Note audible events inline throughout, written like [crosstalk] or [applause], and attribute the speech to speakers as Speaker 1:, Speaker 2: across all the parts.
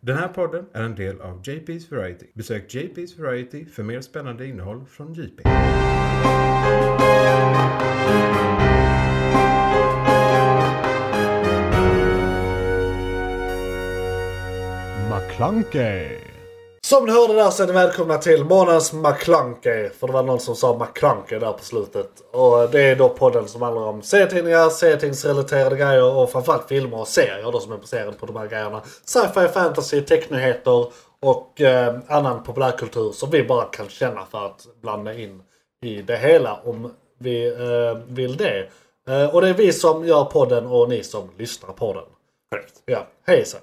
Speaker 1: Den här podden är en del av JP's Variety. Besök JP's Variety för mer spännande innehåll från JP.
Speaker 2: McClunkey.
Speaker 3: Som ni hörde där så är ni välkomna till månadens McClunkey. För det var någon som sa McClunkey där på slutet. Och det är då podden som handlar om serietidningar, serietidningsrelaterade grejer och framförallt filmer och serier då som är baserade på de här grejerna. Sci-fi, fantasy, technyheter och eh, annan populärkultur som vi bara kan känna för att blanda in i det hela om vi eh, vill det. Eh, och det är vi som gör podden och ni som lyssnar på den.
Speaker 4: Korrekt.
Speaker 3: Ja, hej Isak.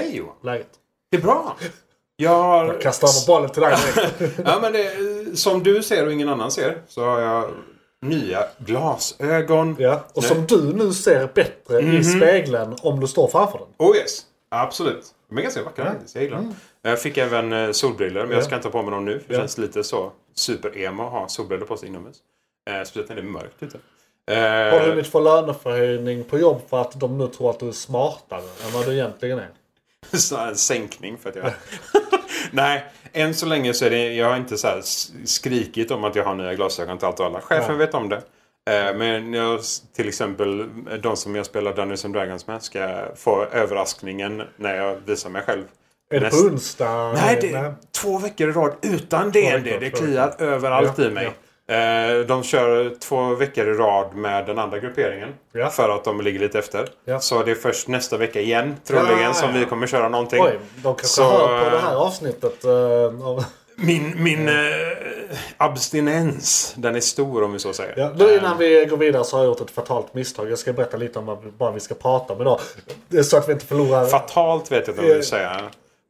Speaker 4: Hej Johan!
Speaker 3: Läget?
Speaker 4: Det är bra! Jag har...
Speaker 3: Kastar över bollen till dig direkt.
Speaker 4: [laughs] Ja, men det, som du ser och ingen annan ser så har jag nya glasögon.
Speaker 3: Ja, och
Speaker 4: Nej.
Speaker 3: som du nu ser bättre
Speaker 4: Mhm.
Speaker 3: i spegeln om du står framför den.
Speaker 4: Oh yes! Absolut. De är ganska vackra faktiskt. Jag gillar dem. Jag fick även eh, solbriller men jag ska inte ta på mig dem nu. För det
Speaker 3: Mm. Ja.
Speaker 4: känns lite så super-emo att ha solbriller på sig inomhus. Eh, Speciellt när det är mörkt ute. Eh,
Speaker 3: Har du hunnit få löneförhöjning på jobb för att de nu tror att du är smartare än vad du egentligen är?
Speaker 4: [laughs] så här en sänkning för att jag... [laughs] Nej, än så länge så är det... Jag har inte så här s- skrikit om att jag har nya glasögon till allt och alla. Chefen vet om det. Eh, Men jag, till exempel eh, de som jag spelar Dungeons and Dragons med ska få överraskningen när jag visar mig själv.
Speaker 3: Är det
Speaker 4: Näst-
Speaker 3: på onsdag?
Speaker 4: Nej, det är två veckor i rad utan DND. Det kliar överallt
Speaker 3: Ja,
Speaker 4: i mig. Eh, De kör två veckor i rad med den andra grupperingen.
Speaker 3: Ja.
Speaker 4: För att de ligger lite efter.
Speaker 3: Ja.
Speaker 4: Så det är först nästa vecka igen troligen
Speaker 3: Ja,
Speaker 4: som
Speaker 3: ja.
Speaker 4: vi kommer köra någonting.
Speaker 3: Oj, de kanske
Speaker 4: Så,
Speaker 3: hör på det här
Speaker 4: eh,
Speaker 3: avsnittet. eh, av-
Speaker 4: Min, min eh, abstinens, den är stor om vi så säger.
Speaker 3: Ja, nu innan vi går vidare så har jag gjort ett fatalt misstag. Jag ska berätta lite om vad vi- vad vi ska prata om idag. Det är så att vi inte förlorar...
Speaker 4: Fatalt vet jag inte om jag vill säga.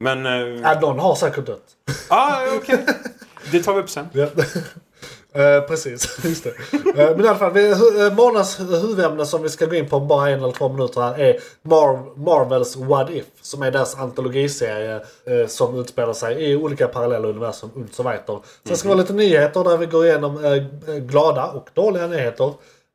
Speaker 4: Men... eh,
Speaker 3: Ja, någon har säkert dött.
Speaker 4: ah, okej. Det tar vi upp sen.
Speaker 3: Ja. [laughs] Eh, precis, [laughs] just det. Eh, men i alla fall, vi, hu- eh, månadens hu- huvudämne som vi ska gå in på om bara en eller två minuter här är Mar- Marvels What If. Som är deras antologiserie eh, som utspelar sig i olika parallella universum und so weiter. Sen ska det vara lite nyheter där vi går igenom eh, glada och dåliga nyheter.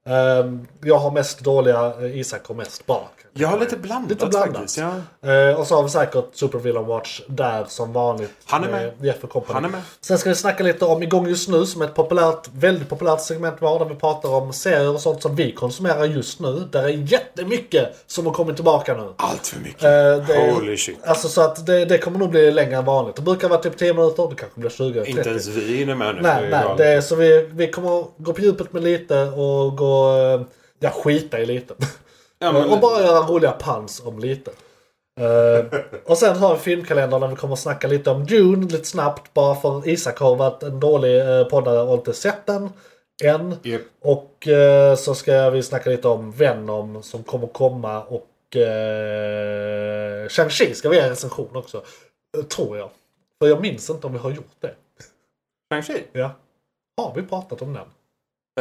Speaker 3: Eh, jag har mest dåliga, eh, Isak har mest bra.
Speaker 4: Jag har lite blandat,
Speaker 3: Lite blandat.
Speaker 4: faktiskt. Ja.
Speaker 3: Eh, och så har vi säkert Super Villain Watch där som vanligt.
Speaker 4: Han är med.
Speaker 3: eh, Jeff och Company.
Speaker 4: Han är med.
Speaker 3: Sen ska vi snacka lite om Igång just nu som är ett populärt, väldigt populärt segment vi har där vi pratar om serier och sånt som vi konsumerar just nu. Där är jättemycket som har kommit tillbaka nu.
Speaker 4: Allt för mycket.
Speaker 3: Eh, det är-
Speaker 4: Holy shit.
Speaker 3: Alltså så att det, det kommer nog bli längre än vanligt. Det brukar vara typ 10 minuter, det kanske blir 20.
Speaker 4: Inte
Speaker 3: 30.
Speaker 4: ens vi är inne med nu.
Speaker 3: Nej,
Speaker 4: är
Speaker 3: nej.
Speaker 4: galet.
Speaker 3: Det är, så vi, vi kommer gå på djupet med lite och gå... eh, Ja, skita i lite. [laughs]
Speaker 4: Ja, men-
Speaker 3: och bara göra roliga pans om lite. Eh,
Speaker 4: [laughs]
Speaker 3: och sen har vi filmkalendern där vi kommer att snacka lite om Dune lite snabbt. Bara för Isak har varit en dålig eh, poddare och inte sett den än.
Speaker 4: Japp.
Speaker 3: Och eh, så ska vi snacka lite om Venom som kommer komma och eh, Shang-Chi ska vi göra en recension också. Eh, Tror jag. För jag minns inte om vi har gjort det.
Speaker 4: Shang-Chi?
Speaker 3: Ja. Har vi pratat om den?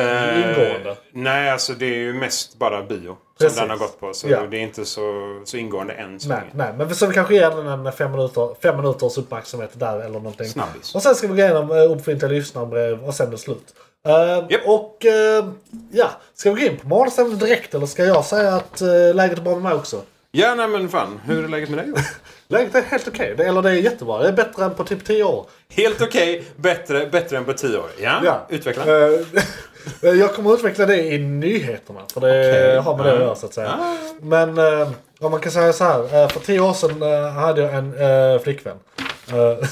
Speaker 4: Eh,
Speaker 3: Ingående.
Speaker 4: nej, alltså det är ju mest bara bio
Speaker 3: Precis.
Speaker 4: som den har gått på. Så
Speaker 3: Ja.
Speaker 4: det är inte så, så ingående än så
Speaker 3: Nej,
Speaker 4: länge.
Speaker 3: nej, men vi- så vi kanske ger den en fem, minuter, fem minuters uppmärksamhet där eller någonting.
Speaker 4: Snabbis.
Speaker 3: Och sen ska vi gå igenom eh, uppfintliga lyssnarbrev och sen är det slut. Eh,
Speaker 4: Japp.
Speaker 3: Och eh, ja, ska vi gå in på morgonsändning direkt eller ska jag säga att eh, läget är bra med mig också?
Speaker 4: Ja, nej men fan. Hur är läget med dig?
Speaker 3: [laughs] Läget är helt okej, Det- eller det är jättebra. Det är bättre än på typ 10 år.
Speaker 4: Helt okej. Bättre, bättre än på tio år. Ja,
Speaker 3: Ja.
Speaker 4: utveckla.
Speaker 3: Eh, [laughs] jag kommer att utveckla det i nyheterna. För det
Speaker 4: Okej. Ah.
Speaker 3: har med det att göra så att säga. Men eh, om man kan säga så här. eh, för tio år sedan eh, hade jag en eh, flickvän. Eh,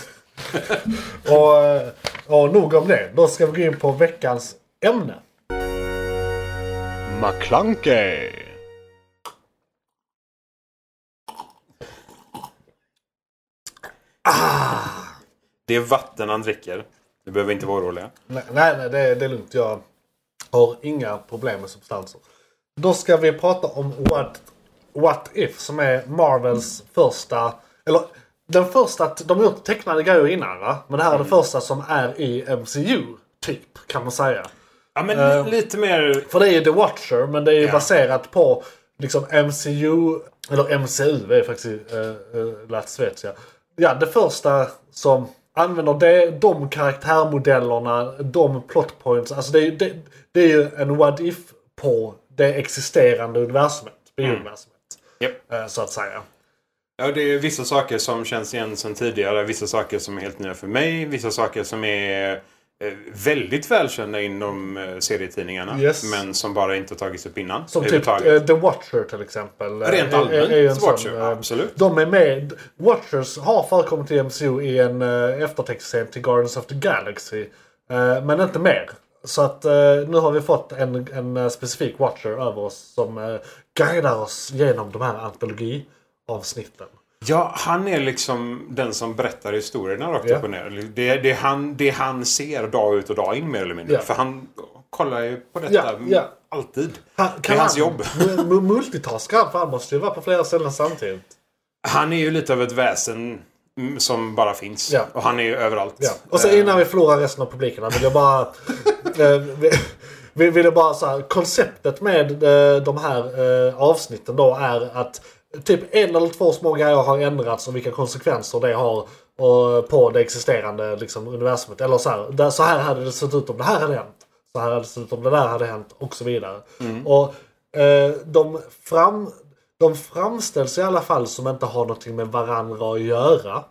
Speaker 3: [laughs] och, eh, och nog om det. Då ska vi gå in på veckans ämne.
Speaker 2: McClunkey.
Speaker 4: Ah. Det är vatten han dricker. Du behöver inte vara oroliga.
Speaker 3: Nej, nej, nej det, är- det är lugnt. Jag har inga problem med substanser. Då ska vi prata om What, What If som är Marvels första... Eller den första... att De har gjort tecknade grejer innan va? Men det här är det första som är i MCU. Typ kan man säga.
Speaker 4: Ja, men
Speaker 3: Eh.
Speaker 4: lite mer...
Speaker 3: För det är ju The Watcher men det är ju
Speaker 4: Ja.
Speaker 3: baserat på liksom MCU. Eller MCU det är faktiskt eh, eh, lät svetskt ja. Ja det första som använder det, de karaktärmodellerna, de plotpoints. Alltså det, är ju- det, det är ju en what if på det existerande universumet. Biouniversumet.
Speaker 4: Japp.
Speaker 3: Eh, så att säga.
Speaker 4: Ja, det är vissa saker som känns igen sedan tidigare. Vissa saker som är helt nya för mig. Vissa saker som är eh, väldigt välkända inom eh, serietidningarna.
Speaker 3: Yes.
Speaker 4: Men som bara inte tagits upp innan.
Speaker 3: Som typ
Speaker 4: överhuvudtaget.
Speaker 3: eh, The Watcher till exempel. eh,
Speaker 4: Rent
Speaker 3: är- är-
Speaker 4: allmänt,
Speaker 3: är ju en
Speaker 4: The Watcher,
Speaker 3: sån, eh,
Speaker 4: absolut.
Speaker 3: De är med. Watchers har förekommit i MCU i en eh, eftertextserie till Guardians of the Galaxy. eh, Men inte mer. Så att eh, nu har vi fått en, en eh, specifik Watcher över oss som eh, guidar oss genom de här antologiavsnitten.
Speaker 4: Ja, han är liksom den som berättar historierna rakt
Speaker 3: Ja.
Speaker 4: upp och ner. Det, det, är han, det han ser dag ut och dag in mer eller mindre.
Speaker 3: Ja.
Speaker 4: För han kollar ju på detta
Speaker 3: Ja, ja.
Speaker 4: alltid.
Speaker 3: Han-
Speaker 4: det är hans jobb.
Speaker 3: mu- mu- Multitaskar han? För han måste ju vara på flera ställen samtidigt.
Speaker 4: Han är ju lite av ett väsen mm, som bara finns.
Speaker 3: Ja.
Speaker 4: Och han är ju överallt.
Speaker 3: Ja. Och så
Speaker 4: Eh,
Speaker 3: innan vi förlorar resten av publiken här vill jag bara... eh, vi- vi vill jag bara så här, konceptet med eh, de här eh, avsnitten då är att typ en eller två små grejer har ändrats och vilka konsekvenser det har och, på det existerande liksom, universumet. Eller så här, där, så här hade det sett ut om det här hade hänt. Så här hade det sett ut om det där hade hänt och så vidare. Och eh, de, fram, de framställs i alla fall som inte har någonting med varandra att göra.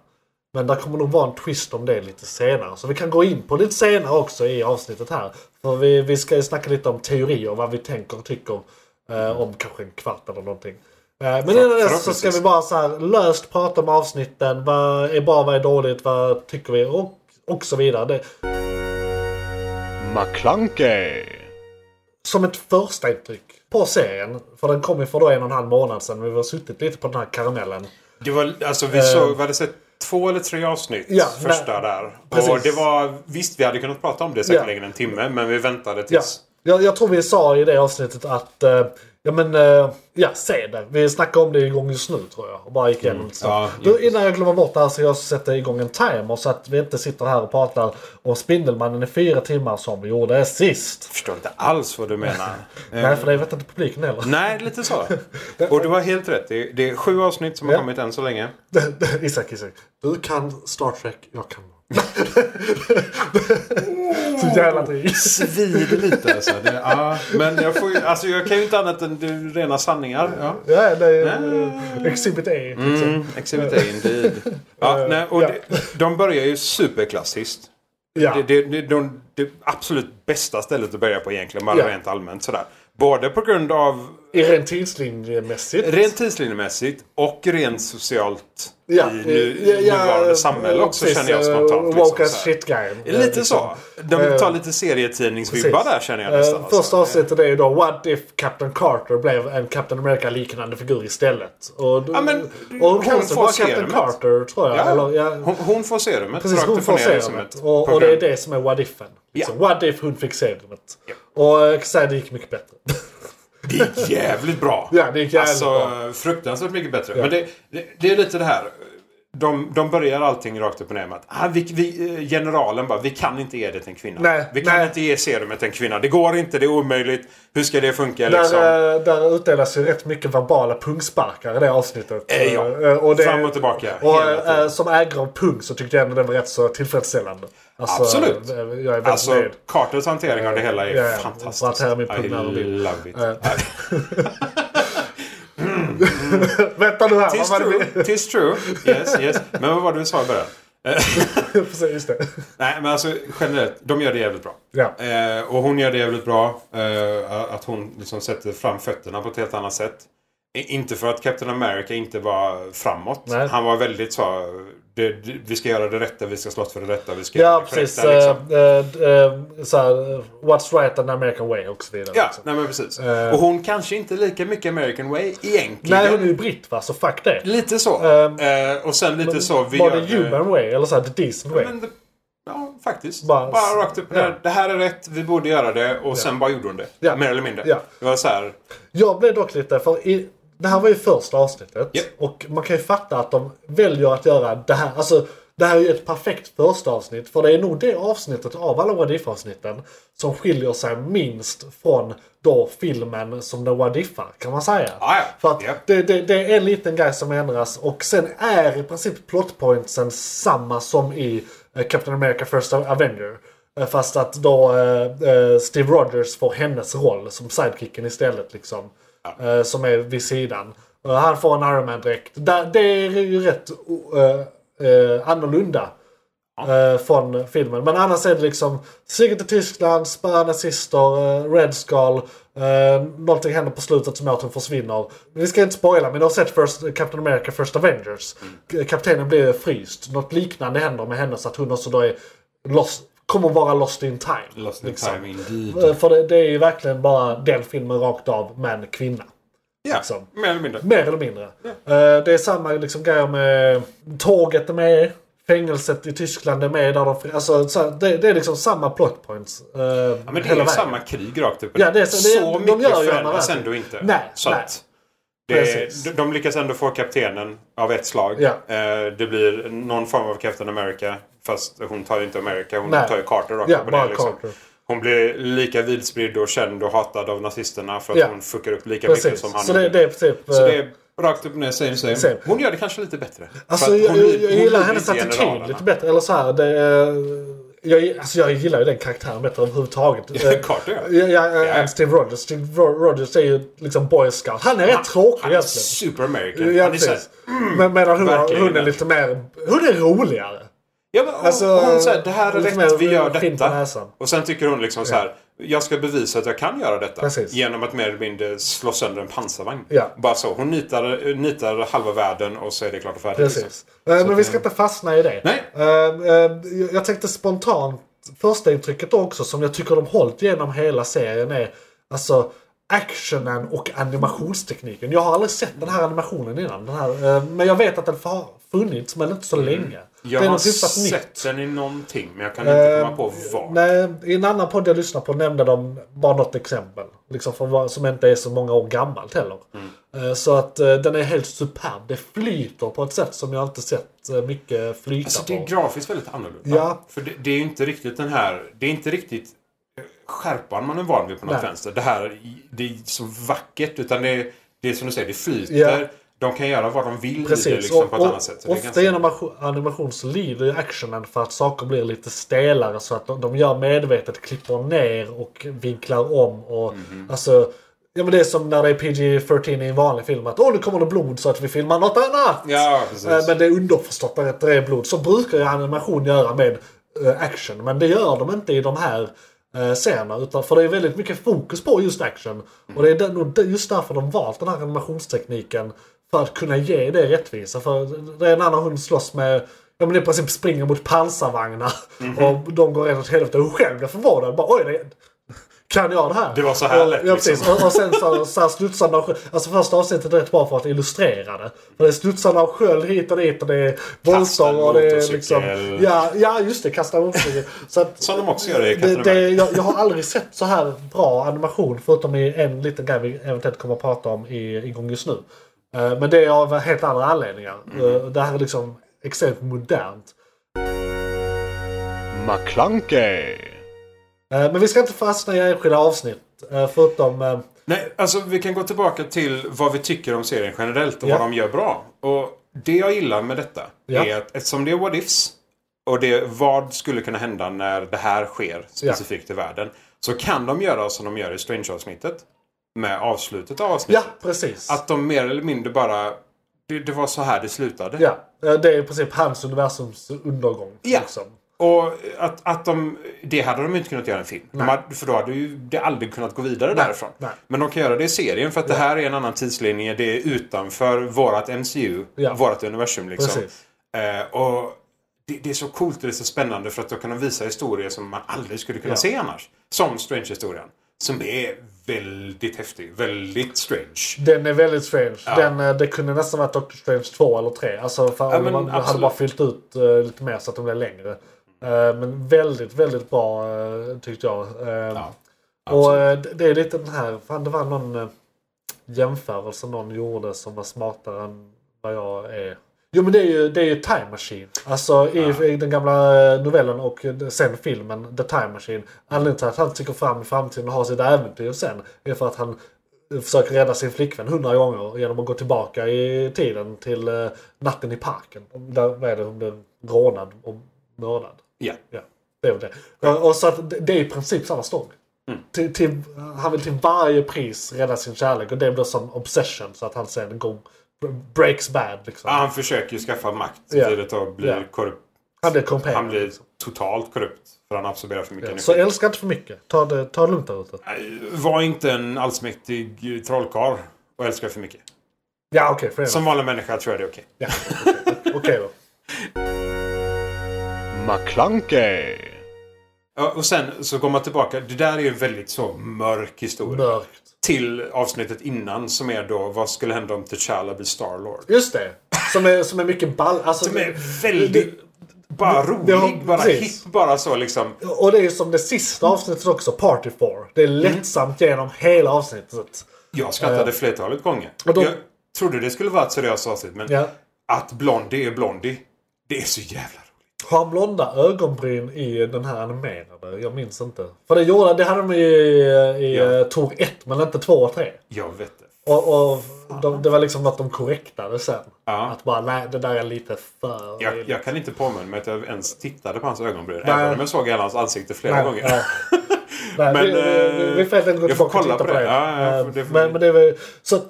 Speaker 3: Men där kommer nog vara en twist om det lite senare. Så vi kan gå in på lite senare också i avsnittet här. För vi, vi ska ju snacka lite om teorier, vad vi tänker och tycker eh, om kanske en kvart eller någonting. Eh, men innan dess så ska
Speaker 4: förhoppningsvis.
Speaker 3: vi bara så här löst prata om avsnitten. Vad är bra, vad är dåligt, vad tycker vi och, och så vidare. Det,
Speaker 2: McClunkey.
Speaker 3: som ett första intryck på serien. För den kom ju för då en och en halv månad sedan. Vi har suttit lite på den här karamellen.
Speaker 4: Det var, alltså, vi såg, vi hade sett två eller tre avsnitt
Speaker 3: Eh. Ja,
Speaker 4: första
Speaker 3: nej.
Speaker 4: där. Och
Speaker 3: Precis.
Speaker 4: det var, visst, vi hade kunnat prata om det säkerligen
Speaker 3: Ja.
Speaker 4: en timme, men vi väntade
Speaker 3: Ja.
Speaker 4: tills...
Speaker 3: Jag, jag tror vi sa i det avsnittet att eh, Ja men, eh, ja se det. Vi snackade om det igång just nu tror jag. Och bara gick igenom lite
Speaker 4: Mm, ja,
Speaker 3: snabbt. du, Innan jag glömmer bort det här så jag sätter igång en timer så att vi inte sitter här och pratar om Spindelmannen i fyra timmar som vi gjorde sist.
Speaker 4: Jag förstår inte alls vad du
Speaker 3: [laughs]
Speaker 4: menar. Eh,
Speaker 3: Nej för det vet inte publiken heller. [laughs]
Speaker 4: Nej, lite så. Och du har helt rätt. Det är, det är sju avsnitt som har
Speaker 3: Ja.
Speaker 4: kommit än så länge.
Speaker 3: Isak, Isak. Du kan Star Trek, jag kan... [laughs] så jävla
Speaker 4: [laughs]
Speaker 3: dryg.
Speaker 4: Svider lite alltså. Det, [laughs] ja. Men jag, får, ju- alltså, jag kan ju inte annat än det, rena sanningar. Ja.
Speaker 3: Ja, det är eh, Exhibit A. Liksom.
Speaker 4: Ah. Mm, exhibit A indeed.
Speaker 3: [laughs]
Speaker 4: Ja, nej, och
Speaker 3: Eh, ja.
Speaker 4: det, de börjar ju superklassiskt.
Speaker 3: Ja.
Speaker 4: Det, det, det, de, det absolut bästa stället att börja på egentligen, bara
Speaker 3: Ja.
Speaker 4: rent allmänt sådär. Både på grund av
Speaker 3: I rent tidslinjemässigt.
Speaker 4: rent tidslinjemässigt och rent socialt
Speaker 3: Ja,
Speaker 4: i nu,
Speaker 3: ja, ja,
Speaker 4: nuvarande samhälle också
Speaker 3: precis,
Speaker 4: känner jag
Speaker 3: eh,
Speaker 4: spontant.
Speaker 3: Woke
Speaker 4: Liksom,
Speaker 3: as
Speaker 4: såhär.
Speaker 3: shit-grejen.
Speaker 4: Lite så. De tar lite serietidningsvibbar
Speaker 3: liksom. Eh, Precis.
Speaker 4: där känner jag nästan.
Speaker 3: Eh,
Speaker 4: alltså.
Speaker 3: Första avsnittet är ju då What if Captain Carter blev en Captain America-liknande figur istället? Och,
Speaker 4: Ja, men,
Speaker 3: och
Speaker 4: hon
Speaker 3: hon kanske
Speaker 4: får
Speaker 3: var
Speaker 4: se
Speaker 3: Captain
Speaker 4: det.
Speaker 3: Carter tror jag.
Speaker 4: Ja,
Speaker 3: Eller, ja,
Speaker 4: Hon, hon får serumet.
Speaker 3: precis,
Speaker 4: rakt
Speaker 3: hon
Speaker 4: upp och
Speaker 3: får
Speaker 4: ner, liksom,
Speaker 3: serumet.
Speaker 4: ett
Speaker 3: Och, och det
Speaker 4: program.
Speaker 3: är det som är What ifen. Liksom. What if hon fick serumet? Och jag kan säga det gick mycket bättre.
Speaker 4: Det är jävligt bra.
Speaker 3: [laughs] Ja, det är jävligt
Speaker 4: alltså,
Speaker 3: bra.
Speaker 4: fruktansvärt mycket bättre. Men det, det, det är lite det här. De, de börjar allting rakt upp och ner med att ah, vi, vi, eh, generalen bara, vi kan inte ge det till en kvinna.
Speaker 3: Nej,
Speaker 4: vi kan
Speaker 3: nej.
Speaker 4: inte ge serumet till en kvinna. Det går inte, det är omöjligt. Hur ska det funka
Speaker 3: Där,
Speaker 4: liksom?
Speaker 3: eh, där utdelas ju rätt mycket verbala pungsparkar i det avsnittet.
Speaker 4: Eh, ja.
Speaker 3: Eh, och det-
Speaker 4: Fram och tillbaka,
Speaker 3: Och,
Speaker 4: hela tiden.
Speaker 3: eh, som ägare av pung så tyckte jag ändå den var rätt så tillfredsställande. Alltså,
Speaker 4: Absolut.
Speaker 3: eh, Jag är väldigt
Speaker 4: Alltså,
Speaker 3: nöjd.
Speaker 4: Carters hantering av det hela är
Speaker 3: Ja, ja.
Speaker 4: fantastisk.
Speaker 3: För att här är min
Speaker 4: I
Speaker 3: pugg när de vill.
Speaker 4: love it.
Speaker 3: Vänta nu här,
Speaker 4: Tis
Speaker 3: vad var det
Speaker 4: true, tis true. Yes, yes. Men vad var det du sa i början?
Speaker 3: vi... [laughs] Precis, just det.
Speaker 4: Nej, men alltså generellt. De gör det jävligt bra.
Speaker 3: Ja.
Speaker 4: Eh, och hon gör det jävligt bra. Eh, att hon liksom sätter fram fötterna på ett helt annat sätt. I- Inte för att Captain America inte var framåt.
Speaker 3: Nej.
Speaker 4: Han var väldigt så... Det, det, vi ska göra det rätta, vi ska slåss för det rätta, vi ska göra
Speaker 3: Ja,
Speaker 4: det
Speaker 3: precis.
Speaker 4: korrekta, liksom.
Speaker 3: eh, eh, eh, så här, eh, what's right and American way och så vidare.
Speaker 4: Ja,
Speaker 3: liksom.
Speaker 4: nej men precis.
Speaker 3: Eh.
Speaker 4: Och hon kanske inte är lika mycket American way egentligen.
Speaker 3: Nej, hon är ju britt va, så fuck det.
Speaker 4: Lite så.
Speaker 3: Ehm,
Speaker 4: eh, och sen lite så. Vi
Speaker 3: var
Speaker 4: gör
Speaker 3: det human way eller så här, the decent way?
Speaker 4: Men det, ja, faktiskt. Bara,
Speaker 3: Bara-
Speaker 4: rakt upp och ner.
Speaker 3: ja.
Speaker 4: Det här är rätt, vi borde göra det. Och sen bara gjorde hon det.
Speaker 3: Ja.
Speaker 4: Mer eller mindre.
Speaker 3: Ja.
Speaker 4: Det var så här.
Speaker 3: Jag blev dock lite, för i, det här var ju första avsnittet.
Speaker 4: Ja.
Speaker 3: Och man kan ju fatta att de väljer att göra det här. Alltså, det här är ju ett perfekt första avsnitt. För det är nog det avsnittet av alla What If-avsnitten som skiljer sig minst från då filmen som den What If-ar, kan man säga.
Speaker 4: Ah, Ja, ja.
Speaker 3: För att
Speaker 4: Ja.
Speaker 3: det, det, det är en liten grej som ändras och sen är i princip plotpointsen samma som i eh, Captain America First Avenger. Eh, Fast att då eh, eh, Steve Rogers får hennes roll som sidekicken istället. Liksom, eh, som är vid sidan. Och han får en Iron Man-dräkt. Där- Det är ju rätt o- eh, eh, annorlunda eh, från filmen. Men annars är det liksom stiger till Tyskland, spöar nazister, eh, Red Skull. Eh, någonting händer på slutet som gör att hon försvinner. Vi ska inte spoila men du har sett First, Captain America First Avengers.
Speaker 4: Mm.
Speaker 3: K- Kaptenen blir fryst. Något liknande händer med henne så att hon också då är lost, kommer vara lost in time.
Speaker 4: Lost in
Speaker 3: liksom.
Speaker 4: time indeed.
Speaker 3: Eh, För det, det är ju verkligen bara den filmen rakt av med en kvinna.
Speaker 4: Ja,
Speaker 3: liksom.
Speaker 4: mer eller mindre.
Speaker 3: Mer eller mindre. Eh, det är samma liksom grejer med tåget är med. Fängelset i Tyskland är med. Där de, alltså, så här, det, det är liksom samma plot points. eh,
Speaker 4: Ja, men det är
Speaker 3: hela
Speaker 4: ju
Speaker 3: vägen.
Speaker 4: samma krig rakt upp och
Speaker 3: Ja, det är
Speaker 4: ner.
Speaker 3: så- det är-
Speaker 4: så
Speaker 3: de
Speaker 4: mycket
Speaker 3: gör ju
Speaker 4: förändras
Speaker 3: annat.
Speaker 4: ändå inte.
Speaker 3: Nej,
Speaker 4: så
Speaker 3: nej.
Speaker 4: att det
Speaker 3: Precis.
Speaker 4: är, de- de lyckas ändå få kaptenen av ett slag.
Speaker 3: Ja.
Speaker 4: Eh, Det blir någon form av Captain America. Fast hon tar ju inte America, hon
Speaker 3: Nej.
Speaker 4: tar ju Carter rakt
Speaker 3: Ja,
Speaker 4: upp och
Speaker 3: bara
Speaker 4: ner. Liksom.
Speaker 3: Carter.
Speaker 4: Hon blir lika vidspridd och känd och hatad av nazisterna för att
Speaker 3: Ja.
Speaker 4: hon fuckar upp lika mycket
Speaker 3: Precis.
Speaker 4: som han
Speaker 3: Så det,
Speaker 4: gjorde.
Speaker 3: det är typ...
Speaker 4: så
Speaker 3: eh,
Speaker 4: det är rakt upp och ner, same, same.
Speaker 3: Same.
Speaker 4: Hon gör det kanske lite bättre. För
Speaker 3: Alltså
Speaker 4: att
Speaker 3: jag,
Speaker 4: hon
Speaker 3: jag,
Speaker 4: lyder-
Speaker 3: jag
Speaker 4: hon
Speaker 3: gillar
Speaker 4: lyder
Speaker 3: hennes
Speaker 4: inte
Speaker 3: attityd
Speaker 4: generalerna. [laughs]
Speaker 3: lite bättre. Eller så här, det, eh, jag, alltså jag gillar ju den karaktären bättre överhuvudtaget. Eh,
Speaker 4: Carter, ja.
Speaker 3: ja. ja, eh,
Speaker 4: Ja.
Speaker 3: Steve Rogers. Steve Ro- Rogers är ju liksom boy scout. Han är rätt tråkig
Speaker 4: Han är
Speaker 3: egentligen.
Speaker 4: super-American.
Speaker 3: Ja,
Speaker 4: han är så här, mm,
Speaker 3: precis. Men medan hon,
Speaker 4: verkligen
Speaker 3: hon är
Speaker 4: den.
Speaker 3: lite mer... Hon är roligare.
Speaker 4: Ja, men hon,
Speaker 3: Alltså,
Speaker 4: hon säger det här är
Speaker 3: lite
Speaker 4: rätt,
Speaker 3: mer
Speaker 4: vi gör
Speaker 3: skinn på
Speaker 4: detta.
Speaker 3: näsan.
Speaker 4: Och sen tycker hon liksom så här, jag ska bevisa att jag kan göra detta.
Speaker 3: Precis.
Speaker 4: Genom att mer eller mindre slå sönder en pansarvagn.
Speaker 3: Ja.
Speaker 4: Bara så. Hon nitar, nitar halva världen och så är det klart och färdigt. liksom.
Speaker 3: Precis. Eh, Men vi ska inte fastna i det.
Speaker 4: Nej.
Speaker 3: Eh, eh, jag- Jag tänkte spontant, första intrycket också som jag tycker de hållit genom hela serien är alltså actionen och animationstekniken. Jag har aldrig sett den här animationen innan. Den här, eh, men jag vet att den har funnits men inte så länge.
Speaker 4: Jag
Speaker 3: det är
Speaker 4: har
Speaker 3: något hyfsat
Speaker 4: sett
Speaker 3: nytt.
Speaker 4: den i någonting, men jag kan inte
Speaker 3: Eh,
Speaker 4: komma på vad.
Speaker 3: Nej, I en annan podd jag lyssnade på nämnde de bara något exempel. Liksom för vad, som inte är så många år gammalt heller.
Speaker 4: Mm.
Speaker 3: Eh, Så att eh, den är helt superb. Det flyter på ett sätt som jag inte sett eh, mycket flyta
Speaker 4: Alltså
Speaker 3: på.
Speaker 4: det är grafiskt väldigt annorlunda.
Speaker 3: Ja.
Speaker 4: För det, det är ju inte riktigt den här... Det är inte riktigt eh, skärpan man är van vid på något
Speaker 3: Nej.
Speaker 4: vänster. Det här det är så vackert. Utan det, är- det är som du säger, det flyter.
Speaker 3: Ja.
Speaker 4: De kan göra vad de vill i det
Speaker 3: Precis,
Speaker 4: liksom, på ett
Speaker 3: och,
Speaker 4: annat sätt. Så
Speaker 3: och
Speaker 4: det är ganska-
Speaker 3: ofta genom animation- animation så lider ju actionen för att saker blir lite stelare så att de, de gör medvetet, klipper ner och vinklar om. Och,
Speaker 4: Mhm.
Speaker 3: alltså, ja, men det är som när det är PG-13 i en vanlig film att åh nu kommer det blod så att vi filmar något annat.
Speaker 4: Ja, precis.
Speaker 3: Eh, Men det är underförstått att det är blod. Så brukar ju animation göra med eh, action. Men det gör de inte i de här eh, scenerna. Utan för det är väldigt mycket fokus på just action. Och det är den, och det- just därför de valt den här animationstekniken. För att kunna ge det rättvisa. För det är en annan hund slåss med Ja men i princip springer mot pansarvagnar. Och de går rätt åt helvete. Hon själv blir förvånad. Bara, Oj, det, kan jag det här?
Speaker 4: Det var så här
Speaker 3: Och-
Speaker 4: lätt,
Speaker 3: Ja, precis.
Speaker 4: liksom.
Speaker 3: Och, och sen så, så här studsar de Alltså första avsnittet är rätt bra för att illustrera det. För det är studsarna av sköld hit och dit och det är
Speaker 4: Kasta en
Speaker 3: våldsamt och det är
Speaker 4: motorcykel.
Speaker 3: liksom... Ja, ja just det. Kasta en motorcykel. Så att,
Speaker 4: Som de också gör i
Speaker 3: det,
Speaker 4: Captain
Speaker 3: det,
Speaker 4: America.
Speaker 3: jag, jag har aldrig sett så här bra animation förutom i en liten grej vi eventuellt kommer att prata om i, igång just nu. Eh, Men det är av helt andra anledningar.
Speaker 4: Mm.
Speaker 3: Eh, Det här är liksom extremt modernt.
Speaker 2: McClunkey!
Speaker 3: Eh, Men vi ska inte fastna i enskilda avsnitt. eh, Förutom... eh,
Speaker 4: Nej, alltså vi kan gå tillbaka till vad vi tycker om serien generellt och
Speaker 3: Ja.
Speaker 4: vad de gör bra. Och det jag gillar med detta
Speaker 3: Ja.
Speaker 4: är att eftersom det är what ifs och det vad skulle kunna hända när det här sker specifikt i världen. Så kan de göra som de gör i Strange-avsnittet. Med avslutet av
Speaker 3: Ja,
Speaker 4: avsnittet.
Speaker 3: precis.
Speaker 4: Att de mer eller mindre bara... Det, det var så här det slutade.
Speaker 3: Ja, eh, det är i princip hans universums undergång.
Speaker 4: Ja.
Speaker 3: Liksom.
Speaker 4: Och att, att de, det hade de inte kunnat göra i en film. De hade, för då hade ju det aldrig kunnat gå vidare därifrån.
Speaker 3: nej.
Speaker 4: Men de kan göra det i serien för att det här är en annan tidslinje. Det är utanför vårat MCU,
Speaker 3: Ja.
Speaker 4: vårat universum liksom.
Speaker 3: Precis.
Speaker 4: Eh, och det, det är så coolt och det är så spännande för att då kan de visa historier som man aldrig skulle kunna se annars. Som Strange-historien. Som är väldigt häftig. Väldigt strange.
Speaker 3: Den är väldigt strange. Den, eh, det kunde nästan varit Doctor Strange 2 eller 3. Alltså för om
Speaker 4: men
Speaker 3: man hade
Speaker 4: absolut.
Speaker 3: bara fyllt ut eh, lite mer så att de blev längre. Eh, men väldigt, väldigt bra eh, tyckte jag. Eh, och eh, det- det är lite den här, fan det var någon eh, jämförelse någon gjorde som var smartare än vad jag är. Jo men det är ju, det är ju Time Machine. Alltså i, i den gamla eh, novellen och eh, sen filmen The Time Machine. Anledningen till att han tycker fram i framtiden och har sitt äventyr sen är för att han eh, försöker rädda sin flickvän hundra gånger genom att gå tillbaka i tiden till eh, natten i parken. Där vad är det, hon blev rånad och mördad.
Speaker 4: Ja.
Speaker 3: Ja, det är väl det. Och, och så att det, det är i princip samma story.
Speaker 4: Mm.
Speaker 3: Till, till, han vill till varje pris rädda sin kärlek och det blir som obsession så att han sen går, breaks bad liksom.
Speaker 4: Ja, han försöker ju skaffa makt
Speaker 3: Ja.
Speaker 4: till ett tag blir
Speaker 3: Ja.
Speaker 4: korrupt.
Speaker 3: Han blir korrumperad.
Speaker 4: Han blir
Speaker 3: liksom.
Speaker 4: totalt korrupt. För han absorberar för mycket
Speaker 3: Ja,
Speaker 4: energi.
Speaker 3: Så älska inte för mycket. Ta det, ta det lugnt där ute.
Speaker 4: Nej, Äh, Var inte en allsmäktig trollkarl och älska för mycket.
Speaker 3: Ja okej, okay,
Speaker 4: Som vanlig människa tror jag det är okej.
Speaker 3: okej då.
Speaker 2: McClunkey!
Speaker 4: Ja, Och sen så går man tillbaka. Det där är ju en väldigt så mörk historia.
Speaker 3: Mörkt.
Speaker 4: Till avsnittet innan som är då vad skulle hända om T'Challa blir Starlord?
Speaker 3: Just det. Som är, som är mycket ball. Alltså,
Speaker 4: Som är väldigt... Bara
Speaker 3: det har-
Speaker 4: rolig, bara
Speaker 3: precis.
Speaker 4: hipp, bara så liksom.
Speaker 3: Och det är ju som det sista avsnittet också, Party 4. Det
Speaker 4: Mm.
Speaker 3: är lättsamt genom hela avsnittet.
Speaker 4: Jag skrattade flertalet gånger.
Speaker 3: Och då-
Speaker 4: Jag trodde det skulle vara ett seriöst avsnitt men
Speaker 3: Ja.
Speaker 4: att Blondie är Blondie, det är så jävla roligt.
Speaker 3: Har han blonda ögonbryn i den här animerade? Jag minns inte. För det gjorde det hade de ju i, i
Speaker 4: Ja.
Speaker 3: eh, Tor 1 men inte 2 och 3.
Speaker 4: Jag vet det.
Speaker 3: Och, och de, det var liksom något de korrektade sen.
Speaker 4: Ja.
Speaker 3: Att bara nej, det där är lite för...
Speaker 4: Jag, jag kan inte påminna mig att jag ens tittade på hans ögonbryn.
Speaker 3: Nej.
Speaker 4: Även om jag såg hela hans ansikte flera
Speaker 3: Nej,
Speaker 4: gånger. [laughs]
Speaker 3: nej. Nej,
Speaker 4: Men,
Speaker 3: vi, vi, vi får helt enkelt gå
Speaker 4: jag får
Speaker 3: tillbaka och
Speaker 4: kolla
Speaker 3: titta på
Speaker 4: på
Speaker 3: det.
Speaker 4: det. Ja, ja,
Speaker 3: Eh,
Speaker 4: för det får
Speaker 3: men,
Speaker 4: vi-
Speaker 3: men det var, ju- så att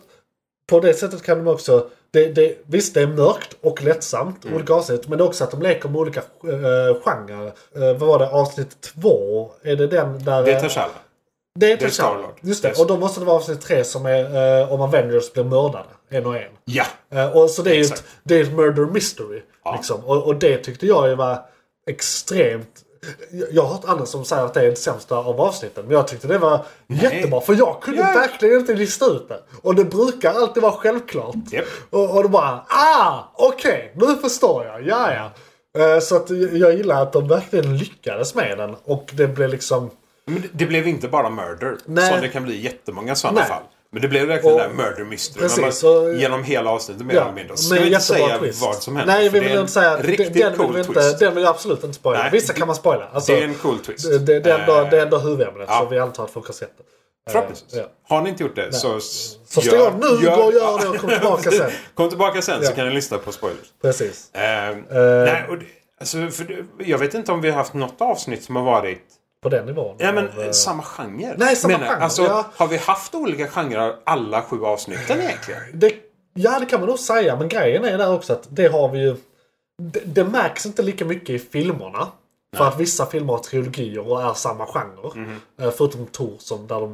Speaker 3: på det sättet kan de också... Det, det, visst, det är mörkt och lättsamt.
Speaker 4: Mm.
Speaker 3: Olika avsnitt. Men det är också att de leker med olika uh, genrer. Eh, vad var det? Avsnitt två? Är det den där...
Speaker 4: Det är
Speaker 3: eh,
Speaker 4: T'Challa.
Speaker 3: Det är
Speaker 4: det är
Speaker 3: T'Challa.
Speaker 4: Star-Lord.
Speaker 3: Just det.
Speaker 4: Yes.
Speaker 3: Och då måste det vara avsnitt tre som är eh, om Avengers blir mördade. En och en.
Speaker 4: Ja!
Speaker 3: Eh, och så det är ju ett,
Speaker 4: Exakt.
Speaker 3: det är ett murder mystery. Liksom. Och, och det tyckte jag ju var extremt... Jag- Jag har hört andra som säger att det är det sämsta av avsnitten. Men jag tyckte det var jättebra. För jag kunde
Speaker 4: Ja.
Speaker 3: verkligen inte lista ut det. Och det brukar alltid vara självklart.
Speaker 4: Japp.
Speaker 3: Och, och då bara ah! Okej, nu förstår jag. Ja, ja. Eh, Så att jag- jag gillar att de verkligen lyckades med den. Och det blev liksom...
Speaker 4: Men det- det blev inte bara murder.
Speaker 3: Nej.
Speaker 4: Som det kan bli i jättemånga sådana
Speaker 3: Nej.
Speaker 4: fall. Men det blev verkligen
Speaker 3: Och-
Speaker 4: det där murder mystery.
Speaker 3: Precis,
Speaker 4: Man bara-
Speaker 3: och-
Speaker 4: genom hela avsnittet mer eller mindre. Ska
Speaker 3: men
Speaker 4: vi inte
Speaker 3: jättebra
Speaker 4: säga
Speaker 3: twist.
Speaker 4: vad som händer?
Speaker 3: Nej,
Speaker 4: För
Speaker 3: vi
Speaker 4: det är
Speaker 3: vill
Speaker 4: en
Speaker 3: inte säga.
Speaker 4: Riktigt
Speaker 3: den, den,
Speaker 4: cool
Speaker 3: vill vi inte,
Speaker 4: twist.
Speaker 3: den vill jag absolut inte spoila.
Speaker 4: Nej,
Speaker 3: Vissa
Speaker 4: det-
Speaker 3: kan man spoila. Alltså,
Speaker 4: Det är en cool twist.
Speaker 3: Det, det, det, är ändå,
Speaker 4: Eh,
Speaker 3: det är ändå huvudämnet,
Speaker 4: ja.
Speaker 3: så vi antar att folk har sett det. Eh,
Speaker 4: Förhoppningsvis.
Speaker 3: Ja.
Speaker 4: Har ni inte gjort det så... s-
Speaker 3: Så
Speaker 4: gör-
Speaker 3: står nu,
Speaker 4: gör-
Speaker 3: gå och gör det och kom
Speaker 4: [laughs]
Speaker 3: tillbaka sen.
Speaker 4: Kom tillbaka sen
Speaker 3: Ja. Eh.
Speaker 4: så kan ni lyssna på spoilers.
Speaker 3: Precis.
Speaker 4: Ehm, nej, och det, alltså, för det, jag vet inte om vi har haft något avsnitt som har varit...
Speaker 3: På den nivån.
Speaker 4: Ja, men
Speaker 3: av, eh,
Speaker 4: samma genre.
Speaker 3: Nej, samma
Speaker 4: jag.
Speaker 3: genre,
Speaker 4: Alltså,
Speaker 3: ja.
Speaker 4: Har vi haft olika genrer alla sju avsnitten egentligen?
Speaker 3: det, ja, det kan man nog säga. Men grejen är där också att det har vi ju... Det, det märks inte lika mycket i filmerna. För att vissa filmer har trilogier och är samma genre.
Speaker 4: Mhm.
Speaker 3: Eh, Förutom Tor som där de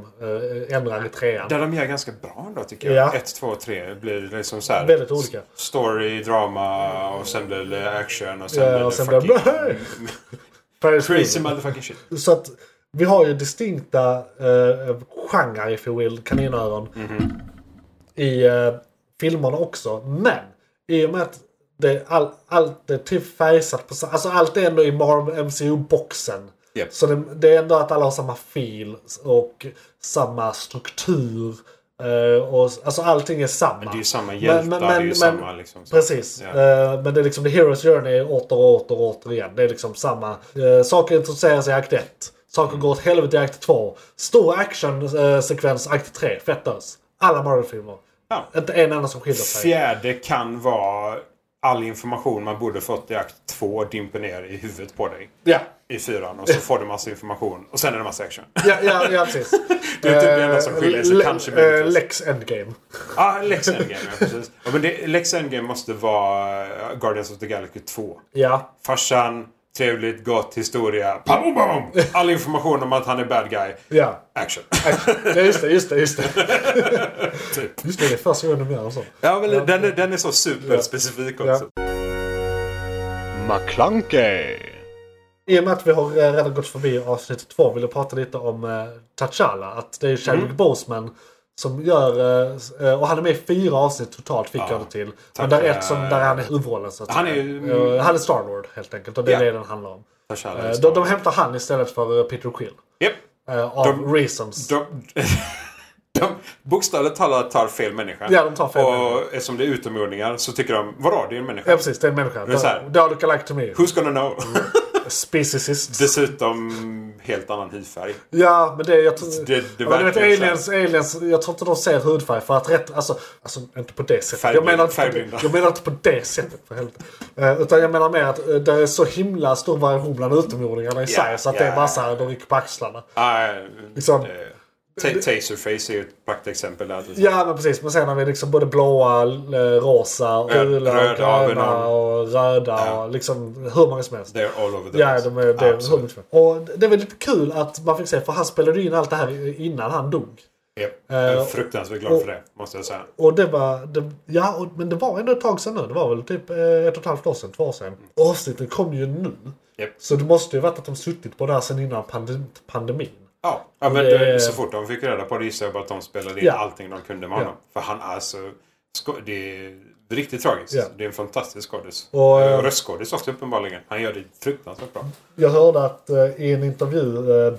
Speaker 3: eh, ändrar i trean.
Speaker 4: Där de gör ganska bra ändå tycker jag.
Speaker 3: Ja.
Speaker 4: Ett, två, tre blir liksom så här.
Speaker 3: Väldigt olika.
Speaker 4: s- Story, drama och sen blir det action och sen
Speaker 3: Ja,
Speaker 4: blir det
Speaker 3: Eh,
Speaker 4: [laughs]
Speaker 3: och sen
Speaker 4: fucking...
Speaker 3: blir det- Ferris
Speaker 4: crazy
Speaker 3: Bueller.
Speaker 4: motherfucking shit.
Speaker 3: Så att vi har ju distinkta eh, genrer if you will, kaninöron.
Speaker 4: Mhm.
Speaker 3: I eh, filmerna också. Men i och med att det, all, allt är typ färgsatt på sa- Alltså allt är ändå i Marvel MCU-boxen.
Speaker 4: Japp.
Speaker 3: Så det, det är ändå att alla har samma fil och samma struktur. eh, och, alltså allting är samma.
Speaker 4: Det är ju samma hjältar, det är ju samma liksom. så-
Speaker 3: Precis.
Speaker 4: Ja.
Speaker 3: Eh, men det är liksom The Hero's Journey åter och åter och åter igen. Det är liksom samma. eh, saker introduceras i akt 1. Saker går åt helvete i akt 2. Stor actionsekvens akt 3. Fett ös. Alla Marvel-filmer.
Speaker 4: Ja.
Speaker 3: Inte en enda som skiljer sig.
Speaker 4: Fjärde kan vara all information man borde fått i akt två dimper ner i huvudet på dig.
Speaker 3: ja.
Speaker 4: I fyran och så får du massa information och sen är det massa action. [laughs]
Speaker 3: Ja, ja, ja, precis.
Speaker 4: Det är typ det enda som skiljer sig,
Speaker 3: Eh,
Speaker 4: kanske
Speaker 3: Le- eh,
Speaker 4: möjligtvis.
Speaker 3: Lex Endgame.
Speaker 4: Ja, Lex Endgame. Ja, precis. Ja, men det, Lex Endgame måste vara eh, Guardians of the Galaxy 2.
Speaker 3: Ja.
Speaker 4: Farsan, trevligt, gott, historia. Pam, pam, pam. All information om att han är bad guy.
Speaker 3: Ja.
Speaker 4: [laughs] Action.
Speaker 3: Ja, just det, just det, just det.
Speaker 4: Typ.
Speaker 3: Just det, det är första gången de gör en sån.
Speaker 4: Ja, men den, är, den är så superspecifik också.
Speaker 2: McClunkey!
Speaker 3: I och med att vi har eh, redan gått förbi avsnitt två vill jag prata lite om eh, T'Challa. Att det är Chadwick
Speaker 4: Mm.
Speaker 3: Boseman som gör... eh, s- eh, och han är med i fyra avsnitt totalt fick jag det till. Men
Speaker 4: Tack,
Speaker 3: där är ett som
Speaker 4: eh,
Speaker 3: där han är huvudrollen så att
Speaker 4: han
Speaker 3: säga.
Speaker 4: är ju- mm.
Speaker 3: Eh, han är Starlord helt enkelt och det är
Speaker 4: Ja.
Speaker 3: det den handlar om.
Speaker 4: T'Challa
Speaker 3: Eh,
Speaker 4: är
Speaker 3: de, de
Speaker 4: Star-Lord.
Speaker 3: hämtar han istället för eh, Peter Quill.
Speaker 4: Japp.
Speaker 3: eh, av
Speaker 4: De-
Speaker 3: reasons.
Speaker 4: De, de bokstavligt talat tar fel människa.
Speaker 3: Ja, de tar fel
Speaker 4: Och eftersom det är utomjordingar så tycker de, vadå, det är en människa.
Speaker 3: ja precis, det är en människa.
Speaker 4: är så här. Mm.
Speaker 3: Det look alike to me.
Speaker 4: Who's gonna know? [laughs]
Speaker 3: Speciesist.
Speaker 4: Dessutom helt annan hudfärg.
Speaker 3: Ja, men det... Jag tror,
Speaker 4: Det- det
Speaker 3: ja, men du vet,
Speaker 4: verkar så.
Speaker 3: aliens, aliens, jag tror inte de ser hudfärg för att rätt... Alltså, alltså inte på det sättet. jag,
Speaker 4: Färgblinda-
Speaker 3: menar inte på
Speaker 4: färgblinda.
Speaker 3: det, jag menar inte på det sättet för helvete. Eh, utan jag menar mer att eh, det är så himla stor variation bland utomjordingarna i
Speaker 4: Ja,
Speaker 3: sig. Så att det är
Speaker 4: ja.
Speaker 3: bara så här, de rycker på axlarna.
Speaker 4: Nej,
Speaker 3: Liksom-
Speaker 4: eh, ta- Taserface är ju ett praktexempel där. till exempel.
Speaker 3: Ja men precis, men sen har vi liksom både blåa, eh, rosa,
Speaker 4: Röd-
Speaker 3: gula,
Speaker 4: röda,
Speaker 3: gröna
Speaker 4: avenal.
Speaker 3: och röda. Och liksom hur många som helst.
Speaker 4: They're all over the
Speaker 3: Ja,
Speaker 4: place.
Speaker 3: de är, det, är hur
Speaker 4: Absolut.
Speaker 3: mycket som helst. Och det är väl lite kul att man fick se, för han spelade ju in allt det här innan han dog.
Speaker 4: Japp. Jag är
Speaker 3: Eh,
Speaker 4: fruktansvärt glad
Speaker 3: och-
Speaker 4: för det, måste jag säga.
Speaker 3: Och det var, det, ja och, men det var ändå ett tag sedan nu. Det var väl typ eh, ett och ett halvt år sedan, två år sedan. Och avsnitten kom ju nu.
Speaker 4: Japp.
Speaker 3: Så det måste ju varit att de suttit på det här sedan innan pandem- pandemin.
Speaker 4: Ja, ja men
Speaker 3: det-
Speaker 4: det, så fort de fick reda på det gissade jag på att de spelade in
Speaker 3: Ja.
Speaker 4: allting de kunde med honom. För han är så... sko- Det är riktigt tragiskt.
Speaker 3: Ja.
Speaker 4: Det är en fantastisk skådis.
Speaker 3: Och,
Speaker 4: Eh,
Speaker 3: eh, Mm.
Speaker 4: Röstskådis också uppenbarligen. Han gör det fruktansvärt bra.
Speaker 3: Jag hörde att eh, i en intervju eh,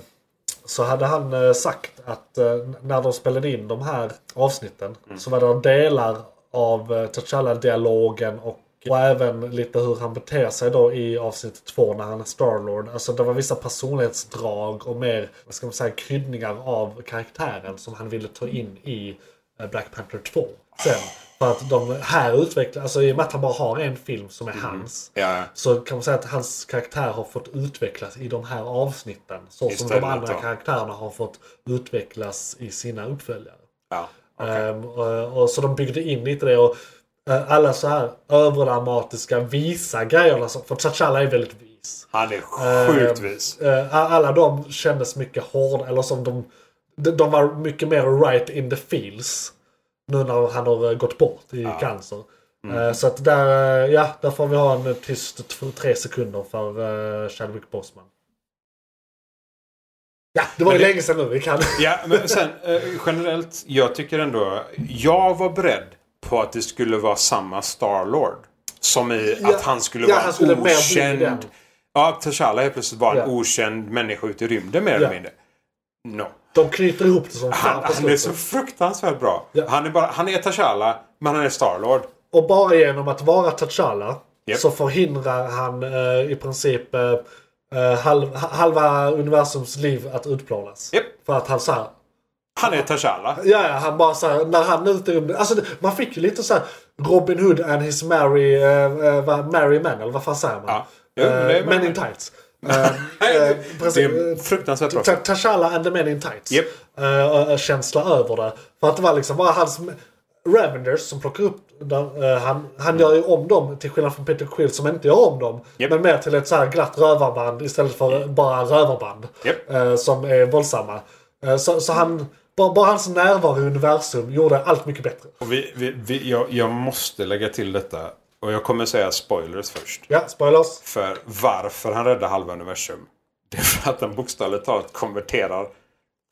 Speaker 3: så hade han eh, sagt att eh, när de spelade in de här avsnitten så var det delar av eh, T'Challa-dialogen och, och även lite hur han beter sig då i avsnitt två när han är Starlord. Alltså det var vissa personlighetsdrag och mer, vad ska man säga, kryddningar av karaktären som han ville ta in i eh, Black Panther 2. Sen, för att de här utvecklar, alltså i och med att han bara har en film som är hans.
Speaker 4: Ja,
Speaker 3: Så kan man säga att hans karaktär har fått utvecklas i de här avsnitten. Så som de
Speaker 4: Istället,
Speaker 3: andra
Speaker 4: ja.
Speaker 3: karaktärerna har fått utvecklas i sina uppföljare.
Speaker 4: ja.
Speaker 3: Ehm, och, och, så de byggde in lite det. Och, eh, alla så här överdramatiska, visa grejerna. som- För T'Challa är väldigt vis.
Speaker 4: Han är sjukt
Speaker 3: Ehm,
Speaker 4: vis.
Speaker 3: eh, alla de kändes mycket hårda. Eller som de, de, de var mycket mer right in the feels. Nu när han har eh, gått bort i cancer.
Speaker 4: Mm.
Speaker 3: Eh, Så att där, eh, ja, där får vi ha en eh, tyst t- tre sekunder för eh, Chadwick Boseman. Ja, det var ju
Speaker 4: Men det-
Speaker 3: länge sedan nu. Vi kan...
Speaker 4: Ja, men sen eh, generellt. Jag tycker ändå... Jag var beredd på att det skulle vara samma Starlord. Som i
Speaker 3: Ja.
Speaker 4: att han skulle
Speaker 3: Ja,
Speaker 4: vara
Speaker 3: han skulle
Speaker 4: en
Speaker 3: mer bli den.
Speaker 4: okänd... Ja, T'Challa helt plötsligt var en
Speaker 3: Ja.
Speaker 4: okänd människa ute i rymden mer
Speaker 3: Ja.
Speaker 4: eller mindre. No.
Speaker 3: De knyter ihop det som fan
Speaker 4: Han,
Speaker 3: på
Speaker 4: han är
Speaker 3: slutet.
Speaker 4: så fruktansvärt bra.
Speaker 3: Ja.
Speaker 4: Han är bara, han är T'Challa, men han är Starlord.
Speaker 3: Och bara genom att vara T'Challa
Speaker 4: Japp.
Speaker 3: så förhindrar han eh, i princip eh, eh, halv, ha- halva universums liv att utplånas.
Speaker 4: Japp.
Speaker 3: För att han så här,
Speaker 4: Han är T'Challa.
Speaker 3: Ja, ja, han bara så här, när han är ute i rymden. Alltså, det- man fick ju lite så här Robin Hood and his Mary, uh, Mary Man, eller vad fan säger man?
Speaker 4: Ja. Jo, men det är
Speaker 3: Eh, men in tights.
Speaker 4: [laughs]
Speaker 3: Eh, eh,
Speaker 4: Det
Speaker 3: precis.
Speaker 4: är fruktansvärt bra.
Speaker 3: Ta- T'Challa and the Men in Tights.
Speaker 4: Japp.
Speaker 3: Eh, och- och känsla över det. För att det var liksom bara hans... Ravenders som plockar upp där, eh, han, han gör ju om dem till skillnad från Peter Quill som inte gör om dem.
Speaker 4: Mm. Japp.
Speaker 3: Men mer till ett så här glatt rövarband istället för bara rövarband.
Speaker 4: Japp.
Speaker 3: eh, som är våldsamma. Eh, så, så han, bara, bara hans närvaro i universum gjorde allt mycket bättre.
Speaker 4: Och vi, vi, vi, jag, jag måste lägga till detta. Och jag kommer säga spoilers först.
Speaker 3: Ja, spoilers.
Speaker 4: För varför han räddar halva universum. Det är för att han bokstavligt talat konverterar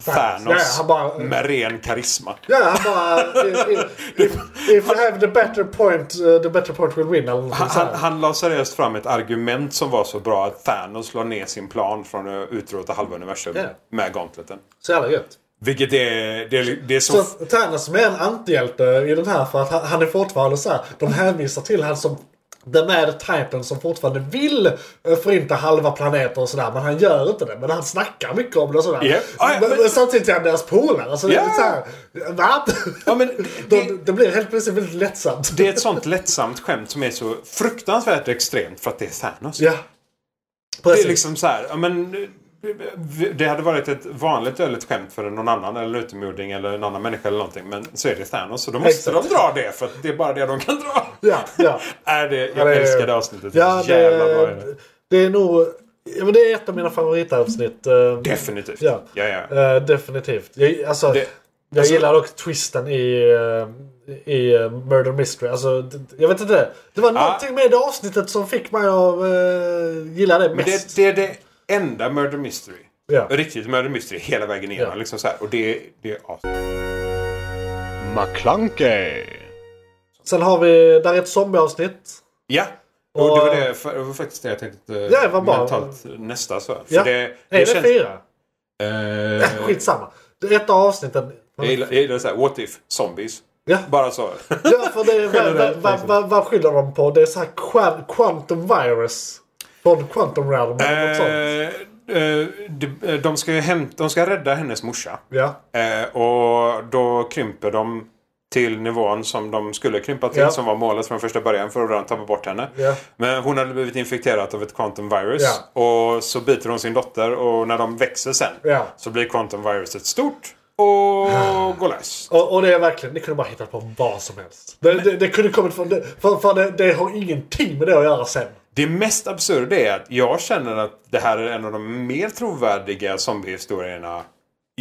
Speaker 4: Thanos
Speaker 3: Ja, han bara-
Speaker 4: med ren karisma.
Speaker 3: Ja, han bara...
Speaker 4: [laughs]
Speaker 3: i- i- if, if you have the better point, eh, the better point will win. Eller någonting
Speaker 4: Han,
Speaker 3: så här.
Speaker 4: han, han la seriöst fram ett argument som var så bra att Thanos la ner sin plan från att utrota halva universum
Speaker 3: Ja.
Speaker 4: med gauntleten.
Speaker 3: Så jävla gött.
Speaker 4: Vilket är... Det, är- det är så...
Speaker 3: Så att Alltså, Thanos som är en antihjälte i den här för att han, han är fortfarande så här. De hänvisar till han som The Mad Titan som fortfarande vill eh, förinta halva planeter och sådär. Men han gör inte det. Men han snackar mycket om det och sådär.
Speaker 4: Ja. Ah, ja,
Speaker 3: men,
Speaker 4: men-
Speaker 3: men samtidigt är han deras polare. Så det
Speaker 4: Ja.
Speaker 3: är lite såhär. Va?
Speaker 4: Ja, men
Speaker 3: det,
Speaker 4: det-
Speaker 3: det blir helt plötsligt väldigt lättsamt.
Speaker 4: Det är ett sånt lättsamt skämt som är så fruktansvärt extremt för att det är Thanos.
Speaker 3: ja.
Speaker 4: det
Speaker 3: Precis.
Speaker 4: är liksom så här, ja, men eh, det hade varit ett vanligt öligt skämt för någon annan eller en utomjording eller en annan människa eller någonting. Men så är det Thanos så då måste
Speaker 3: Exakt.
Speaker 4: de dra det för att det är bara det de kan dra.
Speaker 3: Ja, ja.
Speaker 4: [laughs] är det, jag
Speaker 3: Ja, det-
Speaker 4: älskar det avsnittet.
Speaker 3: Ja, det,
Speaker 4: Jävla bra är det.
Speaker 3: det är nog... Ja, men det är ett av mina favoritavsnitt. eh,
Speaker 4: Definitivt.
Speaker 3: Ja.
Speaker 4: Ja, ja.
Speaker 3: Eh, definitivt. Jag, alltså,
Speaker 4: Det-
Speaker 3: jag
Speaker 4: alltså-
Speaker 3: gillar dock twisten i, eh, i eh, Murder Mystery. Alltså, d- d- jag vet inte. Det
Speaker 4: Ah.
Speaker 3: var någonting med det avsnittet som fick mig att eh, gilla det
Speaker 4: Men
Speaker 3: mest.
Speaker 4: det, det är det enda Murder Mystery.
Speaker 3: Ja.
Speaker 4: Riktigt Murder Mystery hela vägen igenom.
Speaker 3: Ja.
Speaker 4: Liksom så här. Och det, det är as-
Speaker 2: McClunkey.
Speaker 3: Sen har vi, där är ett zombieavsnitt.
Speaker 4: Ja. Och, det, var
Speaker 3: Och-
Speaker 4: det, för- det var faktiskt det jag tänkte eh,
Speaker 3: Ja, det var bara-
Speaker 4: mentalt nästa så. För
Speaker 3: Ja.
Speaker 4: det,
Speaker 3: är
Speaker 4: det
Speaker 3: det
Speaker 4: känns-
Speaker 3: fyra?
Speaker 4: Eh,
Speaker 3: Skitsamma. Det är ett av avsnitten.
Speaker 4: Jag gillar, jag gillar såhär, what if zombies?
Speaker 3: Ja.
Speaker 4: Bara så.
Speaker 3: Ja, för [laughs] det, vad, vad, vad, vad, vad skyller de på? Det är så här quan- quantum virus. Från quantum realm eller något sånt.
Speaker 4: Eh, eh, de, de, ska ju hämta, de ska rädda hennes morsa.
Speaker 3: Ja.
Speaker 4: Eh, och då krymper de till nivån som de skulle krympa till.
Speaker 3: Ja.
Speaker 4: Som var målet från första början för att redan tappa bort henne.
Speaker 3: Ja.
Speaker 4: Men hon hade blivit infekterad av ett quantum virus. Och så biter hon sin dotter och när de växer sen
Speaker 3: Ja. Ah.
Speaker 4: så blir quantum viruset stort och går lös.
Speaker 3: Och, och det är verkligen, ni kunde bara hittat på vad som helst. Det, det, det kunde kommit från... Det, för för det, det har ingenting med det att göra sen.
Speaker 4: Det mest absurda är att jag känner att det här är en av de mer trovärdiga zombiehistorierna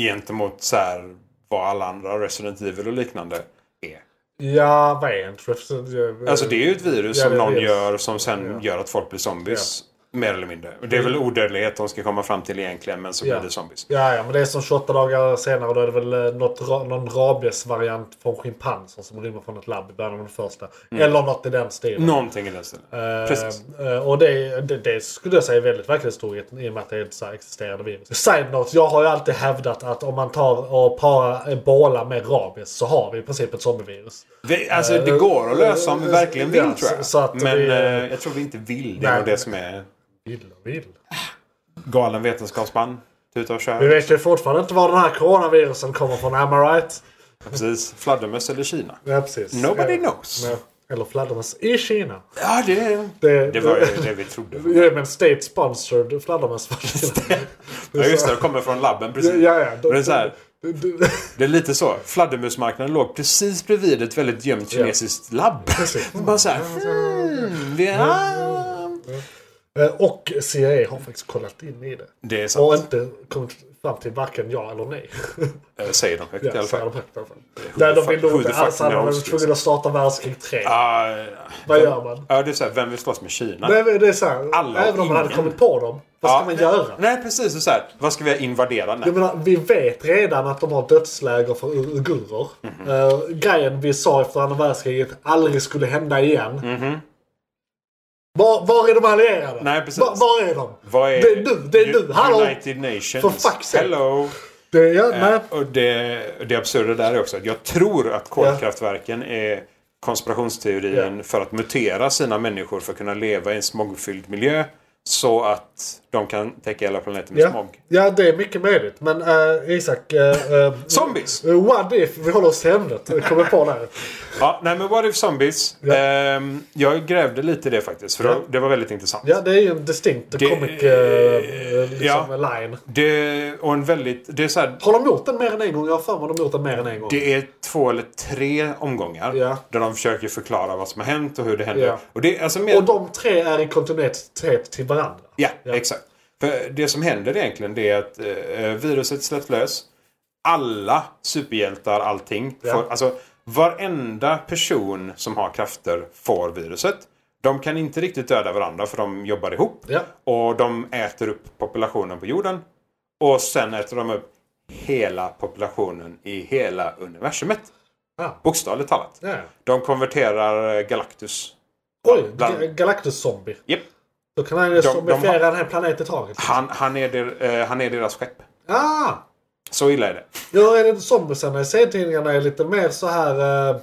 Speaker 4: gentemot så här, vad alla andra Resident Evil och liknande är.
Speaker 3: Ja, vad är en trip?
Speaker 4: Alltså det är ju ett virus
Speaker 3: Eh, Ja,
Speaker 4: som
Speaker 3: det är
Speaker 4: någon
Speaker 3: virus.
Speaker 4: gör som sen gör att folk blir zombies. Mer eller mindre. Och Det är väl odödlighet de ska komma fram till egentligen men så
Speaker 3: Mm. Ja.
Speaker 4: blir det zombies.
Speaker 3: Ja, ja, men det är som 28 dagar senare. Då är det väl eh, något, ra- någon rabiesvariant från schimpanser som rymmer från ett labb i början av den första. Eller något i den stilen.
Speaker 4: Någonting i den stilen.
Speaker 3: Eh,
Speaker 4: Mm. Precis.
Speaker 3: eh, och det, det, det skulle jag säga är väldigt verklighetstroget i och med att det är ett så här existerande virus. Side note, jag har ju alltid hävdat att om man tar och parar ebola med rabies så har vi i princip ett zombievirus.
Speaker 4: Vi, alltså det går att lösa om vi verkligen vill
Speaker 3: eh, ja,
Speaker 4: tror jag.
Speaker 3: så- så att
Speaker 4: men
Speaker 3: vi, eh,
Speaker 4: eh, jag tror vi inte vill. Det är
Speaker 3: nej.
Speaker 4: nog det som är
Speaker 3: Vill och vill.
Speaker 4: galen vetenskapsman. Tuta och
Speaker 3: Vi
Speaker 4: kör.
Speaker 3: vet ju fortfarande inte var den här coronavirusen kommer från, am I right?
Speaker 4: Precis. Fladdermöss eller Kina.
Speaker 3: Ja, precis.
Speaker 4: Nobody
Speaker 3: Ja.
Speaker 4: knows.
Speaker 3: Ja. Eller fladdermöss i Kina.
Speaker 4: Ja, det,
Speaker 3: Det-
Speaker 4: det var ju det vi trodde.
Speaker 3: [laughs] Ja, men state sponsored
Speaker 4: [laughs]
Speaker 3: fladdermöss.
Speaker 4: Ja, just det. Det kommer från labben. Precis.
Speaker 3: Ja, ja.
Speaker 4: Men det är så här.
Speaker 3: Du- du-
Speaker 4: Det är lite så. Fladdermusmarknaden låg precis bredvid ett väldigt gömt kinesiskt labb. [laughs]
Speaker 3: Precis. Mm.
Speaker 4: Bara så här. Hmm, vi har...
Speaker 3: Eh, Och CIA har faktiskt kollat in i det.
Speaker 4: Det är
Speaker 3: Och
Speaker 4: sant.
Speaker 3: inte kommit fram till varken ja eller nej.
Speaker 4: Eh, Säger de högt i alla
Speaker 3: så är
Speaker 4: fall.
Speaker 3: de högt i alla fall. Där de
Speaker 4: fuck-
Speaker 3: vill nog
Speaker 4: who
Speaker 3: inte
Speaker 4: the fuck
Speaker 3: alls hade de
Speaker 4: knows,
Speaker 3: varit tvungna att starta världskrig 3.
Speaker 4: Ah,
Speaker 3: Vad gör man?
Speaker 4: Ja, det är så här. Vem vill slåss med Kina?
Speaker 3: Nej, men det är så här,
Speaker 4: Alla och
Speaker 3: även om man hade
Speaker 4: ingen.
Speaker 3: kommit på dem, vad ska man göra?
Speaker 4: Nej, precis. Det är Så här. Vad ska vi invadera? Nej.
Speaker 3: Jag menar, vi vet redan att de har dödsläger för ur- uigurer.
Speaker 4: Mhm.
Speaker 3: Eh, grejen vi sa efter andra världskriget aldrig skulle hända igen. Var, var är de allierade?
Speaker 4: Mhm. Nej, precis.
Speaker 3: Var, var är de?
Speaker 4: Vad är
Speaker 3: Det är nu, det är nu, hallå!
Speaker 4: United Nations.
Speaker 3: För fuck's sake.
Speaker 4: Hello!
Speaker 3: Det, ja, nej.
Speaker 4: Eh, och det, och det absurda där är också att jag tror att kolkraftverken är konspirationsteorin för att mutera sina människor för att kunna leva i en smogfylld miljö. Så att de kan täcka hela planeten med
Speaker 3: Ja.
Speaker 4: smog.
Speaker 3: ja, det är mycket möjligt. Men eh, Isak... eh, eh,
Speaker 4: Zombies!
Speaker 3: eh, what if? Vi håller oss till ämnet. Jag Kommer på där.
Speaker 4: Ja, nej men what if zombies?
Speaker 3: Ja.
Speaker 4: Ehm, jag grävde lite i det faktiskt. För det var väldigt intressant.
Speaker 3: Ja, det är ju en distinkt comic eh, liksom,
Speaker 4: ja.
Speaker 3: line.
Speaker 4: Det, och en väldigt... Det är så här,
Speaker 3: Har de gjort den mer än en gång? Jag har för mig att de gjort den mer än en gång.
Speaker 4: Det är två eller tre omgångar
Speaker 3: Ja.
Speaker 4: där de försöker förklara vad som har hänt och hur det händer.
Speaker 3: Ja.
Speaker 4: Och det, är alltså mer...
Speaker 3: Och de tre är i kontinuitet till varandra.
Speaker 4: ja,
Speaker 3: Ja.
Speaker 4: exakt. För det som händer egentligen det är att eh, viruset släpps lös. Alla superhjältar, allting.
Speaker 3: Ja.
Speaker 4: Får, alltså, varenda person som har krafter får viruset. De kan inte riktigt döda varandra för de jobbar ihop.
Speaker 3: Ja.
Speaker 4: Och de äter upp populationen på jorden. Och sen äter de upp hela populationen i hela universumet.
Speaker 3: Ja.
Speaker 4: Bokstavligt talat.
Speaker 3: Ja.
Speaker 4: De konverterar eh, Galactus.
Speaker 3: Oj,
Speaker 4: Bland-
Speaker 3: Ga- Galactus-zombie.
Speaker 4: Japp.
Speaker 3: Då kan han ju
Speaker 4: de
Speaker 3: zombifiera en hel planet i taget.
Speaker 4: Han, han, är der, eh, han är deras skepp.
Speaker 3: Ah!
Speaker 4: Så illa är det.
Speaker 3: Ja, är det zombiesarna i serietidningarna är lite mer så här... eh,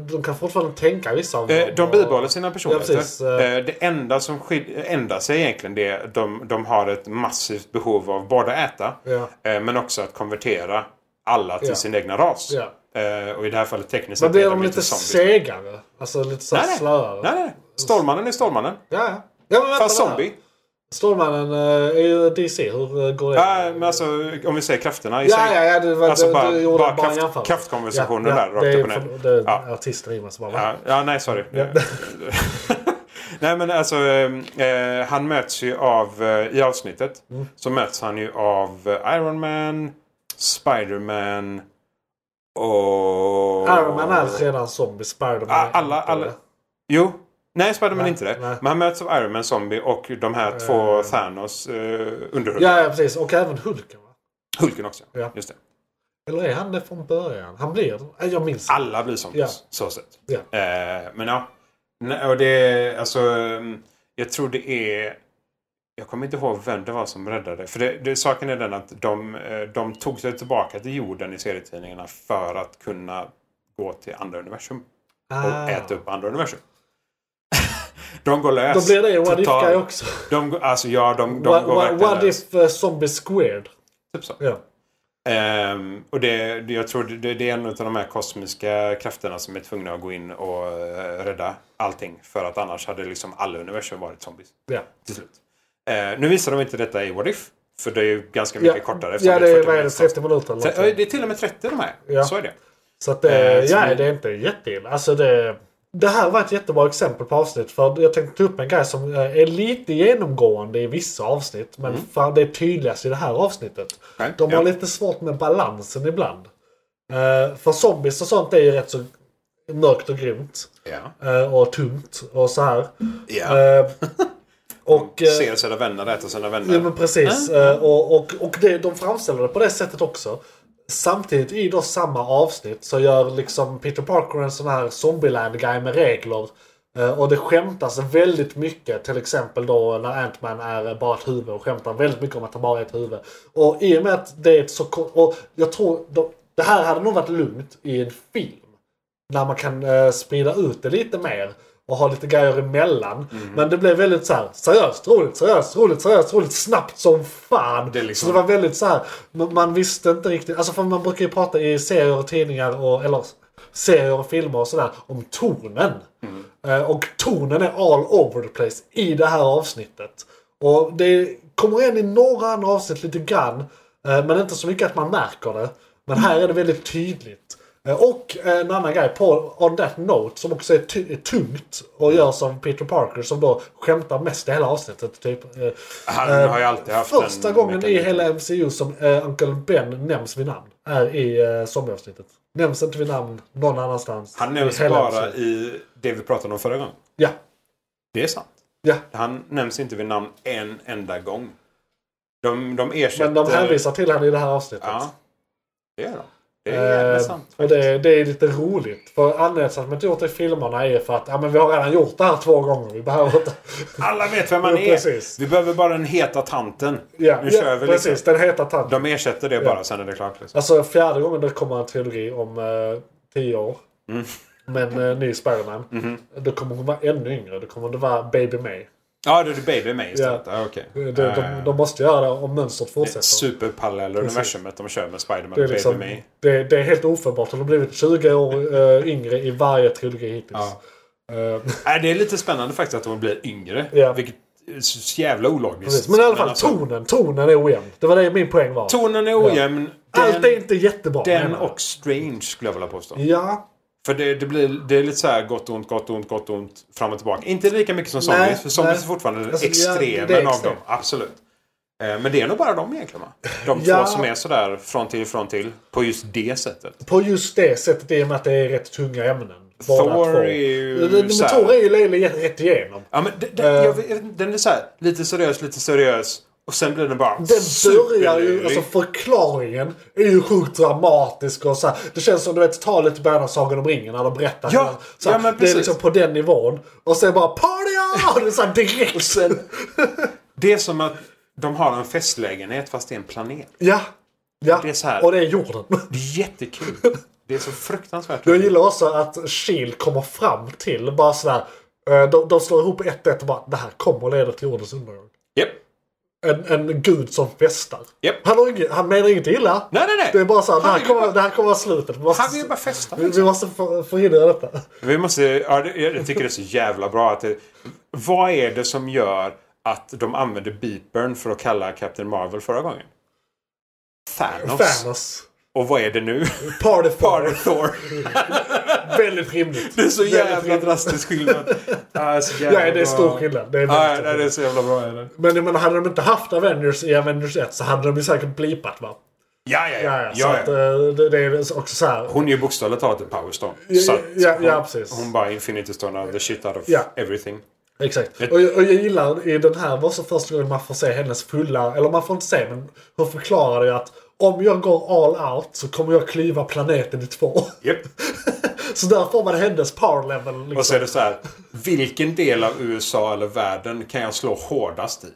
Speaker 3: De kan fortfarande tänka vissa av
Speaker 4: Eh, de bibehåller sina personligheter.
Speaker 3: Ja, precis. Eh,
Speaker 4: eh, det enda som skil- ändrar sig egentligen det är att de, de har ett massivt behov av både att äta
Speaker 3: Ja.
Speaker 4: eh, men också att konvertera alla till
Speaker 3: Ja.
Speaker 4: sin egna ras.
Speaker 3: Ja.
Speaker 4: Eh, och i det här fallet tekniskt
Speaker 3: Men
Speaker 4: sett
Speaker 3: blir
Speaker 4: är
Speaker 3: de
Speaker 4: de
Speaker 3: lite
Speaker 4: inte zombies.
Speaker 3: segare? Alltså lite så här
Speaker 4: Nej, nej.
Speaker 3: slöare?
Speaker 4: nej, nej. Stålmannen är Stålmannen.
Speaker 3: Ja, ja. ja men vänta
Speaker 4: Fast
Speaker 3: där.
Speaker 4: zombie.
Speaker 3: Stålmannen eh, är ju DC. Hur eh, går det?
Speaker 4: Ja, men alltså, om vi säger krafterna i
Speaker 3: Ja, ja, ja. Det var,
Speaker 4: Alltså
Speaker 3: du,
Speaker 4: bara-
Speaker 3: du gjorde
Speaker 4: bara
Speaker 3: en
Speaker 4: kraft-
Speaker 3: jämförelse.
Speaker 4: kraftkonversationen där, rakt
Speaker 3: det är
Speaker 4: upp och ner.
Speaker 3: för- Det är
Speaker 4: Ja.
Speaker 3: artister i mig som bara... va?
Speaker 4: Ja, ja nej sorry. [laughs] nej men alltså eh, eh, han möts ju av, eh, i avsnittet,
Speaker 3: Mm.
Speaker 4: så möts han ju av eh, Iron Man, Spider-Man och...
Speaker 3: Iron Man är redan zombie. Spiderman
Speaker 4: Ah,
Speaker 3: är
Speaker 4: alla,
Speaker 3: inte
Speaker 4: alla...
Speaker 3: det.
Speaker 4: Jo. Nej, Spider-Man är inte det.
Speaker 3: nej.
Speaker 4: Men han möts av Iron Man, Zombie och de här två Thanos eh, underhuvuden.
Speaker 3: Ja, ja, precis. Och även Hulken va?
Speaker 4: Hulken också.
Speaker 3: Ja.
Speaker 4: Just det.
Speaker 3: Eller är han det från början? Han blir... Nej, Jag minns inte.
Speaker 4: Alla blir zombies.
Speaker 3: Ja.
Speaker 4: Så sett.
Speaker 3: Ja.
Speaker 4: Eh, men ja. Nej, och det, alltså, ehm, jag tror det är... Jag kommer inte ihåg vem det var som räddade. För det, det, saken är den att de, eh, de tog sig tillbaka till jorden i serietidningarna för att kunna gå till andra universum. Och
Speaker 3: Ah.
Speaker 4: äta upp andra universum. De går lös.
Speaker 3: Då blir det What
Speaker 4: Total-
Speaker 3: If-guy också.
Speaker 4: De, går- alltså ja, de, de
Speaker 3: What,
Speaker 4: går
Speaker 3: what,
Speaker 4: verkligen
Speaker 3: what
Speaker 4: lös.
Speaker 3: if eh, Zombie Squared?
Speaker 4: Typ så.
Speaker 3: Ja.
Speaker 4: Ehm, och det, det, jag tror det, det är en av de här kosmiska krafterna som är tvungna att gå in och eh, rädda allting. För att annars hade liksom alla universum varit zombies.
Speaker 3: ja.
Speaker 4: Till slut. Eh, nu visar de inte detta i What If. För det är ju ganska mycket
Speaker 3: Ja,
Speaker 4: kortare. eftersom
Speaker 3: ja det är,
Speaker 4: 40
Speaker 3: vad är det,
Speaker 4: minuters
Speaker 3: 30 minuter eller
Speaker 4: avsnitt. Ja,
Speaker 3: någonting.
Speaker 4: Det är till och med 30 de här.
Speaker 3: Ja.
Speaker 4: Så är det.
Speaker 3: Så att det,
Speaker 4: Eh, så
Speaker 3: ja,
Speaker 4: vi-
Speaker 3: det är inte jätteilla. Alltså det, det här var ett jättebra exempel på avsnitt. För jag tänkte ta upp en grej som eh, är lite genomgående i vissa avsnitt. Men fan, det är tydligast i det här avsnittet.
Speaker 4: Okej,
Speaker 3: De
Speaker 4: Mm. ja.
Speaker 3: har lite svårt med balansen ibland. Eh, För zombies och sånt är ju rätt så mörkt och grymt.
Speaker 4: Ja.
Speaker 3: eh, Och tungt och så här.
Speaker 4: Ja.
Speaker 3: Eh,
Speaker 4: [laughs]
Speaker 3: Och... eh,
Speaker 4: Ser sina vänner, äter sina vänner.
Speaker 3: Ja men precis. Eh, Och, och, och det, de framställer det på det sättet också. Samtidigt i då samma avsnitt så gör liksom Peter Parker en sån här Zombieland-guy med regler. Eh, Och det skämtas väldigt mycket. Till exempel då när Ant-Man är bara ett huvud och skämtar väldigt mycket om att han bara är ett huvud. Och i och med att det är ett så kort... Och jag tror... De, det här hade nog varit lugnt i en film när man kan eh, sprida ut det lite mer och ha lite grejer emellan.
Speaker 4: Mhm.
Speaker 3: Men det blev väldigt så här seriöst, roligt, seriöst, roligt, seriöst, roligt, snabbt som fan.
Speaker 4: Det är liksom-
Speaker 3: Så det var väldigt så här, man, man visste inte riktigt, alltså för man brukar ju prata i serier och tidningar och, eller serier och filmer och sådär om tonen. Eh, och tonen är all over the place i det här avsnittet. Och det kommer igen i några andra avsnitt lite grann, eh, men inte så mycket att man märker det. Men här är det väldigt tydligt. Eh, Och en annan grej på On That Note som också är, ty- är tungt och gör som Peter Parker som då skämtar mest i hela avsnittet. Typ. Eh,
Speaker 4: Han har ju alltid haft
Speaker 3: Första
Speaker 4: en
Speaker 3: gången i
Speaker 4: mekanik.
Speaker 3: hela MCU som eh, Uncle Ben nämns vid namn är i eh, zombieavsnittet. Nämns inte vid namn någon annanstans.
Speaker 4: Han nämns
Speaker 3: i hela
Speaker 4: bara
Speaker 3: MCU.
Speaker 4: i det vi pratade om förra gången.
Speaker 3: Ja,
Speaker 4: Det är sant.
Speaker 3: ja.
Speaker 4: Han nämns inte vid namn en enda gång. De, de ersätter...
Speaker 3: Men de hänvisar till honom i det här avsnittet.
Speaker 4: Ja. Det gör de. Det är jävla
Speaker 3: Eh,
Speaker 4: sant.
Speaker 3: och det, det är lite roligt. För anledningen till att man inte gjort det i filmerna är för att ja, men vi har redan gjort det här två gånger. Vi behöver inte...
Speaker 4: Alla vet vem han
Speaker 3: Ja,
Speaker 4: är.
Speaker 3: precis.
Speaker 4: Vi behöver bara den heta tanten.
Speaker 3: Ja,
Speaker 4: nu
Speaker 3: ja
Speaker 4: kör vi
Speaker 3: precis.
Speaker 4: liksom.
Speaker 3: Den heta tanden.
Speaker 4: De ersätter det bara sen är det klart. Liksom.
Speaker 3: Alltså fjärde gången det kommer en trilogi om eh, tio år.
Speaker 4: Mm.
Speaker 3: Men eh, ny Spiderman.
Speaker 4: Mhm.
Speaker 3: Då kommer hon vara ännu yngre. Då kommer det vara Baby May.
Speaker 4: Ja, det är Baby May istället. Ja. okej.
Speaker 3: De,
Speaker 4: Eh.
Speaker 3: de, de måste göra det om mönstret fortsätter.
Speaker 4: Superparallella universumet de kör med Spiderman
Speaker 3: Det är,
Speaker 4: och
Speaker 3: liksom,
Speaker 4: Baby May.
Speaker 3: det, det är helt ofattbart. De har blivit 20 år eh, yngre i varje trilogi hittills.
Speaker 4: Ja.
Speaker 3: Eh,
Speaker 4: Nej, det är lite spännande faktiskt att de blir yngre.
Speaker 3: Ja.
Speaker 4: Vilket är så jävla ologiskt.
Speaker 3: precis. Men i alla fall
Speaker 4: alltså,
Speaker 3: tonen. Tonen är ojämn. Det var det min poäng var.
Speaker 4: Tonen är ojämn.
Speaker 3: Allt är
Speaker 4: Den,
Speaker 3: inte jättebra.
Speaker 4: den
Speaker 3: menar jag.
Speaker 4: och Strange skulle jag vilja påstå.
Speaker 3: Ja,
Speaker 4: För det, det, blir, det är lite så här gott, ont, gott, ont, gott, ont. Fram och tillbaka. Inte lika mycket som zombies.
Speaker 3: Nej,
Speaker 4: för zombies
Speaker 3: nej.
Speaker 4: är fortfarande
Speaker 3: Alltså, ja,
Speaker 4: extremen
Speaker 3: det
Speaker 4: av
Speaker 3: är extremt.
Speaker 4: dem. Absolut. Eh, Men det är nog bara de egentligen va? De
Speaker 3: Ja.
Speaker 4: två som är sådär från till, från till. På just det sättet.
Speaker 3: på just det sättet i och med att det är rätt tunga ämnen. Båda
Speaker 4: Thor
Speaker 3: två.
Speaker 4: är ju
Speaker 3: Men- Men
Speaker 4: så här-
Speaker 3: Thor är ju löjlig rätt igenom.
Speaker 4: Ja, men den,
Speaker 3: Eh.
Speaker 4: den, jag, vet- den är så här lite seriös, lite seriös. Och sen blir den bara
Speaker 3: Den börjar ju,
Speaker 4: superlöjlig.
Speaker 3: alltså förklaringen är ju sjukt dramatisk och så här, Det känns som du vet talet i början av Sagan om ringen när de berättar.
Speaker 4: Ja,
Speaker 3: hur- så här,
Speaker 4: ja, men
Speaker 3: det är
Speaker 4: precis.
Speaker 3: liksom på den nivån. Och sen bara party on! Det är så här direkt.
Speaker 4: [laughs] Det är som att de har en festlägenhet fast det är en planet.
Speaker 3: ja, ja.
Speaker 4: Det är så här.
Speaker 3: Och det är jorden.
Speaker 4: Det är jättekul. Det är så fruktansvärt
Speaker 3: Jag gillar också att Shield E kommer fram till bara sådär. De, de slår ihop ett och ett och bara det här kommer leda till jordens undergång.
Speaker 4: Japp.
Speaker 3: En, en gud som festar.
Speaker 4: Japp.
Speaker 3: Han, har inget, han menar inget illa.
Speaker 4: Nej, nej, nej.
Speaker 3: Det är bara såhär, det här
Speaker 4: Han vill
Speaker 3: kommer, det här kommer vara slutet. Vi måste,
Speaker 4: Han vill ju bara festa.
Speaker 3: vi, vi måste för- förhindra detta.
Speaker 4: Vi måste, ja, det- jag tycker det är så jävla bra att det, Vad är det som gör att de använde beepern för att kalla Captain Marvel förra gången? Thanos.
Speaker 3: Thanos.
Speaker 4: Och vad är det
Speaker 3: [laughs]
Speaker 4: nu?
Speaker 3: Party
Speaker 4: Party
Speaker 3: Thor.
Speaker 4: Thor.
Speaker 3: Väldigt rimligt.
Speaker 4: Det är så
Speaker 3: Väldigt
Speaker 4: jävla
Speaker 3: rimligt.
Speaker 4: drastisk skillnad. Ja, så jävla
Speaker 3: Nej, det är
Speaker 4: bra.
Speaker 3: stor skillnad. Det är väldigt
Speaker 4: Ja,
Speaker 3: stor
Speaker 4: nej, det är
Speaker 3: skillnad.
Speaker 4: så jävla bra. Är det.
Speaker 3: Men jag menar, hade de inte haft Avengers i Avengers 1 så hade de ju säkert blipat va?
Speaker 4: Ja, ja,
Speaker 3: Ja, ja.
Speaker 4: ja.
Speaker 3: Så
Speaker 4: ja,
Speaker 3: Att,
Speaker 4: ja.
Speaker 3: eh, det, det är också så här.
Speaker 4: Hon är ju bokstavligt talat en powerstone.
Speaker 3: Ja, ja,
Speaker 4: hon,
Speaker 3: ja, precis.
Speaker 4: hon bara infinity stone of the shit out of
Speaker 3: Ja.
Speaker 4: everything.
Speaker 3: Exakt. Och jag, och jag gillar i den här var så första gången man får se hennes fulla, eller man får inte se men hon förklarar ju att om jag går all out så kommer jag klyva planeten i två.
Speaker 4: Japp.
Speaker 3: [laughs] så där får man hennes power level. Liksom.
Speaker 4: Och så är det så här. Vilken del av USA eller världen kan jag slå hårdast i?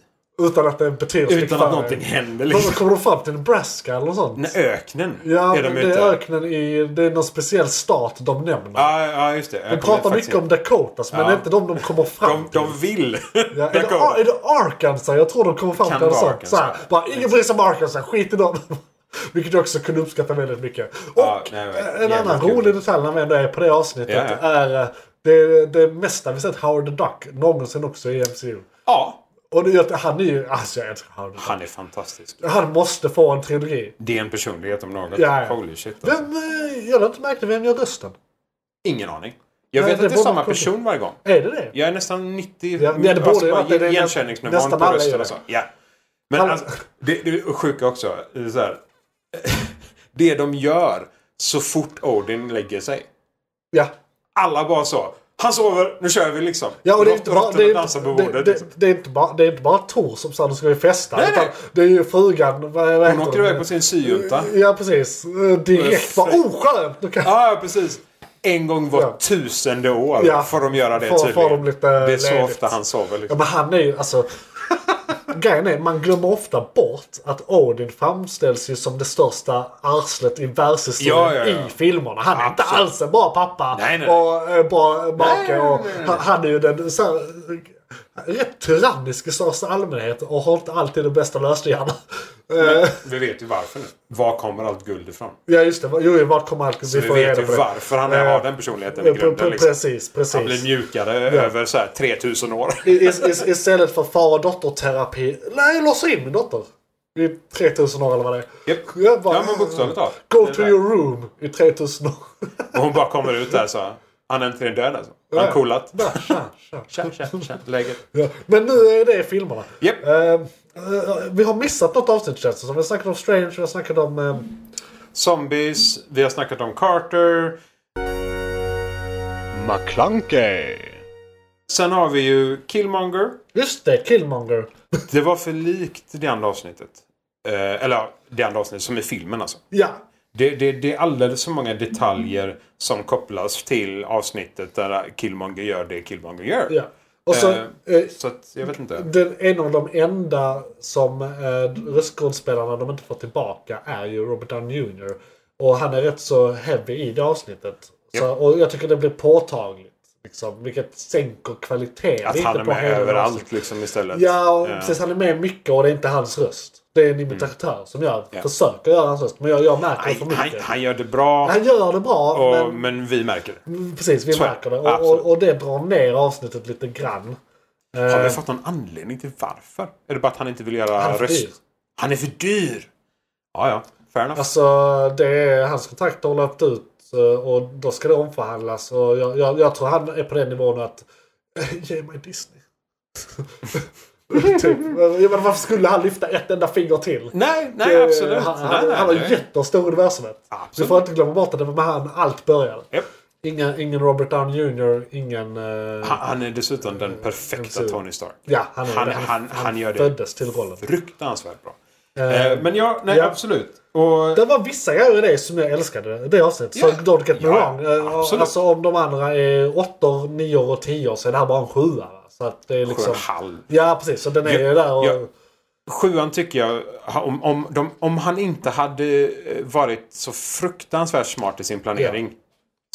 Speaker 3: Utan att det är en betydelsefull
Speaker 4: Utan att någonting händer
Speaker 3: Liksom.
Speaker 4: liksom.
Speaker 3: Kommer de fram till Nebraska eller något sånt?
Speaker 4: Nej, [laughs] öknen
Speaker 3: Ja,
Speaker 4: är de
Speaker 3: men det
Speaker 4: ute.
Speaker 3: är öknen i... Det är någon speciell stat de nämner.
Speaker 4: Ja, ja, just det.
Speaker 3: de pratar mycket om Dakotas, men det är inte de de kommer fram
Speaker 4: De, de vill. [laughs]
Speaker 3: Ja, är, det, Ar- är det Arkansas? Jag tror de kommer fram
Speaker 4: Kan
Speaker 3: till det
Speaker 4: vara
Speaker 3: sånt.
Speaker 4: Arkansas.
Speaker 3: Såhär, bara, ingen bryr sig om Arkansas, skit i dem. [laughs] Vilket jag också kunde uppskatta väldigt mycket. Och eh,
Speaker 4: Ja, nej, nej,
Speaker 3: en
Speaker 4: jävligt
Speaker 3: annan
Speaker 4: kul.
Speaker 3: rolig detalj när vi ändå är på det avsnittet
Speaker 4: Ja, ja.
Speaker 3: är eh, det, det mesta vi sett Howard the Duck någonsin också i MCU.
Speaker 4: Ja,
Speaker 3: Och det, gör att han är ju... Alltså jag älskar Howard the Duck.
Speaker 4: han är fantastisk.
Speaker 3: Han måste få en trilogi.
Speaker 4: Det är en personlighet om något.
Speaker 3: Ja, ja.
Speaker 4: Holy shit. Alltså.
Speaker 3: Vem, eh, jag har inte märkt vem gör rösten.
Speaker 4: Ingen aning. Jag
Speaker 3: Nej,
Speaker 4: vet
Speaker 3: det
Speaker 4: att det är
Speaker 3: borde-
Speaker 4: samma person varje gång.
Speaker 3: Är det det?
Speaker 4: Jag är nästan 90...
Speaker 3: Ja, det borde ju
Speaker 4: bara
Speaker 3: varit det. Det är
Speaker 4: igenkänningsnivån
Speaker 3: nästan
Speaker 4: på
Speaker 3: alla är
Speaker 4: rösten
Speaker 3: det.
Speaker 4: och så. Ja. Men
Speaker 3: Han-
Speaker 4: alltså, det, det är sjuka också. Det, är så här, [laughs] det de gör så fort Odin lägger sig.
Speaker 3: Ja.
Speaker 4: Alla bara så. Han sover, nu kör vi liksom.
Speaker 3: Ja, och det är
Speaker 4: Låt
Speaker 3: inte bara,
Speaker 4: råttorna
Speaker 3: det är,
Speaker 4: dansa
Speaker 3: inte-
Speaker 4: på
Speaker 3: det,
Speaker 4: bordet.
Speaker 3: det,
Speaker 4: liksom.
Speaker 3: det, är inte bara, det är inte bara Tor som sa nu ska vi festa.
Speaker 4: Nej,
Speaker 3: utan
Speaker 4: nej.
Speaker 3: Det är ju frugan. Vad, vad heter
Speaker 4: Hon åker
Speaker 3: hon?
Speaker 4: iväg på sin syjunta.
Speaker 3: Ja, precis. Eh, Direkt bara oh skönt! Nu kan...
Speaker 4: Ja, ja, precis. En gång var
Speaker 3: Ja.
Speaker 4: tusende år
Speaker 3: Ja.
Speaker 4: får de göra det
Speaker 3: Får- får
Speaker 4: tydligen.
Speaker 3: de lite
Speaker 4: det är så
Speaker 3: ledigt.
Speaker 4: ofta han sover. Liksom.
Speaker 3: Ja, men han är
Speaker 4: [laughs]
Speaker 3: ju alltså... Grejen är, man glömmer ofta bort att Odin framställs ju som det största arslet i världshistorien
Speaker 4: Ja, ja, ja.
Speaker 3: i filmerna. Han är inte
Speaker 4: Absolut.
Speaker 3: alls en bra pappa
Speaker 4: Nej, nej, nej.
Speaker 3: och eh, bra make.
Speaker 4: nej,
Speaker 3: Och
Speaker 4: nej, nej.
Speaker 3: han- Han är ju den så här, eh, rätt tyrannisk i största allmänhet och har inte alltid den bästa lösningen. [laughs] Eh,
Speaker 4: Vi vet ju varför nu. Var kommer allt guld ifrån?
Speaker 3: ja just det, jo vart kommer allt vi
Speaker 4: Vi
Speaker 3: får
Speaker 4: vet
Speaker 3: reda
Speaker 4: ju
Speaker 3: på det.
Speaker 4: varför han
Speaker 3: Eh,
Speaker 4: har den personligheten i
Speaker 3: Eh, pre- pre-
Speaker 4: grunden. Liksom.
Speaker 3: Precis,
Speaker 4: Han blir
Speaker 3: precis.
Speaker 4: mjukare över så här 3000 år.
Speaker 3: I- i- i- Istället för far och dotterterapi. Nej, låsa in min dotter. I 3000 år eller vad det är.
Speaker 4: Japp.
Speaker 3: Jag bara-
Speaker 4: Ja, men bokstavligt talat.
Speaker 3: Go
Speaker 4: Det
Speaker 3: to
Speaker 4: där.
Speaker 3: your room
Speaker 4: [laughs]
Speaker 3: i 3000 år.
Speaker 4: Och hon bara kommer ut där så. här, Han är äntligen död alltså. Han
Speaker 3: Ja.
Speaker 4: coolat.
Speaker 3: Bara, tja, tja.
Speaker 4: Tja, tja, tja. Läget.
Speaker 3: Ja. Men nu är det filmerna.
Speaker 4: Japp.
Speaker 3: Eh, eh, vi har missat något avsnitt känns det som. Vi snackade om Strange, vi snackade om... eh,
Speaker 4: Zombies. Vi har snackat om Carter.
Speaker 2: McClunkey.
Speaker 4: Sen har vi ju Killmonger.
Speaker 3: just det, Killmonger.
Speaker 4: Det var för likt det andra avsnittet. Eh, eller ja, det andra avsnittet som är filmen alltså.
Speaker 3: ja,
Speaker 4: Det, det, det är alldeles för många detaljer som kopplas till avsnittet där Killmonger gör det Killmonger gör.
Speaker 3: ja. Och så...
Speaker 4: Eh,
Speaker 3: eh,
Speaker 4: Så att, jag vet inte.
Speaker 3: Den, en av de enda som eh, röstskådespelarna de inte får tillbaka är ju Robert Downey Jr. Och han är rätt så heavy i det avsnitt. Så, och jag tycker det blir påtagligt. Liksom, vilket sänker kvaliteten
Speaker 4: Att
Speaker 3: lite
Speaker 4: han är
Speaker 3: på
Speaker 4: med
Speaker 3: hela
Speaker 4: överallt
Speaker 3: avsnittet.
Speaker 4: liksom istället.
Speaker 3: Ja, och
Speaker 4: Eh, Mm.
Speaker 3: precis. Han är med mycket och det är inte hans röst. Det är en imitatör som jag
Speaker 4: Ja.
Speaker 3: försöker göra hans röst. Men jag, jag märker det för
Speaker 4: han, han,
Speaker 3: mycket.
Speaker 4: han gör det bra,
Speaker 3: Han gör det bra,
Speaker 4: och,
Speaker 3: men
Speaker 4: men... vi märker det.
Speaker 3: precis, vi
Speaker 4: Så är det.
Speaker 3: märker det. Och,
Speaker 4: Absolut.
Speaker 3: och, och det drar ner avsnittet lite grann. Eh,
Speaker 4: Har vi fått någon anledning till varför? Är det bara att han inte vill göra
Speaker 3: Han är för dyr.
Speaker 4: röst? Han är för dyr! Ja, ja. Fair enough.
Speaker 3: Alltså, det är, hans kontrakt har löpt ut eh, och då ska det omförhandlas. Och jag, jag, jag tror han är på den nivån att [laughs] ge mig Disney. [laughs] typ. Jag menar, varför skulle han lyfta ett enda finger till?
Speaker 4: nej, nej,
Speaker 3: Eh,
Speaker 4: absolut.
Speaker 3: Han,
Speaker 4: nej,
Speaker 3: han,
Speaker 4: nej,
Speaker 3: han har
Speaker 4: nej.
Speaker 3: jättestor universumet.
Speaker 4: Absolut.
Speaker 3: Du får inte glömma bort att det var med han allt började.
Speaker 4: Japp.
Speaker 3: Ingen, ingen Robert Downey Jr, ingen... eh,
Speaker 4: Han, han är dessutom den perfekta
Speaker 3: Absolut.
Speaker 4: Tony Stark.
Speaker 3: ja, han, är
Speaker 4: han-
Speaker 3: det.
Speaker 4: han- han gör det.
Speaker 3: föddes till rollen.
Speaker 4: Fruktansvärt bra. Eh, men ja, nej,
Speaker 3: ja.
Speaker 4: absolut. Och,
Speaker 3: Det var vissa grejer i det som jag älskade. Det avsnittet.
Speaker 4: Ja.
Speaker 3: Så don't get me
Speaker 4: Ja,
Speaker 3: wrong. Eh,
Speaker 4: absolut.
Speaker 3: Alltså om de andra är åttor, nior och tior så är det här bara en sjua. va? Så att det är
Speaker 4: Sju och
Speaker 3: liksom...
Speaker 4: en halv.
Speaker 3: Ja precis, så den är
Speaker 4: Ja,
Speaker 3: ju där och...
Speaker 4: ja. Sjuan tycker jag, om, om, de, om han inte hade eh, varit så fruktansvärt smart i sin planering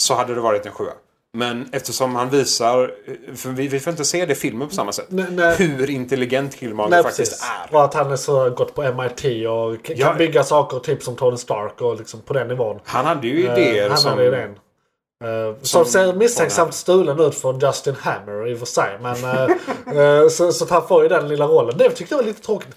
Speaker 4: så hade det varit en sjua. Men eftersom han visar, eh, för vi, vi får inte se det i filmen på samma sätt,
Speaker 3: Nej, nej.
Speaker 4: hur intelligent Killmonger
Speaker 3: Nej
Speaker 4: faktiskt
Speaker 3: precis.
Speaker 4: är.
Speaker 3: Och att han är så gått på MIT och k-
Speaker 4: Ja.
Speaker 3: kan bygga saker typ som Tony Stark och liksom på den nivån.
Speaker 4: Han hade ju
Speaker 3: Eh,
Speaker 4: idéer
Speaker 3: han
Speaker 4: som...
Speaker 3: hade ju den. Eh, Som ser misstänksamt
Speaker 4: Tony-
Speaker 3: stulen ut från Justin Hammer i och för sig. Men, eh, eh, [laughs] så, så att han får ju den lilla rollen. Det tyckte jag var lite tråkigt.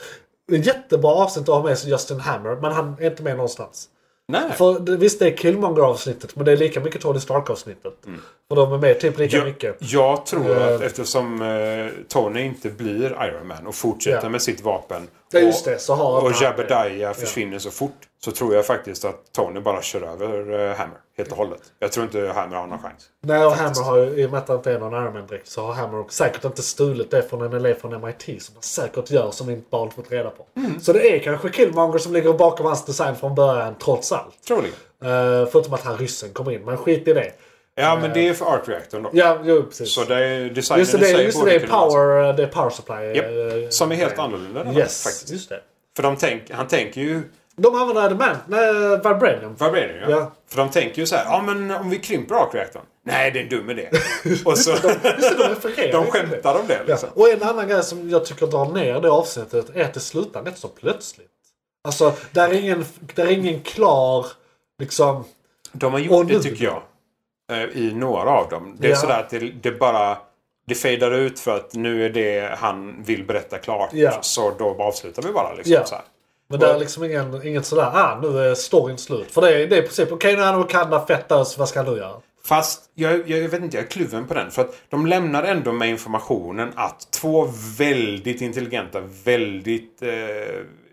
Speaker 3: Jättebra avsnitt att ha med sig Justin Hammer, men han är inte med någonstans.
Speaker 4: Nej.
Speaker 3: För det- visst det är Killmonger-avsnittet men det är lika mycket Tony Stark-avsnittet.
Speaker 4: Mm.
Speaker 3: För de är med typ lika
Speaker 4: Jag,
Speaker 3: mycket.
Speaker 4: jag tror
Speaker 3: Eh.
Speaker 4: att eftersom eh, Tony inte blir Iron Man och fortsätter
Speaker 3: Ja.
Speaker 4: med sitt vapen
Speaker 3: Ja, just det, så har
Speaker 4: och, och
Speaker 3: han-
Speaker 4: Jebediah försvinner så fort så tror jag faktiskt att Tony bara kör över eh, Hammer helt och hållet. Jag tror inte Hammer har någon chans.
Speaker 3: Nej och Hammer har ju, i och med att det inte är någon Ironman direkt så har Hammer också säkert inte stulit det från en elev från MIT som han säkert gör som vi inte bara fått reda på.
Speaker 4: Mm.
Speaker 3: Så det är kanske Killmonger som ligger bakom hans design från början trots allt.
Speaker 4: Troligen.
Speaker 3: Eh, förutom att han ryssen kom in, men skit i det.
Speaker 4: Ja, men det är för Art Reactorn då.
Speaker 3: Ja, jo precis.
Speaker 4: Så det är designen
Speaker 3: just det,
Speaker 4: i
Speaker 3: det,
Speaker 4: sig
Speaker 3: just det,
Speaker 4: borde
Speaker 3: det är
Speaker 4: kunna vara så.
Speaker 3: power, det är power supply. eh,
Speaker 4: Japp, som är helt annorlunda. än
Speaker 3: Yes,
Speaker 4: annars, faktiskt.
Speaker 3: just det.
Speaker 4: För de tänk, han tänker ju...
Speaker 3: De använder adamant, nej, vibranium.
Speaker 4: Vad blir det? Ja.
Speaker 3: Ja.
Speaker 4: För de tänker ju så här. Ja, men om vi krymper Art Reactorn. Nej, det är en dum
Speaker 3: [laughs]
Speaker 4: idé. Och så...
Speaker 3: Just det, de
Speaker 4: [laughs]
Speaker 3: refererar
Speaker 4: de
Speaker 3: ju till det.
Speaker 4: skämtar om det
Speaker 3: Ja.
Speaker 4: liksom.
Speaker 3: Och en annan grej som jag tycker drar ner det avsnittet är att det slutar rätt så plötsligt. Alltså, där är ingen, där är ingen klar liksom...
Speaker 4: De har
Speaker 3: Och
Speaker 4: gjort
Speaker 3: nu-
Speaker 4: det tycker jag. eh, I några av dem. Det är
Speaker 3: Ja.
Speaker 4: sådär att det, det bara... Det fejdar ut för att nu är det han vill berätta klart.
Speaker 3: Ja.
Speaker 4: Så då bara avslutar vi bara liksom.
Speaker 3: Ja.
Speaker 4: Så här.
Speaker 3: Men det är liksom ingen, inget sådär, ah nu är storyn slut. För det är, det är i princip, okej nu är han och Kanda fett ös, vad ska han nu göra?
Speaker 4: Fast jag, jag, jag vet inte, jag är kluven på den. För att de lämnar ändå med informationen att två väldigt intelligenta, väldigt eh,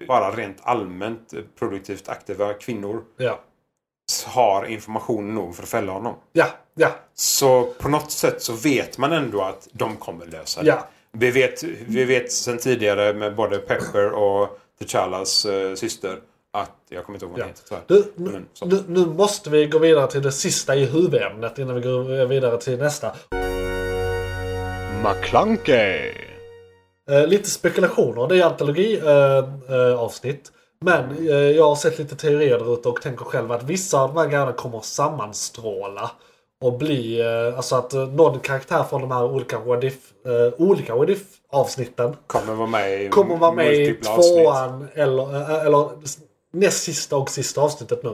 Speaker 4: bara rent allmänt eh, produktivt aktiva kvinnor
Speaker 3: Ja,
Speaker 4: har information nog för att fälla honom.
Speaker 3: ja, ja.
Speaker 4: Så på något sätt så vet man ändå att de kommer lösa det.
Speaker 3: Ja.
Speaker 4: Vi, vet, vi vet sedan tidigare med både Pepper och T'Challas eh, syster att, jag kommer inte ihåg vad hon heter tyvärr.
Speaker 3: Du, nu,
Speaker 4: Men Mm, så.
Speaker 3: nu, nu måste vi gå vidare till det sista i huvudämnet innan vi går vidare till nästa.
Speaker 2: McClunkey!
Speaker 3: Eh, lite spekulationer. Det är antologiavsnitt. Eh, eh, avsnitt. men eh, jag har sett lite teorier där ute och tänker själv att vissa av de här grejerna kommer att sammanstråla. Och bli, eh, alltså att eh, någon karaktär från de här olika what if, eh, olika what if avsnitten
Speaker 4: Kommer vara med i
Speaker 3: kommer vara med i
Speaker 4: multipla avsnitt.
Speaker 3: tvåan eller, eh, eller näst sista och sista avsnittet nu.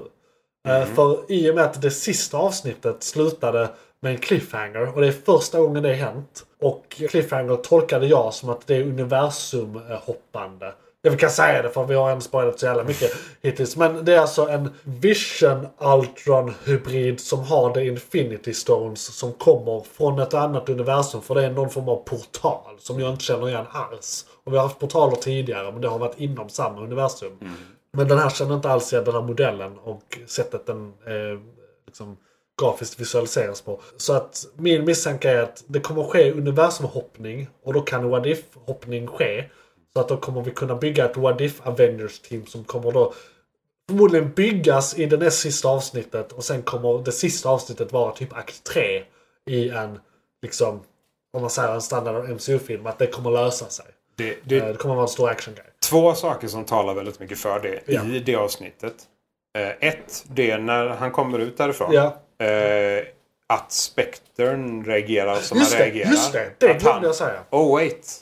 Speaker 3: Eh, För i och med att det sista avsnittet slutade med en cliffhanger och det är första gången det hänt. Och cliffhanger tolkade jag som att det är universumhoppande. Jag vi kan säga det för vi har inte spoilat så jävla mycket hittills. Men det är alltså en Vision Ultron hybrid som har The Infinity Stones som kommer från ett annat universum. För det är någon form av portal som jag inte känner igen alls. Och vi har haft portaler tidigare men det har varit inom samma universum. Men den här känner inte alls igen den här modellen och sättet den eh, liksom, grafiskt visualiseras på. Så att min misstanke är att det kommer ske universumhoppning och då kan what if-hoppning ske. Så att då kommer vi kunna bygga ett what if Avengers-team som kommer då förmodligen byggas i det näst sista avsnittet och sen kommer det sista avsnittet vara typ akt 3 i en, liksom, om man säger en standard MCU-film, att det kommer lösa sig.
Speaker 4: Det,
Speaker 3: Eh,
Speaker 4: det,
Speaker 3: Det kommer vara en stor action-grej.
Speaker 4: två saker som talar väldigt mycket för det
Speaker 3: Ja.
Speaker 4: i det avsnittet. Eh, ett, det är när han kommer ut därifrån.
Speaker 3: Ja.
Speaker 4: Eh, att spektern reagerar som
Speaker 3: Just
Speaker 4: han
Speaker 3: det,
Speaker 4: reagerar.
Speaker 3: just det. Det
Speaker 4: att
Speaker 3: glömde
Speaker 4: han,
Speaker 3: jag säga.
Speaker 4: Oh wait.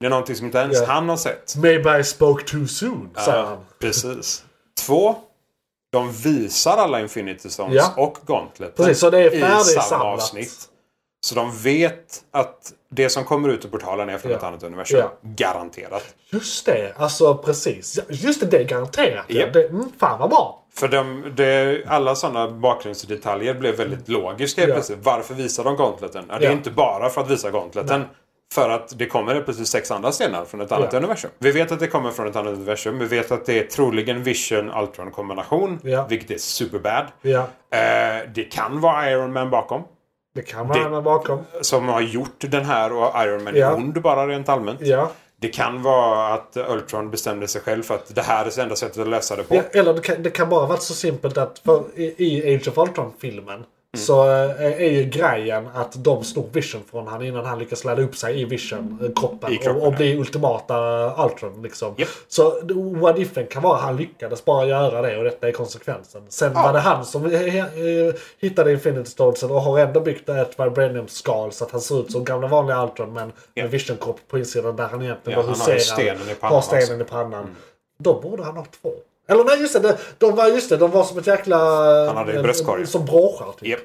Speaker 4: Det är någonting som inte ens
Speaker 3: Ja.
Speaker 4: han har sett.
Speaker 3: Maybe I spoke too soon, säger han.
Speaker 4: Precis. Två, de visar alla Infinity Stones
Speaker 3: Ja.
Speaker 4: och Gauntlet
Speaker 3: Precis, så det är
Speaker 4: i samma
Speaker 3: färdigsamlat.
Speaker 4: avsnitt. Så de vet att det som kommer ut ur portalen är från
Speaker 3: Ja.
Speaker 4: ett annat universum.
Speaker 3: Ja.
Speaker 4: Garanterat.
Speaker 3: Just det, alltså precis. Ja, Just det, det är garanterat. ja.
Speaker 4: Japp.
Speaker 3: Det, mm, fan vad bra.
Speaker 4: För de, det, alla sådana bakgrundsdetaljer blev väldigt logiska helt
Speaker 3: Mm. Ja.
Speaker 4: plötsligt. Varför visar de Gauntleten? Ja, det är
Speaker 3: Ja.
Speaker 4: inte bara för att visa Gauntleten. För att det kommer helt plötsligt sex andra stenar från ett annat
Speaker 3: Ja.
Speaker 4: universum. Vi vet att det kommer från ett annat universum. Vi vet att det är troligen Vision-Ultron-kombination.
Speaker 3: Ja.
Speaker 4: Vilket är superbad.
Speaker 3: Ja,
Speaker 4: Eh, det kan vara Iron Man bakom.
Speaker 3: det kan vara det... bakom.
Speaker 4: Som har gjort den här och Iron Man
Speaker 3: Ja.
Speaker 4: är ond bara rent allmänt.
Speaker 3: Ja.
Speaker 4: Det kan vara att Ultron bestämde sig själv för att det här är det enda sättet att lösa det på.
Speaker 3: ja. Eller det kan, det kan bara varit så simpelt att för, i, i Age of Ultron-filmen
Speaker 4: Mm.
Speaker 3: så eh, är ju grejen att de snor Vision från han innan han lyckas ladda upp sig i Vision-kroppen.
Speaker 4: I kroppen,
Speaker 3: och, och
Speaker 4: ja.
Speaker 3: bli ultimata Ultron liksom.
Speaker 4: Japp.
Speaker 3: Så what ifen kan vara han lyckades bara göra det och detta är konsekvensen. Sen var det han som eh, eh, hittade Infinity Stonesen och har ändå byggt ett vibranium-skal så att han ser ut som gamla vanliga Ultron men med Vision-kropp på insidan där han egentligen
Speaker 4: Ja,
Speaker 3: bara
Speaker 4: han har ju
Speaker 3: huserar.
Speaker 4: stenen i pannan
Speaker 3: Har stenen
Speaker 4: också.
Speaker 3: i pannan. Då borde han ha två. Eller nej just det, de- de var, just det, de var som ett jäkla... Han
Speaker 4: hade ju bröstkorg.
Speaker 3: Som bråkar typ.
Speaker 4: Japp.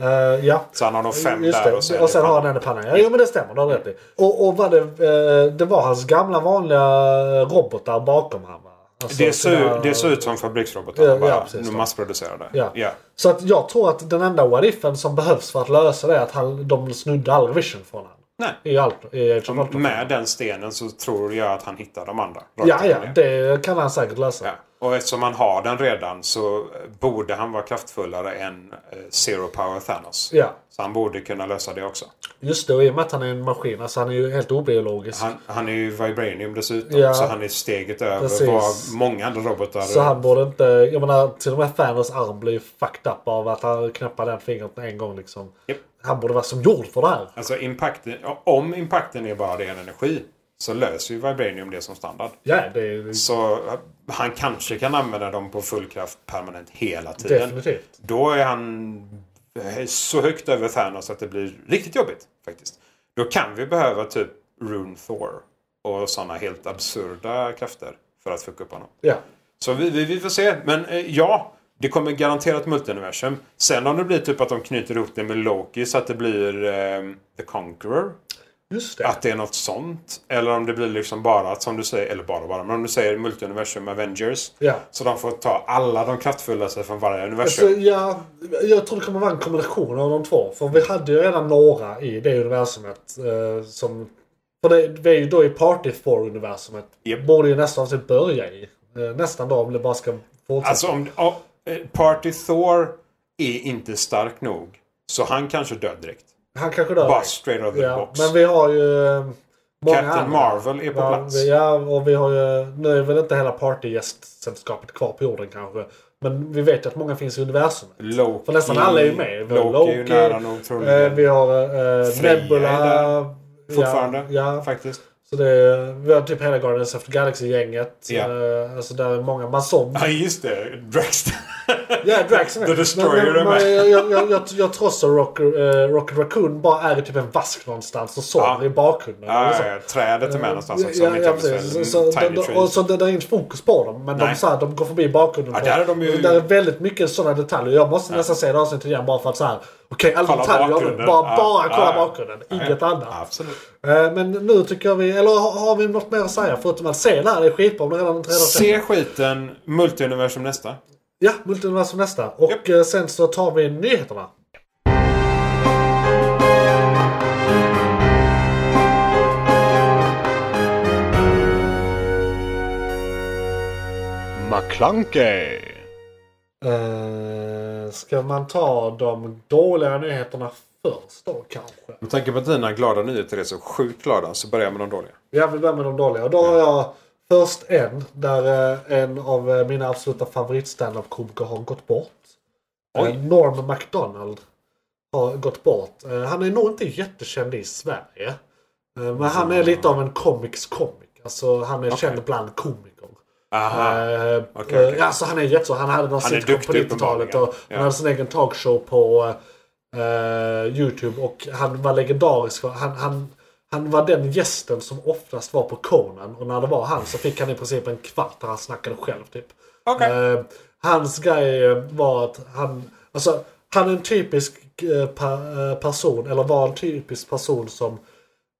Speaker 3: Eh, ja.
Speaker 4: Så han har nog fem
Speaker 3: Just
Speaker 4: där
Speaker 3: det.
Speaker 4: och sen,
Speaker 3: har han den i pannan. Ja, jo, men det stämmer. Det har du rätt i. Och, och vad det, eh, det var hans gamla vanliga eh, robotar bakom han va? Alltså
Speaker 4: Det ser,
Speaker 3: sina-
Speaker 4: ut- det ser ut som fabriksrobotar.
Speaker 3: Ja, ja,
Speaker 4: bara
Speaker 3: precis
Speaker 4: nu
Speaker 3: så.
Speaker 4: massproducerade.
Speaker 3: Ja. Så att jag tror att den enda what ifen som behövs för att lösa det är att han, de snudde all vision från honom.
Speaker 4: Nej.
Speaker 3: I allt. I Age of Ultron.
Speaker 4: Med den stenen så tror jag att han hittar de andra.
Speaker 3: Ja, ja. Det kan han säkert lösa.
Speaker 4: Ja. Och eftersom han har den redan så borde han vara kraftfullare än eh, Zero Power Thanos.
Speaker 3: Ja.
Speaker 4: Så han borde kunna lösa det också.
Speaker 3: Just det, och i och med att han är en maskin, alltså han är ju helt obiologisk.
Speaker 4: Han, han är ju Vibranium dessutom.
Speaker 3: Ja.
Speaker 4: Så han är steget över
Speaker 3: Precis.
Speaker 4: vad många andra robotar...
Speaker 3: Så han borde inte, jag menar till och med Thanos arm blir ju fucked up av att han knappar den fingret en gång liksom.
Speaker 4: Japp.
Speaker 3: Han borde vara som jord för det här.
Speaker 4: Alltså impacten, om impacten är bara ren energi så löser ju Vibranium det som standard.
Speaker 3: Ja, det är
Speaker 4: Så eh, han kanske kan använda dem på full kraft permanent hela tiden.
Speaker 3: definitivt.
Speaker 4: Då är han eh, så högt över Thanos att det blir riktigt jobbigt faktiskt. Då kan vi behöva typ Rune Thor och sådana helt absurda krafter för att fucka upp honom.
Speaker 3: Ja.
Speaker 4: Så vi, vi, vi får se. Men eh, ja, det kommer garanterat multiversum. Sen om det blir typ att de knyter ihop det med Loki så att det blir eh, The Conqueror.
Speaker 3: Just det.
Speaker 4: Att det är något sånt. Eller om det blir liksom bara att som du säger, eller bara bara, men om du säger multiversum Avengers.
Speaker 3: Ja.
Speaker 4: Så de får ta alla de kraftfullaste från varje
Speaker 3: Alltså,
Speaker 4: universum.
Speaker 3: ja, jag tror det kommer vara en kombination av de två. För vi hade ju redan några i det universumet. Eh, som, för det, vi är ju då i Party 4-universumet.
Speaker 4: Japp.
Speaker 3: Borde ju nästan typ börja i. Eh, nästan då om det bara ska fortsätta.
Speaker 4: Alltså om ja, eh, Party Thor är inte stark nog. Så han kanske dör direkt.
Speaker 3: Han kanske dör.
Speaker 4: Bara straight out of the
Speaker 3: ja,
Speaker 4: box.
Speaker 3: Men vi har ju... eh, Många andra.
Speaker 4: Captain Marvel är på
Speaker 3: Ja,
Speaker 4: plats.
Speaker 3: vi- Ja, och vi har ju... Nu är väl inte hela partygästsällskapet kvar på jorden kanske. Men vi vet ju att många finns i universumet.
Speaker 4: Loki,
Speaker 3: För nästan alla är ju med. Vi har
Speaker 4: Loki, är ju
Speaker 3: Loki,
Speaker 4: nära nog
Speaker 3: Eh,
Speaker 4: troligen.
Speaker 3: vi har eh,
Speaker 4: Mm. Freja är
Speaker 3: Nebula.
Speaker 4: Fortfarande.
Speaker 3: Ja, ja.
Speaker 4: Faktiskt.
Speaker 3: Så det är, vi har typ hela Guardians of the Galaxy-gänget.
Speaker 4: Ja.
Speaker 3: Eh, alltså där är många.
Speaker 4: [laughs]
Speaker 3: Man såg...
Speaker 4: Ja just det. Draxter.
Speaker 3: Ja, Drax är
Speaker 4: The
Speaker 3: med.
Speaker 4: Destroyer
Speaker 3: Men-
Speaker 4: är
Speaker 3: men-
Speaker 4: med.
Speaker 3: men Jag, jag, jag, jag, jag tror också Rock, eh, Rocket Raccoon bara är i typ en vask någonstans och sover
Speaker 4: Ja.
Speaker 3: i bakgrunden. eller
Speaker 4: Ja,
Speaker 3: så.
Speaker 4: ja, ja, trädet är med någonstans också. om
Speaker 3: Ja,
Speaker 4: inte
Speaker 3: ja,
Speaker 4: jag minns
Speaker 3: precis.
Speaker 4: fel.
Speaker 3: Så,
Speaker 4: Mm,
Speaker 3: de,
Speaker 4: Tiny
Speaker 3: de, och
Speaker 4: Trees.
Speaker 3: så det, det är inte fokus på dem, men de,
Speaker 4: Nej.
Speaker 3: så här, de går förbi bakgrunden.
Speaker 4: Ja,
Speaker 3: på-
Speaker 4: där är de ju-
Speaker 3: där är väldigt mycket sådana detaljer. Jag måste nästan se det avsnittet igen bara för att så här. Okej, alla
Speaker 4: Kolla
Speaker 3: detaljer. jag vill
Speaker 4: bakgrunden.
Speaker 3: Bara,
Speaker 4: Ja,
Speaker 3: bara
Speaker 4: ja,
Speaker 3: kolla
Speaker 4: ja.
Speaker 3: bakgrunden. Inget annat.
Speaker 4: Absolut.
Speaker 3: Eh, Men nu tycker jag vi... Eller har, har vi något mer att säga förutom att se det här? Det är skitbra om du redan inte redan sett
Speaker 4: Se skiten. Multiuniversum nästa.
Speaker 3: Ja, multiversum nästa. Och
Speaker 4: Japp.
Speaker 3: eh, sen så tar vi nyheterna.
Speaker 2: McClunkey!
Speaker 3: Eh, ska man ta de dåliga nyheterna först då kanske?
Speaker 4: Med tanke på att dina glada nyheter är så sjukt glada så börjar jag med de dåliga.
Speaker 3: Jag vill börja med de dåliga. Och då har jag först en där eh, en av eh, mina absoluta favorit up komiker har gått bort.
Speaker 4: Oj.
Speaker 3: Eh, Norm MacDonald har gått bort. Eh, Han är nog inte jättekänd i Sverige. Eh, Men han är lite av en comics comic. Alltså han är känd bland komiker.
Speaker 4: Aha.
Speaker 3: Eh,
Speaker 4: Okej, okej.
Speaker 3: eh, Alltså han är jätteså. Han hade någon
Speaker 4: Han är
Speaker 3: sitcom på
Speaker 4: duktig
Speaker 3: 90-talet och
Speaker 4: uppenbarligen. Ja.
Speaker 3: han hade sin egen talkshow på eh, Youtube. Och han var legendarisk. för Han, han, han var den gästen som oftast var på Conan. Och när det var han så fick han i princip en kvart där han snackade själv typ.
Speaker 4: Okej.
Speaker 3: Eh, hans grej var att han... Alltså, han är en typisk eh, pa- eh, person, eller var en typisk person som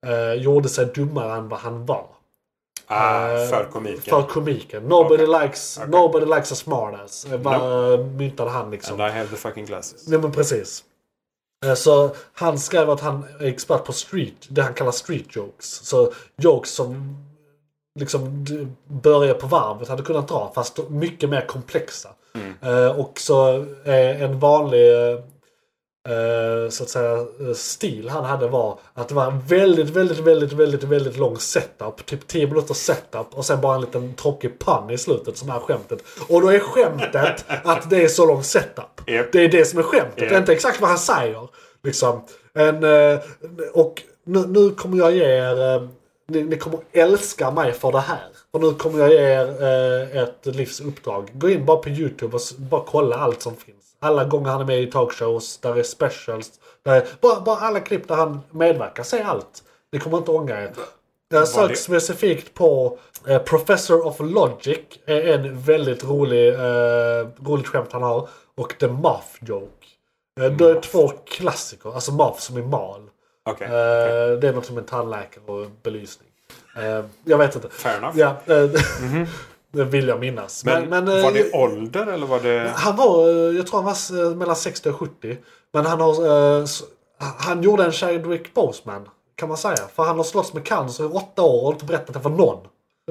Speaker 3: eh, gjorde sig dummare än vad han var.
Speaker 4: Ah,
Speaker 3: Eh,
Speaker 4: för komiken.
Speaker 3: För komiken. Nobody, likes,
Speaker 4: Okej.
Speaker 3: nobody likes a smartass. eh, Bara myntade han liksom.
Speaker 4: And I have the fucking glasses.
Speaker 3: Nej men precis. Eh, Så han skrev att han är expert på street, det han kallar street jokes. Så jokes som liksom d- börjar på varvet hade kunnat dra fast mycket mer komplexa. Eh, Och så eh, en vanlig eh, eh, så att säga eh, stil han hade var att det var en väldigt, väldigt, väldigt, väldigt, väldigt lång setup. Typ 10 minuters setup och sen bara en liten tråkig pann i slutet som är skämtet. Och då är skämtet att det är så lång setup.
Speaker 4: Japp.
Speaker 3: Det är det som är skämtet,
Speaker 4: Japp.
Speaker 3: inte exakt vad han säger. Liksom. En, eh, och nu, nu kommer jag ge er, eh, ni, ni kommer älska mig för det här. Och nu kommer jag ge er eh, ett livsuppdrag. Gå in bara på YouTube och s- bara kolla allt som finns. Alla gånger han är med i talkshows, där är specials. Där är, bara, bara alla klipp där han medverkar, se allt. Ni kommer inte ångra er. Jag sök
Speaker 4: det-
Speaker 3: specifikt på eh, Professor of Logic. Är en väldigt rolig, eh, roligt skämt han har. Och The Muff Joke. Eh, det är två klassiker. Alltså Muff som är mal.
Speaker 4: Okej.
Speaker 3: Eh, Det är något som en tandläkare och belysning. Eh, jag vet inte.
Speaker 4: Fair enough. Mhm.
Speaker 3: Ja, eh, [laughs] Det vill jag minnas.
Speaker 4: Men,
Speaker 3: eh,
Speaker 4: var det ålder eller var det...
Speaker 3: han var, eh, jag tror han var eh, mellan 60 och 70. Men han har... eh, s- Han gjorde en Chadwick Boseman. Kan man säga. För han har slått med cancer i åtta år och inte berättat det för någon.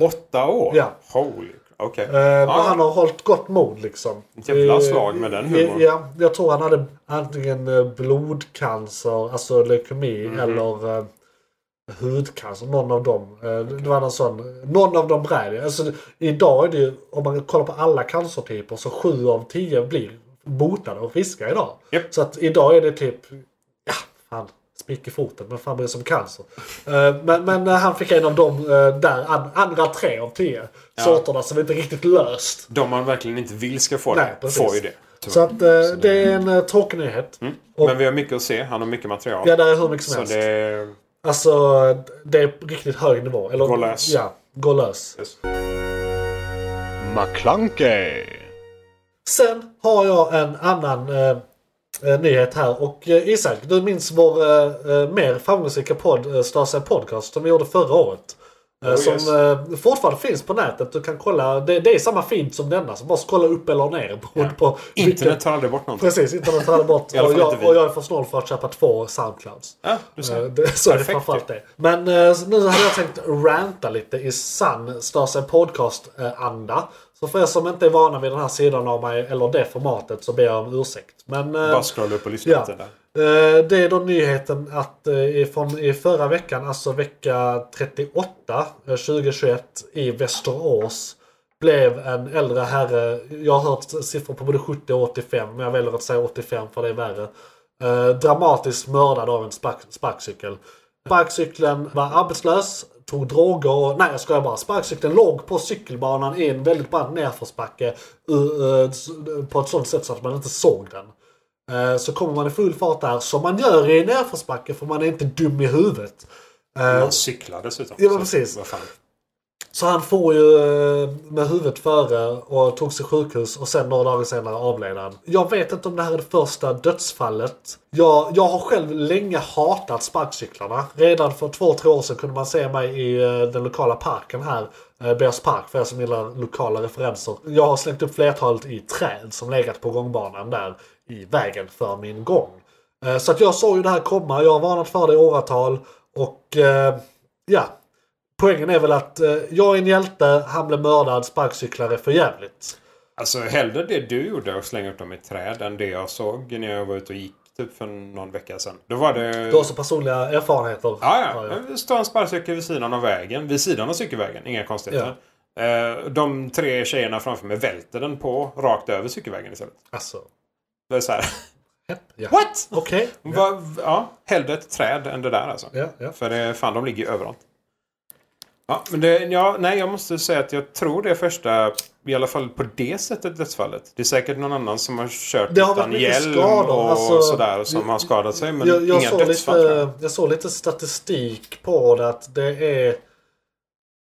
Speaker 4: Åtta år?
Speaker 3: Ja.
Speaker 4: Holy crap. Okej.
Speaker 3: Eh, men
Speaker 4: ja,
Speaker 3: han har hållit gott mod liksom.
Speaker 4: Jävla
Speaker 3: Eh,
Speaker 4: slag med den
Speaker 3: eh,
Speaker 4: humorn.
Speaker 3: Ja, jag tror han hade antingen eh, blodcancer, alltså leukemi,
Speaker 4: Mhm.
Speaker 3: eller eh, hudcancer. Någon av dem. Eh, Det var någon sån. Någon av dem bräd. Alltså, idag är det ju, om man kollar på alla cancertyper, så sju av tio blir botade och friska idag.
Speaker 4: Japp.
Speaker 3: Så att idag är det typ, ja, fan. Spick i foten, men fan bryr sig om cancer? Eh, Men, men eh, han fick en av de eh, där an- andra tre av tio sorterna som inte riktigt löst.
Speaker 4: De man verkligen inte vill ska få
Speaker 3: Nej,
Speaker 4: det,
Speaker 3: precis.
Speaker 4: får ju det. tyvärr.
Speaker 3: Så att eh, det är en eh, tråkig nyhet. Och,
Speaker 4: Men vi har mycket att se. Han har mycket material.
Speaker 3: ja, där är hur mycket som
Speaker 4: så
Speaker 3: helst.
Speaker 4: det...
Speaker 3: Alltså, det är riktigt hög nivå. Eller,
Speaker 4: Gå lös.
Speaker 3: Ja, gå lös.
Speaker 2: McClunkey.
Speaker 3: Sen har jag en annan eh, eh, nyhet här. Och eh, Isak, du minns vår eh, eh, mer framgångsrika podd, eh, Stasia Podcast, som vi gjorde förra året. Eh,
Speaker 4: Oh,
Speaker 3: som
Speaker 4: yes.
Speaker 3: eh, fortfarande finns på nätet. Du kan kolla. Det, det är samma feed som denna. Så bara scrolla upp eller ner. beroende på vilken-
Speaker 4: Internet tar aldrig bort någonting.
Speaker 3: Precis, internet faller
Speaker 4: [laughs]
Speaker 3: bort.
Speaker 4: I alla
Speaker 3: och,
Speaker 4: fall inte
Speaker 3: jag,
Speaker 4: vi.
Speaker 3: och jag är för snål för att köpa två Soundclouds.
Speaker 4: Ja, du ser.
Speaker 3: Eh, det, så är det
Speaker 4: Perfekt
Speaker 3: framförallt det. Men eh, så nu hade jag tänkt ranta lite i sann Störsen Podcast-anda. Så för er som inte är vana vid den här sidan av mig eller det formatet så ber jag om ursäkt. Men, eh,
Speaker 4: Bara scrolla upp och lyssna
Speaker 3: ja.
Speaker 4: lite där.
Speaker 3: Eh, Det är då nyheten att eh, från i förra veckan, alltså vecka 38, eh, 2021 i Västerås blev en äldre herre, jag har hört siffror på både 70 och 85, men jag väljer att säga 85 för det är värre. Eh, dramatiskt mördad av en spark, sparkcykel. Sparkcykeln var arbetslös, tog droger och... Nej jag skojar bara. Sparkcykeln låg på cykelbanan i en väldigt brant nedförsbacke. ur- eh, s- På ett sånt sätt så att man inte såg den. Eh, Så kommer man i full fart där, som man gör i en nedförsbacke för man är inte dum i huvudet. Eh,
Speaker 4: Man cyklar dessutom.
Speaker 3: Ja, men
Speaker 4: Så,
Speaker 3: precis.
Speaker 4: Vad fan.
Speaker 3: Så han får ju eh, med huvudet före och tog sig sjukhus och sen några dagar senare avled han. Jag vet inte om det här är det första dödsfallet. Jag, jag har själv länge hatat sparkcyklarna. Redan för två, tre år sedan kunde man se mig i eh, den lokala parken här. eh, Bears park för er som gillar lokala referenser. Jag har slängt upp flertalet i träd som legat på gångbanan där i vägen för min gång. Eh, Så att jag såg ju det här komma. Jag har varnat för det i åratal. Och eh, ja, Poängen är väl att eh, jag är en hjälte, han blev mördad, sparkcyklare för jävligt.
Speaker 4: Alltså hellre det du gjorde och slänga upp dem i träd än det jag såg när jag var ute och gick typ för någon vecka sedan. Då var det...
Speaker 3: Du har också personliga erfarenheter.
Speaker 4: Ja,
Speaker 3: har
Speaker 4: ja.
Speaker 3: jag.
Speaker 4: Men Det står en sparkcykel vid sidan av vägen. Vid sidan av cykelvägen. Inga konstigheter. Eh, De tre tjejerna framför mig välter den på rakt över cykelvägen istället.
Speaker 3: Alltså.
Speaker 4: Det är så här.
Speaker 3: Ja.
Speaker 4: What?
Speaker 3: Okej.
Speaker 4: Va, ja, hellre ett träd än det där alltså.
Speaker 3: Ja, ja.
Speaker 4: För det, fan, de ligger ju överallt. Ja, men det, ja, nej, jag måste säga att jag tror det är första, i alla fall på det sättet, dödsfallet. Det är säkert någon annan som har kört
Speaker 3: Det har varit
Speaker 4: utan
Speaker 3: mycket
Speaker 4: hjälm
Speaker 3: skador,
Speaker 4: och
Speaker 3: alltså,
Speaker 4: sådär och som har skadat sig. Men
Speaker 3: jag, jag,
Speaker 4: inga
Speaker 3: såg
Speaker 4: dödsfall tror jag.
Speaker 3: lite, jag såg lite statistik på det att det är...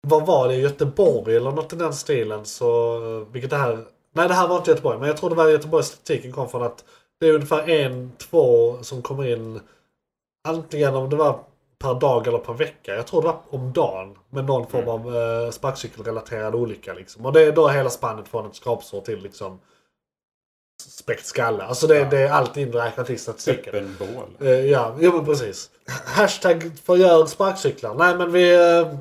Speaker 3: Vad var det? Göteborg eller något i den stilen. Så, eh, vilket det här... Nej, det här var inte Göteborg. Men jag tror det var Göteborgs statistiken kom från att det är ungefär en, två som kommer in. Antingen om det var per dag eller per vecka. Jag tror det var om dagen. Med någon form
Speaker 4: Mm.
Speaker 3: av eh, sparkcykelrelaterad olycka. Liksom. Och det är då hela spannet från ett skrapsår till liksom spräckt skalle. Alltså det, det är allt inräknat i statistiken.
Speaker 4: Öppen bål.
Speaker 3: Eh, ja, jo men precis. Hashtag förgör sparkcyklar. Nej men vi, eh,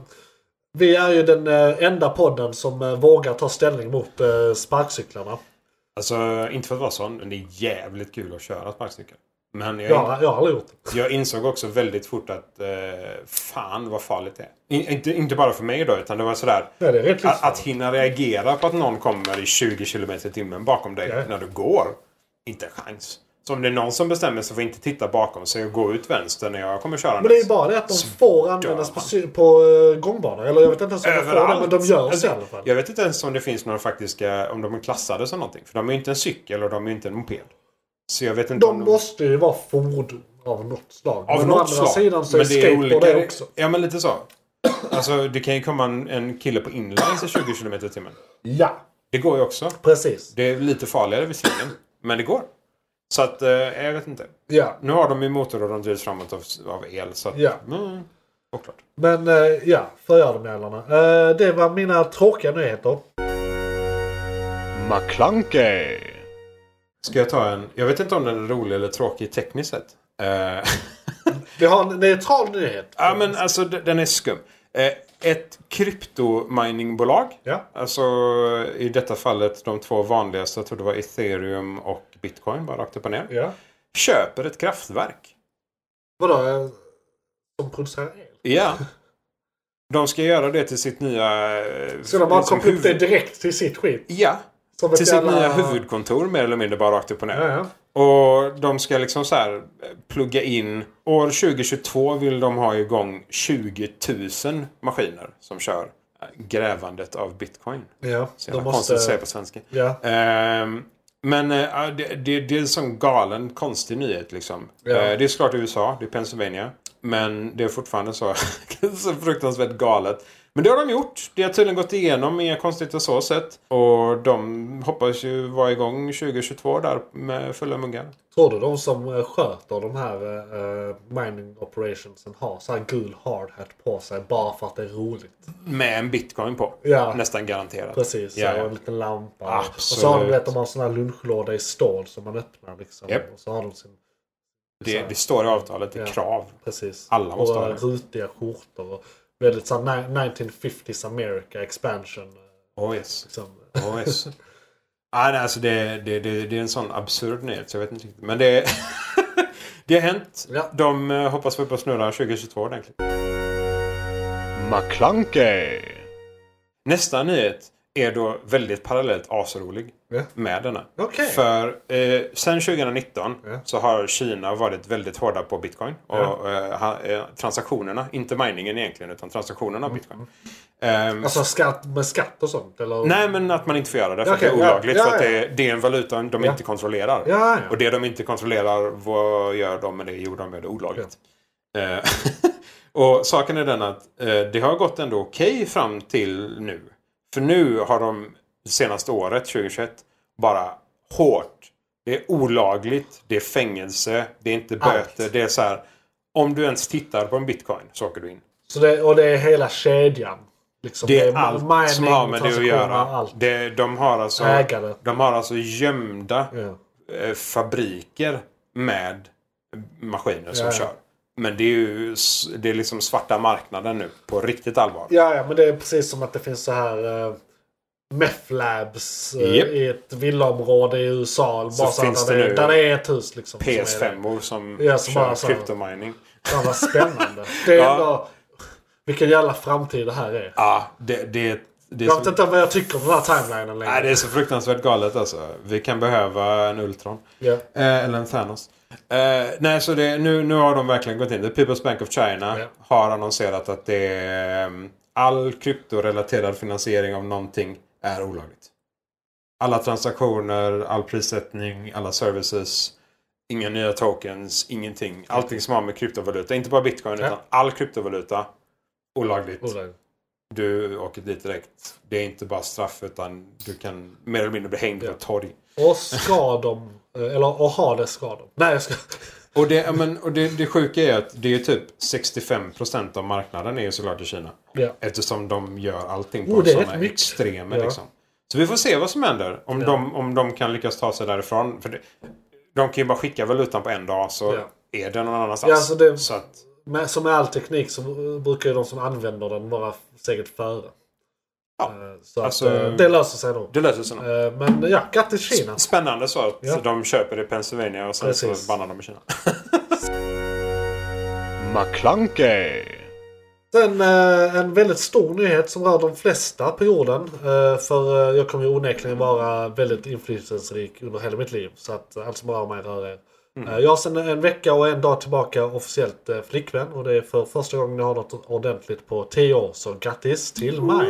Speaker 3: vi är ju den eh, enda podden som eh, vågar ta ställning mot eh, sparkcyklarna.
Speaker 4: Alltså, inte för att vara sån, men det är jävligt kul att köra sparkcykel. Men jag,
Speaker 3: Jag, jag har aldrig gjort det.
Speaker 4: jag insåg också väldigt fort att eh, fan vad farligt det är. In, inte, inte bara för mig då, utan det var sådär.
Speaker 3: Nej, det är rätt
Speaker 4: Att,
Speaker 3: livsfarligt.
Speaker 4: att hinna reagera på att någon kommer i 20 km i timmen bakom dig
Speaker 3: Ja.
Speaker 4: när du går. Inte en chans. Så om det är någon som bestämmer sig för att inte titta bakom sig och gå ut vänster när jag kommer köra
Speaker 3: Men det är ju bara det att de får användas på, cy- på eh, gångbanor. Eller jag vet inte ens om de får det, men de gör
Speaker 4: Alltså,
Speaker 3: så i alla fall.
Speaker 4: Jag vet inte ens om det finns några faktiska, om de är klassade som någonting. För de är ju inte en cykel och de är ju inte en moped. Så jag vet inte
Speaker 3: De
Speaker 4: om
Speaker 3: måste ju vara fordon av något slag.
Speaker 4: Av
Speaker 3: men å
Speaker 4: något
Speaker 3: andra
Speaker 4: slag.
Speaker 3: sidan så är
Speaker 4: Men det
Speaker 3: skateboard
Speaker 4: olika-
Speaker 3: det också.
Speaker 4: Ja, men lite så. Alltså, det kan ju komma en, en kille på inlines i 20 km i timmen.
Speaker 3: Ja,
Speaker 4: Det går ju också.
Speaker 3: precis.
Speaker 4: Det är lite farligare visserligen, men det går. Så att, eh, jag vet inte.
Speaker 3: Ja.
Speaker 4: Nu har de ju motor och de drivs framåt av, av el. Så att,
Speaker 3: Ja.
Speaker 4: mm, och klart.
Speaker 3: Men eh, ja, förgör dem jävlarna. Eh, det var mina tråkiga nyheter.
Speaker 2: McClunkey.
Speaker 4: Ska jag ta en? Jag vet inte om den är rolig eller tråkig tekniskt sett. Eh, [laughs]
Speaker 3: Vi har en neutral nyhet.
Speaker 4: Ah. ja, men alltså d- den är skum. Eh, ett kryptominingbolag.
Speaker 3: Ja.
Speaker 4: Alltså i detta fallet de två vanligaste, jag tror det var ethereum och bitcoin, bara rakt upp och ner.
Speaker 3: ja.
Speaker 4: Köper ett kraftverk.
Speaker 3: Vadå? eh, Som producerar el?
Speaker 4: Ja. [laughs] De ska göra det till sitt nya... eh,
Speaker 3: Ska de bara
Speaker 4: liksom
Speaker 3: koppla upp det
Speaker 4: huvud-
Speaker 3: direkt till sitt skit?
Speaker 4: Ja.
Speaker 3: Som ett
Speaker 4: Till sitt
Speaker 3: jävla-
Speaker 4: nya huvudkontor mer eller mindre bara rakt upp och ner.
Speaker 3: Ja, ja.
Speaker 4: Och de ska liksom så här eh, plugga in. År 2022 vill de ha igång 20 000 maskiner som kör eh, grävandet av bitcoin.
Speaker 3: ja.
Speaker 4: Så
Speaker 3: De
Speaker 4: jävla konstigt att säga
Speaker 3: måste...
Speaker 4: på svenska.
Speaker 3: Ja.
Speaker 4: Ehm, men eh, ja, det, det, det är en sån galen konstig nyhet liksom.
Speaker 3: Ja.
Speaker 4: Eh, det är såklart i USA, det är Pennsylvania. Men det är fortfarande så, [laughs] så fruktansvärt galet. Men det har de gjort. Det har tydligen gått igenom, inga konstigheter så sett. Och de hoppas ju vara igång 2022 där med fulla muggar.
Speaker 3: Tror du de som eh, sköter de här eh, mining operationsen har så här gul hard hat på sig bara för att det är roligt?
Speaker 4: Med en bitcoin på.
Speaker 3: Ja.
Speaker 4: Nästan garanterat.
Speaker 3: Precis,
Speaker 4: Ja,
Speaker 3: så,
Speaker 4: ja.
Speaker 3: och en liten lampa. Och så har de,
Speaker 4: Absolut.
Speaker 3: vet, de har en sån här lunchlåda i stål som man öppnar liksom.
Speaker 4: Japp.
Speaker 3: Och så har de sin...
Speaker 4: Det, det står i avtalet, det är
Speaker 3: Ja.
Speaker 4: krav.
Speaker 3: Precis.
Speaker 4: Alla måste
Speaker 3: och
Speaker 4: ha
Speaker 3: eh,
Speaker 4: det.
Speaker 3: rutiga skjortor. Och väldigt så här ni- 1950s America expansion. eh,
Speaker 4: Oh yes.
Speaker 3: Liksom.
Speaker 4: Oh, yes. ah, nej, alltså det, det, det, det är en sån absurd nyhet så jag vet inte riktigt. Men det, [laughs] det har hänt.
Speaker 3: Ja.
Speaker 4: De eh, hoppas vi på att snurra 2022 ordentligt.
Speaker 2: McClunkey.
Speaker 4: Nästa nyhet är då väldigt parallellt asrolig
Speaker 3: Ja.
Speaker 4: med denna.
Speaker 3: Okej.
Speaker 4: För eh, sen 2019
Speaker 3: Ja.
Speaker 4: så har Kina varit väldigt hårda på bitcoin. Och
Speaker 3: Ja.
Speaker 4: eh, ha- eh, transaktionerna, inte miningen egentligen utan transaktionerna
Speaker 3: Mm.
Speaker 4: av bitcoin. Ehm,
Speaker 3: Alltså skatt, med skatt och sånt? Eller?
Speaker 4: Nej, men att man inte får göra det för
Speaker 3: Okej,
Speaker 4: att det
Speaker 3: ja.
Speaker 4: är olagligt.
Speaker 3: Ja,
Speaker 4: för att
Speaker 3: ja.
Speaker 4: det, är, det är en valuta de
Speaker 3: Ja.
Speaker 4: inte kontrollerar.
Speaker 3: Ja, ja.
Speaker 4: Och det de inte kontrollerar, vad gör de med det? Jo, de gör det olagligt. Eh, [laughs] och saken är den att eh, det har gått ändå okej fram till nu. För nu har de det senaste året, 2021, bara hårt. Det är olagligt, det är fängelse, det är inte
Speaker 3: Allt.
Speaker 4: böter. Det är så här, om du ens tittar på en bitcoin så åker du in.
Speaker 3: Så det, och det är hela kedjan? Liksom,
Speaker 4: Det är
Speaker 3: ma-
Speaker 4: allt som
Speaker 3: mining,
Speaker 4: har med det att
Speaker 3: transaktioner,
Speaker 4: göra.
Speaker 3: Allt.
Speaker 4: Det, de, har alltså,
Speaker 3: Ägare.
Speaker 4: de har alltså gömda
Speaker 3: Ja.
Speaker 4: eh, fabriker med maskiner som
Speaker 3: Ja, ja.
Speaker 4: kör. Men det är ju s- det är liksom svarta marknaden nu på riktigt allvar.
Speaker 3: Ja, ja, men det är precis som att det finns så här uh, meth-labs eh,
Speaker 4: Japp.
Speaker 3: i ett villaområde i USA.
Speaker 4: Så
Speaker 3: bara så
Speaker 4: finns
Speaker 3: finns där,
Speaker 4: det
Speaker 3: det
Speaker 4: nu
Speaker 3: där det är ett hus liksom. som är det.
Speaker 4: PS5-or som
Speaker 3: Ja, som bara så
Speaker 4: kör
Speaker 3: här-
Speaker 4: kryptomining.
Speaker 3: Fan vad
Speaker 4: [laughs]
Speaker 3: spännande. Det är
Speaker 4: Ja.
Speaker 3: ändå... Vilken jävla framtid det här är.
Speaker 4: Ja, det, det, det, är
Speaker 3: Jag vet
Speaker 4: så,
Speaker 3: inte vad jag tycker om den här timelinen längre.
Speaker 4: nej, det är så fruktansvärt galet alltså. Vi kan behöva en Ultron.
Speaker 3: Ja.
Speaker 4: Eh, eller en Thanos. Eh, nej, så det, nu, nu har de verkligen gått in. The People's Bank of China
Speaker 3: Ja.
Speaker 4: har annonserat att det är, eh, all kryptorelaterad finansiering av någonting är olagligt. Alla transaktioner, all prissättning, alla services. Inga nya tokens, ingenting. Allting som har med kryptovaluta, inte bara bitcoin
Speaker 3: Ja.
Speaker 4: utan all kryptovaluta. Olagligt.
Speaker 3: Olagligt.
Speaker 4: Du åker dit direkt. Det är inte bara straff utan du kan mer eller mindre bli hängd på ett torg.
Speaker 3: Och ska de... eh, Eller och ha det ska de. Nej, jag ska...
Speaker 4: Och, det, ja, men, och det, det sjuka är att det är typ 65% av marknaden är ju såklart i Kina.
Speaker 3: Ja.
Speaker 4: Eftersom de gör allting på
Speaker 3: Oh, det är rätt
Speaker 4: sådana
Speaker 3: mycket.
Speaker 4: extremer.
Speaker 3: Ja.
Speaker 4: Liksom. Så vi får se vad som händer. Om, de, om de kan lyckas ta sig därifrån. För det, de kan ju bara skicka valutan på en dag så är den någon annanstans.
Speaker 3: Ja, så det-
Speaker 4: så att,
Speaker 3: Men som med all teknik så eh, brukar ju de som använder den vara steget före.
Speaker 4: Ja.
Speaker 3: Eh, Så att,
Speaker 4: Alltså-
Speaker 3: eh, det löser sig nog.
Speaker 4: det löser sig nog.
Speaker 3: Eh, Men ja, grattis Kina.
Speaker 4: Spännande så att
Speaker 3: Ja.
Speaker 4: de köper i Pennsylvania och sen
Speaker 3: Precis.
Speaker 4: så bannar de i Kina.
Speaker 2: McClunkey.
Speaker 3: Sen eh, en väldigt stor nyhet som rör de flesta på jorden. Eh, för eh, jag kommer ju onekligen vara väldigt inflytelserik under hela mitt liv. Så att eh, allt som rör mig rör er.
Speaker 4: Mm.
Speaker 3: Eh, jag har sedan en vecka och en dag tillbaka officiellt eh, flickvän. Och det är för första gången jag har något ordentligt på 10 år. Så grattis till mig!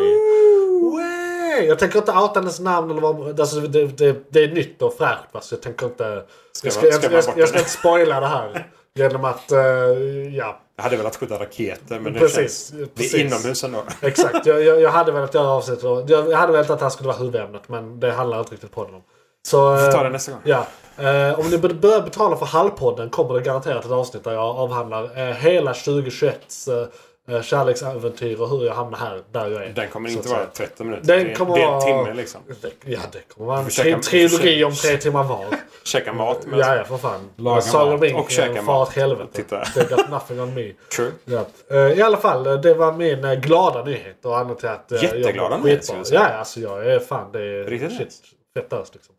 Speaker 3: Way! Jag tänker inte outa hennes namn eller vad alltså, det, det, det är nytt och fräscht. va, Så jag tänker inte... jag, ska,
Speaker 4: man-
Speaker 3: jag,
Speaker 4: ska man
Speaker 3: jag,
Speaker 4: bort
Speaker 3: jag ska
Speaker 4: det?
Speaker 3: inte spoila
Speaker 4: [laughs]
Speaker 3: det här. Genom att... eh, ja,
Speaker 4: Jag hade velat skjuta raketer men det
Speaker 3: Precis,
Speaker 4: känns...
Speaker 3: precis.
Speaker 4: Det är inomhus ändå.
Speaker 3: Exakt, jag, jag, jag hade velat göra avsnittet. och- Jag hade velat att det här skulle vara huvudämnet men det handlar inte riktigt podden om. Så,
Speaker 4: Vi tar
Speaker 3: eh,
Speaker 4: det nästa gång.
Speaker 3: Ja. Eh, om ni bör- börjar betala för halvpodden kommer det garanterat ett avsnitt där jag avhandlar eh, hela 2021s eh, eh, kärleksäventyr och hur jag hamnar här, där jag är.
Speaker 4: Den kommer
Speaker 3: Så
Speaker 4: inte
Speaker 3: att
Speaker 4: vara
Speaker 3: säga.
Speaker 4: 30 minuter.
Speaker 3: Den
Speaker 4: det, är-
Speaker 3: kommer
Speaker 4: det är
Speaker 3: vara-
Speaker 4: en timme liksom.
Speaker 3: Det- Ja, det kommer vara en
Speaker 4: Försöka-
Speaker 3: tri- trilogi
Speaker 4: försöka-
Speaker 3: om tre
Speaker 4: [laughs]
Speaker 3: timmar var.
Speaker 4: Käka mat med.
Speaker 3: Ja, ja, för fan.
Speaker 4: Laga
Speaker 3: Sagan
Speaker 4: mat
Speaker 3: om ringen
Speaker 4: och käka
Speaker 3: far
Speaker 4: mat.
Speaker 3: Eh, åt helvete.
Speaker 4: Titta.
Speaker 3: They got nothing on me.
Speaker 4: True.
Speaker 3: Ja. Eh, I alla fall, eh, det var min eh, glada nyhet. Och annat till att, eh, jag
Speaker 4: Jätteglada
Speaker 3: mår
Speaker 4: nyhet,
Speaker 3: skitbra.
Speaker 4: skulle jag
Speaker 3: Ja,
Speaker 4: säga.
Speaker 3: ja, alltså jag är fan. Det är
Speaker 4: Riktigt
Speaker 3: shit,
Speaker 4: nice.
Speaker 3: fett ös liksom.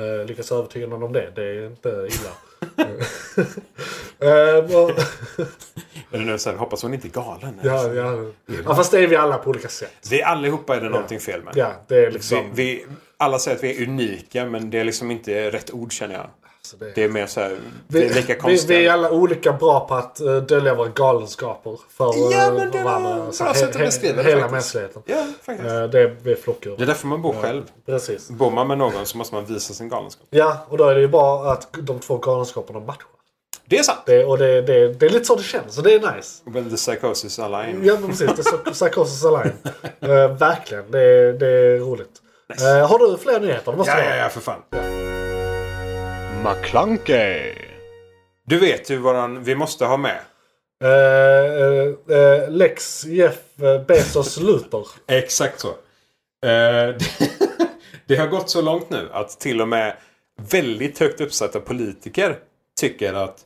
Speaker 3: Uh, lyckas övertyga någon om det. Det är inte illa.
Speaker 4: [laughs]
Speaker 3: Eh, och-
Speaker 4: Är det nu så här, hoppas hon inte är galen.
Speaker 3: ja, ja. ja, fast det är vi alla på olika sätt.
Speaker 4: Vi allihopa är det någonting fel med.
Speaker 3: Ja, det är
Speaker 4: Vi,
Speaker 3: liksom...
Speaker 4: vi, alla säger att vi är unika men det är liksom inte rätt ord känner jag.
Speaker 3: alltså, det-
Speaker 4: Det är mer så här, vi,
Speaker 3: Vi,
Speaker 4: är lika
Speaker 3: vi,
Speaker 4: konstiga.
Speaker 3: vi är alla olika bra på att eh, dölja våra galenskaper för eh,
Speaker 4: Ja, men det var
Speaker 3: varandra.
Speaker 4: ett
Speaker 3: Så
Speaker 4: bra
Speaker 3: he-
Speaker 4: sätt att
Speaker 3: he-
Speaker 4: beskriva det
Speaker 3: Hela
Speaker 4: faktiskt.
Speaker 3: mänskligheten.
Speaker 4: Ja, faktiskt.
Speaker 3: Eh, Det är, vi är flockdjur.
Speaker 4: Det är därför man bor själv.
Speaker 3: Precis.
Speaker 4: Bor man med någon så måste man visa sin galenskap.
Speaker 3: Ja, och då är det ju bra att de två galenskaperna matchar.
Speaker 4: Det är sant!
Speaker 3: Det, och det, det, det är lite så det känns, så det är nice.
Speaker 4: When the psychosis align.
Speaker 3: Ja, men precis. Det är så- Psychosis Align. Eh, verkligen. Det, är- det är roligt. Eh, har du fler nyheter? Det måste
Speaker 4: Ja,
Speaker 3: du ha.
Speaker 4: ja, ja, för fan.
Speaker 2: McClunkey. du
Speaker 4: Du vet ju våran, vi måste ha med.
Speaker 3: Eh, eh, eh, Lex Jeff eh, Bezos Luther.
Speaker 4: Exakt så. Eh, det, [laughs] det har gått så långt nu att till och med väldigt högt uppsatta politiker tycker att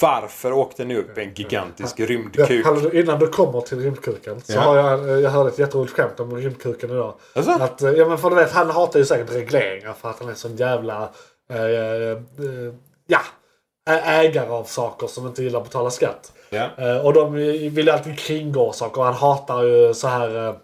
Speaker 4: varför åkte ni upp i en gigantisk
Speaker 3: Ja,
Speaker 4: rymdkuk?
Speaker 3: hallå, innan du kommer till rymdkuken så
Speaker 4: Ja.
Speaker 3: har jag, jag hörde ett jätteroligt skämt om rymdkuken idag.
Speaker 4: Alltså?
Speaker 3: Att, eh, ja, men för du vet, han hatar ju säkert regleringar för att han är sån jävla eh, eh, ja, ä- ägare av saker som inte gillar att betala skatt.
Speaker 4: Ja.
Speaker 3: Eh, och de vill ju alltid kringgå saker och han hatar ju så här eh,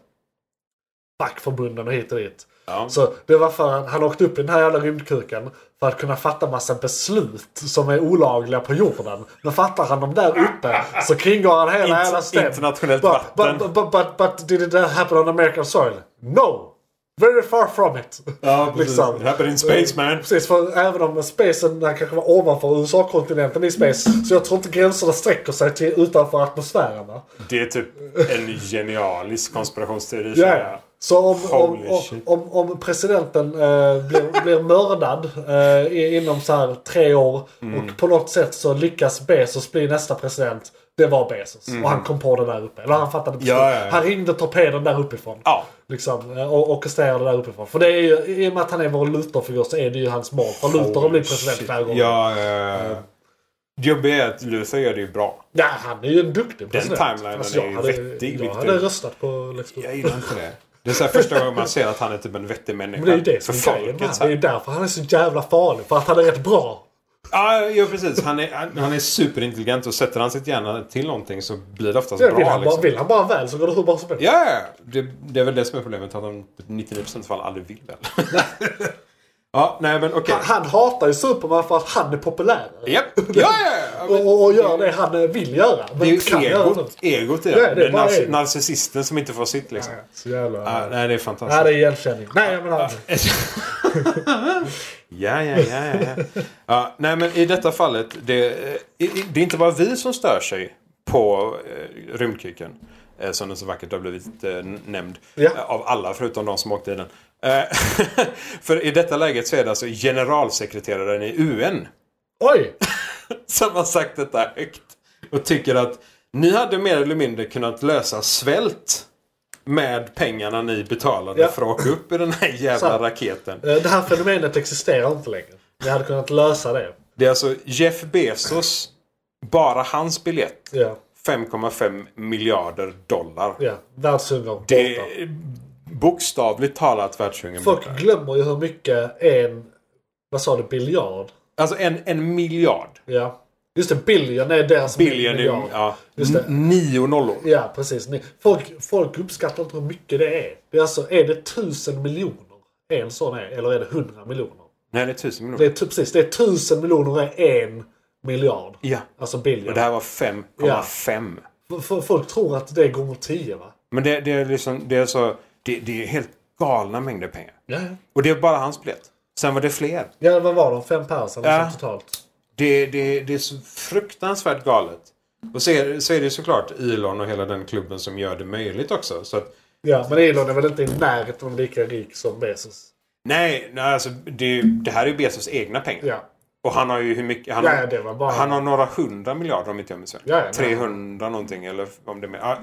Speaker 3: fackförbunden och hit och dit.
Speaker 4: Ja.
Speaker 3: Så det var för att han åkte upp i den här jävla rymdkuken för att kunna fatta massa beslut som är olagliga på jorden. Men fattar han dem där uppe så kringgår han hela
Speaker 4: Int-
Speaker 3: jävla stäm.
Speaker 4: internationellt
Speaker 3: Bara,
Speaker 4: vatten.
Speaker 3: But, but, but, but did it happen on American soil? No! Very far from it.
Speaker 4: Ja, precis.
Speaker 3: Liksom.
Speaker 4: It happened in space, man.
Speaker 3: Precis, för även om spacen där kanske var ovanför USA-kontinenten i space så jag tror inte gränserna sträcker sig till utanför atmosfären. Va?
Speaker 4: Det är typ en genialisk konspirationsteori.
Speaker 3: Ja,
Speaker 4: känner
Speaker 3: ja.
Speaker 4: jag.
Speaker 3: Så om, om,
Speaker 4: Holy
Speaker 3: om,
Speaker 4: shit.
Speaker 3: om, om presidenten eh, blir, blir mördad eh, i- inom så här tre år
Speaker 4: Mm.
Speaker 3: och på något sätt så lyckas Bezos bli nästa president. Det var Bezos och han kom på det där uppe. Eller han fattade beslut.
Speaker 4: Mm. Ja, ja, Ah. ja.
Speaker 3: Han ringde torpeden där uppifrån.
Speaker 4: Ja.
Speaker 3: Liksom, eh, och orkestrerade där uppifrån. För det är ju, i och med att han är vår Luther-figur så är det ju hans mål. För Luther har blivit president flera gånger.
Speaker 4: Ja, ja, ja. Det jobbiga är att Luther gör det ju bra.
Speaker 3: Ja, han är ju en duktig president.
Speaker 4: timelinen
Speaker 3: Alltså, jag
Speaker 4: är ju
Speaker 3: hade-
Speaker 4: vettig,
Speaker 3: Jag
Speaker 4: Victor.
Speaker 3: hade röstat på Lex Luthor.
Speaker 4: Jag gillar inte det. Det är så här första gången man ser att han är typ en vettig människa.
Speaker 3: Men det är ju det
Speaker 4: För
Speaker 3: som är grejen. med
Speaker 4: folket.
Speaker 3: han.
Speaker 4: så
Speaker 3: Det är ju
Speaker 4: här.
Speaker 3: därför han är så jävla farlig. För att han är rätt bra.
Speaker 4: Ja, ja, precis. Han är, han, han är superintelligent och sätter han sitt hjärna till någonting så blir det oftast
Speaker 3: Det vill,
Speaker 4: bra.
Speaker 3: han bara,
Speaker 4: Liksom.
Speaker 3: vill han bara väl så går det hur bra som helst.
Speaker 4: Ja, ja, ja. det, det är väl det som är problemet. Att han i 99% fall aldrig vill väl. [laughs] ja, nej men okej.
Speaker 3: Han, han hatar ju Superman för att han är populär.
Speaker 4: Japp. Ja, ja, ja.
Speaker 3: Och, och, och gör det han eh, vill göra. Men
Speaker 4: Det är
Speaker 3: inte kan
Speaker 4: ju
Speaker 3: göra nu.
Speaker 4: egot, egot i det.
Speaker 3: Ja, det är
Speaker 4: det är
Speaker 3: bara
Speaker 4: narci-
Speaker 3: ego.
Speaker 4: narcissisten som inte får sitt liksom.
Speaker 3: Så jävla...
Speaker 4: Ja,
Speaker 3: nej.
Speaker 4: nej, det är fantastiskt.
Speaker 3: det är igenkänning. Nej, jag menar...
Speaker 4: ja, ja, ja, ja, ja. ja. Nej, men i detta fallet. Det, eh, i- det är inte bara vi som stör sig på eh, rymdkuken. Eh, som den så vackert har blivit eh, n- nämnd.
Speaker 3: Ja.
Speaker 4: Eh, av alla förutom de som åkte i den. Eh, [laughs] för i detta läget så är det alltså generalsekreteraren i UN.
Speaker 3: Oj!
Speaker 4: som har sagt detta högt. Och tycker att ni hade mer eller mindre kunnat lösa svält med pengarna ni betalade
Speaker 3: Ja.
Speaker 4: för att åka upp i den här jävla
Speaker 3: Sant.
Speaker 4: raketen.
Speaker 3: eh, Det här fenomenet existerar inte längre. Vi hade kunnat lösa det.
Speaker 4: Det är alltså Jeff Bezos, bara hans biljett,
Speaker 3: Ja.
Speaker 4: 5,5 miljarder dollar.
Speaker 3: Ja. Världshungern.
Speaker 4: Det
Speaker 3: borta.
Speaker 4: är bokstavligt talat världshungern. borta.
Speaker 3: Folk glömmer ju hur mycket en... Vad sa du? Biljard?
Speaker 4: Alltså en, en miljard.
Speaker 3: Ja. Just det, billion är deras
Speaker 4: Billion
Speaker 3: miljard.
Speaker 4: är ja,
Speaker 3: Just det.
Speaker 4: n- nio nollor.
Speaker 3: Ja, precis. Ni- Folk, folk uppskattar inte hur mycket det är. Det är, alltså, är det tusen miljoner en sån är, eller är det hundra miljoner?
Speaker 4: Nej, det är tusen
Speaker 3: Det är,
Speaker 4: miljoner.
Speaker 3: tu- precis, det är tusen miljoner är en miljard.
Speaker 4: Ja.
Speaker 3: Alltså
Speaker 4: Och
Speaker 3: billion.
Speaker 4: det här var 5,5.
Speaker 3: F- f- Folk tror att det är gånger tio, va?
Speaker 4: Men det, det är liksom, det är så, det, det är helt galna mängder pengar.
Speaker 3: Ja,
Speaker 4: Och det är bara hans biljett. Sen var det fler.
Speaker 3: ja. vad var de? Fem pers eller
Speaker 4: Ja.
Speaker 3: så totalt?
Speaker 4: Det, det, det är så fruktansvärt galet. Och så är, så är det ju såklart Elon och hela den klubben som gör det möjligt också. Så att,
Speaker 3: Ja, men Elon är väl inte i närheten av lika rik som Bezos?
Speaker 4: nej, nej alltså, det, det här är ju Bezos egna pengar.
Speaker 3: Ja.
Speaker 4: Och han har ju hur mycket... Han,
Speaker 3: Ja, ja, det var bara-
Speaker 4: han har några hundra miljarder om inte jag minns fel.
Speaker 3: Ja, ja, nej.
Speaker 4: 300 någonting eller om det är mer. Ja,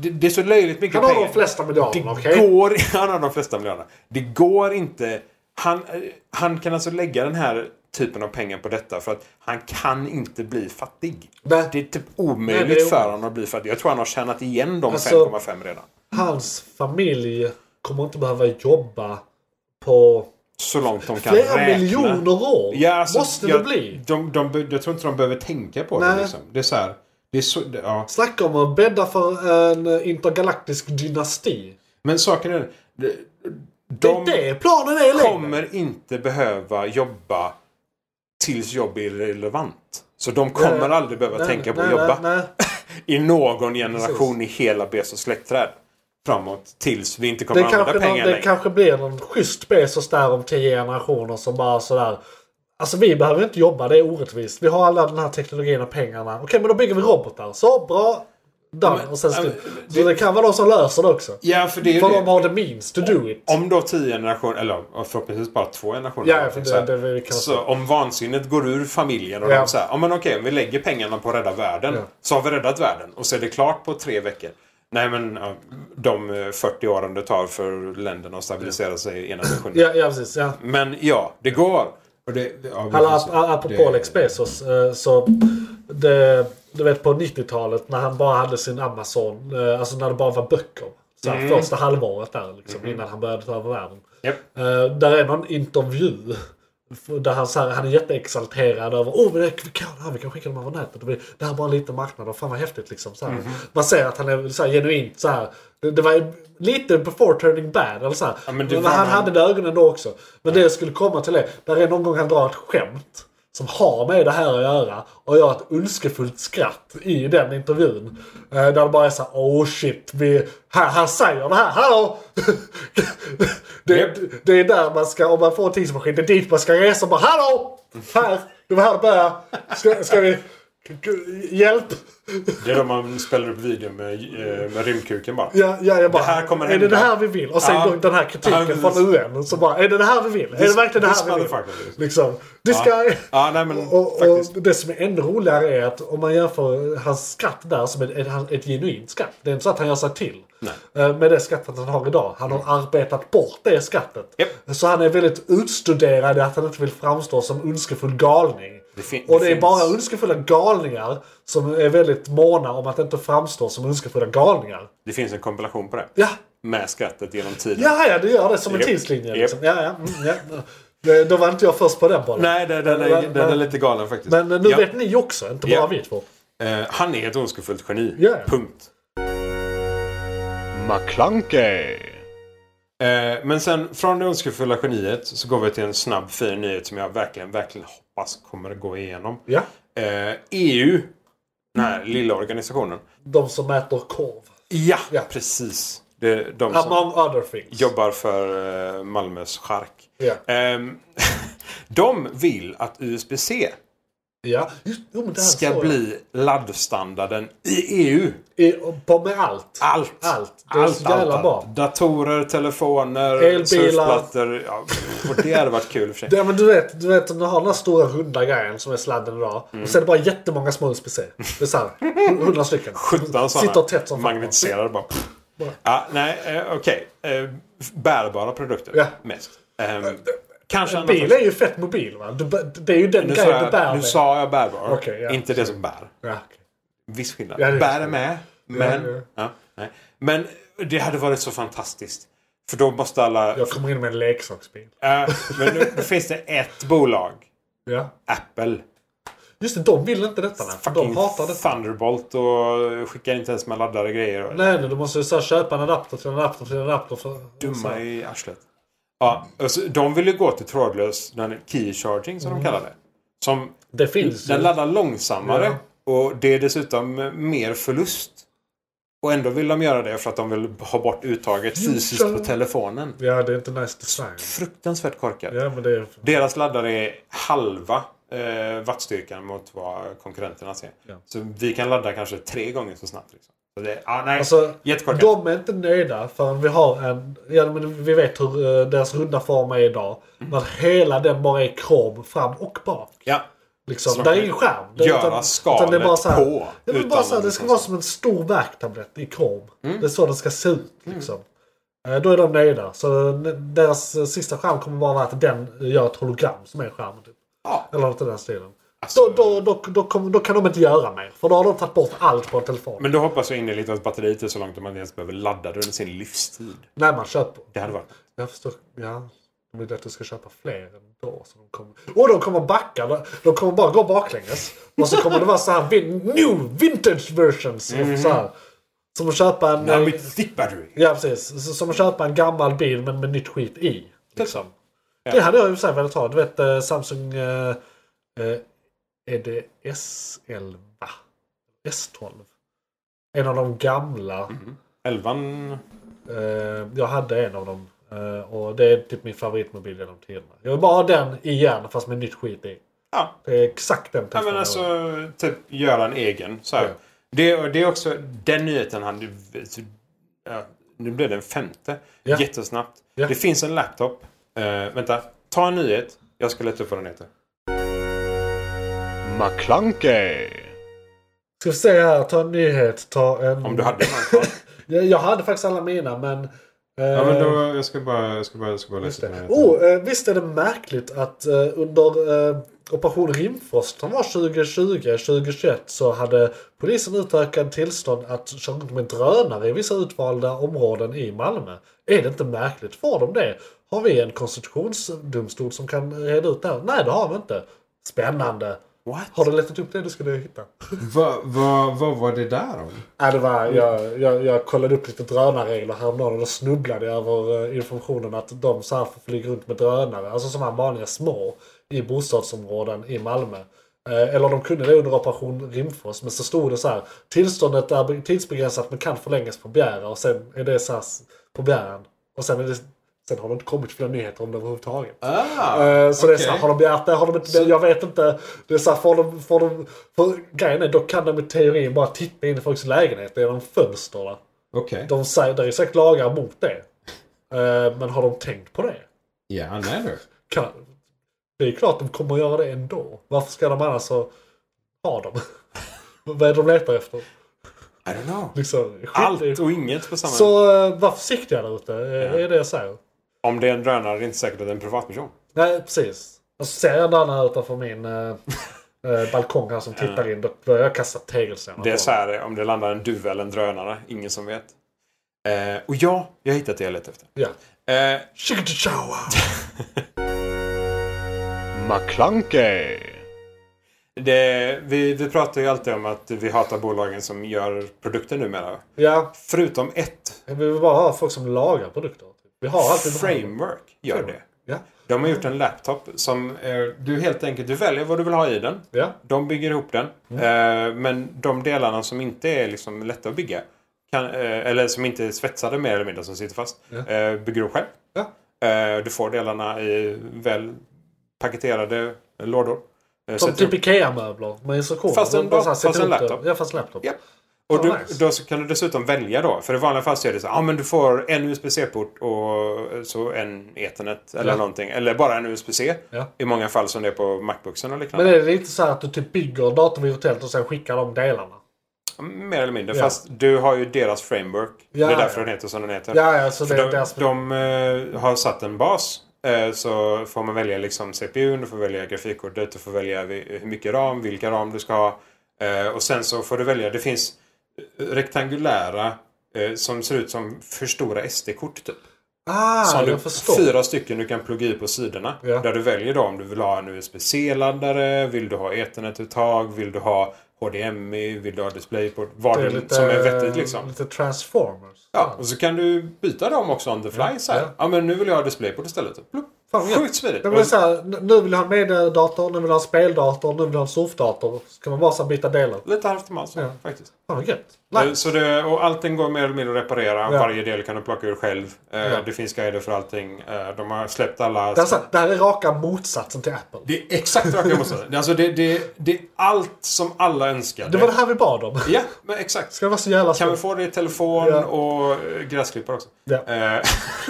Speaker 4: Det, det är så löjligt mycket
Speaker 3: Han har
Speaker 4: pengar.
Speaker 3: de flesta miljarderna,
Speaker 4: Det
Speaker 3: okej?
Speaker 4: går, [laughs] han har de flesta miljarderna. Det går inte. Han, eh, han kan alltså lägga den här typen av pengar på detta för att han kan inte bli fattig.
Speaker 3: Nej.
Speaker 4: Det är typ omöjligt
Speaker 3: Nej, det är-
Speaker 4: för honom att bli fattig. Jag tror han har tjänat igen de
Speaker 3: Alltså-
Speaker 4: 5,5 redan.
Speaker 3: Hans familj kommer inte behöva jobba på
Speaker 4: Så långt de kan
Speaker 3: flera
Speaker 4: räkna.
Speaker 3: miljoner år.
Speaker 4: Ja, alltså,
Speaker 3: Måste
Speaker 4: jag,
Speaker 3: det bli.
Speaker 4: De, de, be- jag tror inte de behöver tänka på det.
Speaker 3: Nej.
Speaker 4: Liksom. Det är så här. Det är så, det, ja.
Speaker 3: Snacka om att bädda för en intergalaktisk dynasti.
Speaker 4: Men saken är... De,
Speaker 3: Det
Speaker 4: de
Speaker 3: är det planen är längre.
Speaker 4: kommer inte behöva jobba tills jobb är relevant. Så de kommer
Speaker 3: Nej.
Speaker 4: aldrig behöva
Speaker 3: Nej,
Speaker 4: tänka på
Speaker 3: nej,
Speaker 4: att jobba.
Speaker 3: Nej, nej.
Speaker 4: [laughs] I någon generation i hela Bezos släktträd. Framåt tills vi inte kommer
Speaker 3: Det,
Speaker 4: att använda
Speaker 3: kanske, någon,
Speaker 4: pengar
Speaker 3: det
Speaker 4: längre.
Speaker 3: kanske blir någon schysst Bezos där om tio generationer som bara sådär. Alltså vi behöver inte jobba, det är orättvist. Vi har alla den här teknologin och pengarna. Okej, men då bygger vi robotar. Så, bra. Done.
Speaker 4: Men-
Speaker 3: och sen,
Speaker 4: ja,
Speaker 3: slut.
Speaker 4: men-
Speaker 3: så det kan vara de som löser det också.
Speaker 4: Ja, för det är ju
Speaker 3: För
Speaker 4: det.
Speaker 3: de har the means to do it.
Speaker 4: Om då tio generationer, eller förhoppningsvis bara två generationer.
Speaker 3: Ja, ja, för det-
Speaker 4: så här,
Speaker 3: det- det kan man
Speaker 4: så
Speaker 3: säga.
Speaker 4: om vansinnet går ur familjen och
Speaker 3: Ja.
Speaker 4: de säger ja men okej, om vi lägger pengarna på att rädda världen.
Speaker 3: Ja.
Speaker 4: Så har vi räddat världen och så är det klart på tre veckor. Nej men ja, de eh, 40 åren det tar för länderna att stabilisera sig i ena nationen.
Speaker 3: Ja, ja precis. Ja.
Speaker 4: Men ja, det går. Och det, ja, vi
Speaker 3: Alla,
Speaker 4: får se.
Speaker 3: ap- apropå
Speaker 4: Det-
Speaker 3: Alex Bezos. eh, Så det, du vet på 90-talet när han bara hade sin Amazon. eh, Alltså när det bara var böcker. Så här,
Speaker 4: Mm.
Speaker 3: Första halvåret där liksom, innan han började ta över världen.
Speaker 4: Japp.
Speaker 3: Eh, där är någon intervju. Där han, så här, han är jätteexalterad över oh, men det, vi, kan, det här, vi kan skicka dem över nätet. Det, blir, det här är bara en liten marknad och fan vad häftigt. Liksom, så här.
Speaker 4: Mm.
Speaker 3: Man ser att han är så här, genuint så här. Det, det var lite before turning bad. Eller så här.
Speaker 4: Ja, men
Speaker 3: men
Speaker 4: det var
Speaker 3: han
Speaker 4: han-
Speaker 3: hade det i ögonen då också. Men det jag skulle komma till är, där är någon gång han drar ett skämt. Som har med det här att göra. Och gör ett ondskefullt skratt i den intervjun. Eh, där det bara är såhär, oh shit. Vi, han, han säger det här, hallå! [laughs] det,
Speaker 4: Japp.
Speaker 3: det är där man ska, om man får en tidsmaskin, det är dit man ska resa. Bara, hallå! Här! Det var här det började. Ska, ska vi... Hjälp!
Speaker 4: Det är då man spelar upp videon med, eh, med rymdkuken bara.
Speaker 3: Ja, ja, jag bara,
Speaker 4: Det här kommer
Speaker 3: är
Speaker 4: hända.
Speaker 3: det det här vi vill? Och sen
Speaker 4: Ja.
Speaker 3: då den här kritiken
Speaker 4: Ja,
Speaker 3: från UN. Så bara, är det det här vi vill? är det verkligen det
Speaker 4: this
Speaker 3: här vi vill?
Speaker 4: motherfucker.
Speaker 3: Liksom, this guy.
Speaker 4: Ja, nej men
Speaker 3: [laughs] Och, och
Speaker 4: faktiskt.
Speaker 3: det som är ännu roligare är att om man jämför hans skratt där som ett, ett, ett genuint skratt. Det är inte så att han gör sig till. eh, Med det skrattet han har idag. Han har arbetat bort det skrattet.
Speaker 4: Mm. Japp.
Speaker 3: Så han är väldigt utstuderad i att han inte vill framstå som ondskefull galning.
Speaker 4: Det fin-
Speaker 3: och det,
Speaker 4: det
Speaker 3: är
Speaker 4: finns.
Speaker 3: bara ondskefulla galningar som är väldigt måna om att inte framstå som ondskefulla galningar.
Speaker 4: Det finns en kompilation på det.
Speaker 3: Ja,
Speaker 4: Med skrattet genom tiden.
Speaker 3: ja, ja det gör det som en
Speaker 4: Japp.
Speaker 3: tidslinje.
Speaker 4: Japp.
Speaker 3: Liksom. Ja, ja, mm, ja. Det- Då var inte jag först på den bollen.
Speaker 4: Nej, den, den, är,
Speaker 3: Men-
Speaker 4: den är
Speaker 3: men-
Speaker 4: lite galen faktiskt.
Speaker 3: Men nu
Speaker 4: Ja.
Speaker 3: vet ni också, inte bara
Speaker 4: Ja.
Speaker 3: vi två.
Speaker 4: Eh, han är ett ondskefullt geni.
Speaker 3: Ja.
Speaker 4: Punkt.
Speaker 2: McClunkey!
Speaker 4: Eh, men sen från det ondskefulla geniet så går vi till en snabb fin nyhet som jag verkligen, verkligen hoppas kommer att gå igenom.
Speaker 3: Ja.
Speaker 4: Eh, EU, den här
Speaker 3: Mm.
Speaker 4: lilla organisationen.
Speaker 3: De som äter korv.
Speaker 4: Ja,
Speaker 3: Ja.
Speaker 4: precis. Det är de som
Speaker 3: Among other things.
Speaker 4: jobbar för eh, Malmös chark.
Speaker 3: Ja.
Speaker 4: Ehm, [laughs] de vill att USB-C
Speaker 3: ja. Just, jo, men det här såg
Speaker 4: ska
Speaker 3: jag.
Speaker 4: bli laddstandarden i EU.
Speaker 3: I, på med allt.
Speaker 4: Allt!
Speaker 3: Allt. Det är så jävla bra.
Speaker 4: Datorer, telefoner,
Speaker 3: Elbilar.
Speaker 4: surfplattor. Ja, och det hade varit kul i och för sig.
Speaker 3: Ja, men du vet, du vet om du har den här stora runda grejen som är sladden idag.
Speaker 4: Mm.
Speaker 3: Och så är det bara jättemånga små USB-C. Det är såhär,
Speaker 4: [laughs]
Speaker 3: hundra stycken.
Speaker 4: 17
Speaker 3: Sitter tätt som fan.
Speaker 4: Magnetiserade bara. Ja, nej, eh, okej. Eh, bärbara produkter
Speaker 3: Ja. Eh,
Speaker 4: mest. Ehm, kanske annat
Speaker 3: Bil
Speaker 4: också.
Speaker 3: är ju fett mobil va? Du, bä- det är ju den
Speaker 4: nu sa,
Speaker 3: grejen du bär
Speaker 4: jag, nu
Speaker 3: med.
Speaker 4: sa jag bärbara.
Speaker 3: Okej, ja.
Speaker 4: Inte det som bär.
Speaker 3: Ja, okej.
Speaker 4: Viss skillnad.
Speaker 3: Ja, det är
Speaker 4: Bär är
Speaker 3: det.
Speaker 4: med, men...
Speaker 3: Ja, ja.
Speaker 4: Ja, nej. Men det hade varit så fantastiskt. För då måste alla...
Speaker 3: Jag kommer in med en leksaksbil.
Speaker 4: Äh, men nu då finns det ett bolag.
Speaker 3: Ja.
Speaker 4: Apple.
Speaker 3: Just det, de vill inte detta. nej. För
Speaker 4: Fucking
Speaker 3: de hatar detta.
Speaker 4: Thunderbolt och skickar inte ens med laddare och grejer. Och
Speaker 3: Nej, nej, du måste ju så här, köpa en adapter till en adapter till en adapter. För, så
Speaker 4: dumma
Speaker 3: här.
Speaker 4: i arslet. Ja, alltså, de vill ju gå till trådlös den key charging
Speaker 3: Mm.
Speaker 4: som de kallar det. Som
Speaker 3: Det finns
Speaker 4: den
Speaker 3: ju.
Speaker 4: laddar långsammare. Och det är dessutom mer förlust. Och ändå vill de göra det för att de vill ha bort uttaget fysiskt på telefonen.
Speaker 3: Ja, det är inte nice design.
Speaker 4: fruktansvärt korkad.
Speaker 3: Ja, men det är...
Speaker 4: Deras laddare är halva eh, wattstyrkan mot vad konkurrenterna ser. Så vi kan ladda kanske tre gånger så snabbt. Liksom. Det, ja, nej,
Speaker 3: Alltså,
Speaker 4: jättekort.
Speaker 3: de är inte nöjda förrän vi har en... Ja, men vi vet hur eh, deras runda form är idag.
Speaker 4: Mm.
Speaker 3: Men hela den bara är krom fram och bak.
Speaker 4: ja.
Speaker 3: Liksom.
Speaker 4: Så
Speaker 3: Där är
Speaker 4: man
Speaker 3: ingen skärm. Det-
Speaker 4: göra skalet på,
Speaker 3: Ja, men bara
Speaker 4: utan
Speaker 3: så här, det
Speaker 4: liksom
Speaker 3: ska
Speaker 4: Mm.
Speaker 3: vara som en stor värktablett i krom. Det är så den ska se ut. Liksom. Eh, Då är de nöjda. Så eh, deras eh, sista skärm kommer bara vara att den eh, gör ett hologram som är en skärm. Typ.
Speaker 4: Ja.
Speaker 3: Eller något i den stilen.
Speaker 4: Alltså-
Speaker 3: då, då, då, då, kommer- då kan de inte göra mer. För då har de tagit bort allt på en telefon.
Speaker 4: Men då hoppas jag innerligt att batteriet är så långt att man inte ens behöver ladda det under sin livstid.
Speaker 3: När man köper.
Speaker 4: Det hade varit...
Speaker 3: Jag förstår. Ja. Det blir lätt att du ska köpa fler ändå. Så de kommer... Och de kommer backa. De- De kommer bara gå baklänges. Och så kommer det vara så här vin... new vintage versions. Mm. Så här. Som att köpa en...
Speaker 4: Nej, mitt thick battery!
Speaker 3: Ja precis. Så- Som att köpa en gammal bil men med nytt skit i. Liksom. Det hade jag i och för sig velat ha. Du vet eh, Samsung... eh, eh, Är det S11? S12? En av de gamla.
Speaker 4: Elvan...
Speaker 3: Eh, jag hade en av dem. Eh, och det är typ min favoritmobil genom tiderna. Jag vill bara ha den igen fast med nytt skit i.
Speaker 4: Ja,
Speaker 3: Det är exakt den
Speaker 4: Ja, men
Speaker 3: jag vill ha.
Speaker 4: alltså typ göra en egen. Så här.
Speaker 3: Ja.
Speaker 4: Det, och det är också den nyheten han... Ja, nu blev det en femte.
Speaker 3: Ja.
Speaker 4: Jättesnabbt.
Speaker 3: Ja.
Speaker 4: Det finns en laptop. Eh, vänta, ta en nyhet. Jag ska leta upp vad den heter.
Speaker 2: McClunkey.
Speaker 3: Ska vi se här, ta en nyhet. Ta en...
Speaker 4: Om du hade den
Speaker 3: [laughs]
Speaker 4: här kvar.
Speaker 3: jag, jag hade faktiskt alla mina men... eh,
Speaker 4: Ja, men då, jag ska bara, jag ska bara, jag ska bara läsa upp den här nyheten.
Speaker 3: Oh, eh, visst är det märkligt att eh, under eh, Operation Rimfrost som var 2020-2021 så hade polisen utökat tillstånd att köra runt med drönare i vissa utvalda områden i Malmö. Är det inte märkligt? Får de det? Har vi en konstitutionsdomstol som kan reda ut det här? Nej, det har vi inte. Spännande.
Speaker 4: What?
Speaker 3: Har du letat upp det du skulle hitta?
Speaker 4: Vad va, vad var det där om?
Speaker 3: Ja, Äh, det var, jag, jag, jag kollade upp lite drönarregler häromdagen och då snubblade jag över eh, informationen att de så här får flyga runt med drönare, alltså som här vanliga små, i bostadsområden i Malmö. Eh, Eller de kunde det under Operation Rimfrost, men så stod det så här. Tillståndet är be- tidsbegränsat men kan förlängas på begäran och sen är det så här s- på begäran. Och sen, är det, sen har det inte kommit fler nyheter om det överhuvudtaget.
Speaker 4: Ah,
Speaker 3: Eh, Så det är så här,
Speaker 4: okej.
Speaker 3: har de begärt det? Har de inte det? Jag vet inte. Det är så här, får de, får de, för grejen är, då kan de i teorin bara titta in i folks lägenheter genom fönsterna.
Speaker 4: Okej.
Speaker 3: De säger, det är säkert lagar mot det. Eh, Men har de tänkt på det?
Speaker 4: Ja, nej du.
Speaker 3: Kan, det är klart de kommer att göra det ändå. Varför ska de annars så ha dem? [laughs] Vad är det de letar efter?
Speaker 4: I don't know.
Speaker 3: Liksom, skit i-
Speaker 4: Allt och inget på samma...
Speaker 3: Så eh, var försiktiga där ute, eh, är det jag säger.
Speaker 4: Om det är en drönare är det inte säkert att det är en privatperson.
Speaker 3: Nej, precis. Och så ser jag en annan utanför min eh,
Speaker 4: [laughs]
Speaker 3: eh, balkong här som tittar in. Då börjar jag kasta tegelstenar
Speaker 4: Det är
Speaker 3: på
Speaker 4: så här om det landar en duva eller en drönare. Ingen som vet. Eh, och ja, jag har hittat det jag letar efter.
Speaker 3: Ja.
Speaker 4: Eh,
Speaker 3: Chikatachawa.
Speaker 2: McClunkey.
Speaker 4: det, vi, vi pratar ju alltid om att vi hatar bolagen som gör produkter numera.
Speaker 3: Ja,
Speaker 4: Förutom ett
Speaker 3: vi vill bara ha folk som lagar produkter. Vi har alltid
Speaker 4: framework gör det.
Speaker 3: Ja,
Speaker 4: De har gjort en laptop som eh, du helt enkelt du väljer vad du vill ha i den.
Speaker 3: ja.
Speaker 4: De bygger ihop den. Eh, men de delarna som inte är liksom lätta att bygga. Kan, eh, eller som inte är svetsade mer eller mindre som sitter fast. Eh, bygger du själv.
Speaker 3: Ja.
Speaker 4: Eh, du får delarna i väl paketerade lådor. Eh,
Speaker 3: Som
Speaker 4: sätter
Speaker 3: typ Ikea-möbler med instruktioner.
Speaker 4: Fast en
Speaker 3: De bara så här,
Speaker 4: dator,
Speaker 3: sätter
Speaker 4: fast en
Speaker 3: upp det.
Speaker 4: laptop.
Speaker 3: Ja, fast en laptop.
Speaker 4: Ja. Och
Speaker 3: Fan,
Speaker 4: du,
Speaker 3: nice.
Speaker 4: då så kan du dessutom välja då. För i vanliga fall så är det så ja ah, men du får en USB-C-port och så en Ethernet eller
Speaker 3: Ja.
Speaker 4: någonting. Eller bara en USB-C.
Speaker 3: Ja.
Speaker 4: I många fall som det är på Macbooksen och liknande.
Speaker 3: Men är det inte så här att du typ bygger datorn virtuellt och sen skickar de delarna?
Speaker 4: Mer eller mindre.
Speaker 3: Ja.
Speaker 4: Fast du har ju deras framework.
Speaker 3: Ja,
Speaker 4: det är därför
Speaker 3: ja.
Speaker 4: den heter som den heter.
Speaker 3: Ja, ja, så
Speaker 4: För
Speaker 3: det är
Speaker 4: de
Speaker 3: deras...
Speaker 4: de eh, har satt en bas. eh, Så får man välja liksom CPUn, du får välja grafikkortet, du får välja vi- hur mycket ram, vilka ram du ska ha. Eh, Och sen så får du välja, det finns eh, rektangulära eh, som ser ut som för stora SD-kort typ. Så
Speaker 3: Ah,
Speaker 4: har du
Speaker 3: jag förstår.
Speaker 4: fyra stycken du kan plugga i på sidorna.
Speaker 3: Ja.
Speaker 4: Där du väljer då om du vill ha en USB-C-laddare, vill du ha Ethernet-uttag, vill du ha HDMI, vill du ha DisplayPort. Vad
Speaker 3: Det
Speaker 4: det
Speaker 3: är lite,
Speaker 4: som är vettigt liksom.
Speaker 3: Lite transformers.
Speaker 4: Ja, och så kan du byta dem också on the fly. så här.
Speaker 3: ja.
Speaker 4: Ja. men nu vill jag ha DisplayPort istället. Plupp.
Speaker 3: Fan, vad gött.
Speaker 4: Sjukt smidigt.
Speaker 3: Det blir så här, n- nu vill jag ha en mediedator, nu vill jag ha en speldator, nu vill jag ha en surfdator. Så kan man bara så här byta delar.
Speaker 4: Lite halvt om allt så,
Speaker 3: Ja.
Speaker 4: faktiskt.
Speaker 3: Fan vad gött. Nej.
Speaker 4: Så det, och allting går mer eller mindre att reparera.
Speaker 3: Ja.
Speaker 4: Varje del kan du plocka ur själv. Eh,
Speaker 3: Ja.
Speaker 4: Det finns guider för allting. Eh, de har släppt alla...
Speaker 3: Det, här, är så här, det här är raka motsatsen till Apple.
Speaker 4: Det är exakt rakt jag måste säga. Alltså det, det, det är allt som alla önskar.
Speaker 3: Det var det här vi bad om. [laughs]
Speaker 4: Ja, men exakt.
Speaker 3: Ska det vara så jävla
Speaker 4: Kan vi
Speaker 3: svårt?
Speaker 4: få det i telefon
Speaker 3: Alltså- Ja.
Speaker 4: och eh, gräsklippare också?
Speaker 3: Ja.
Speaker 4: Eh, [laughs]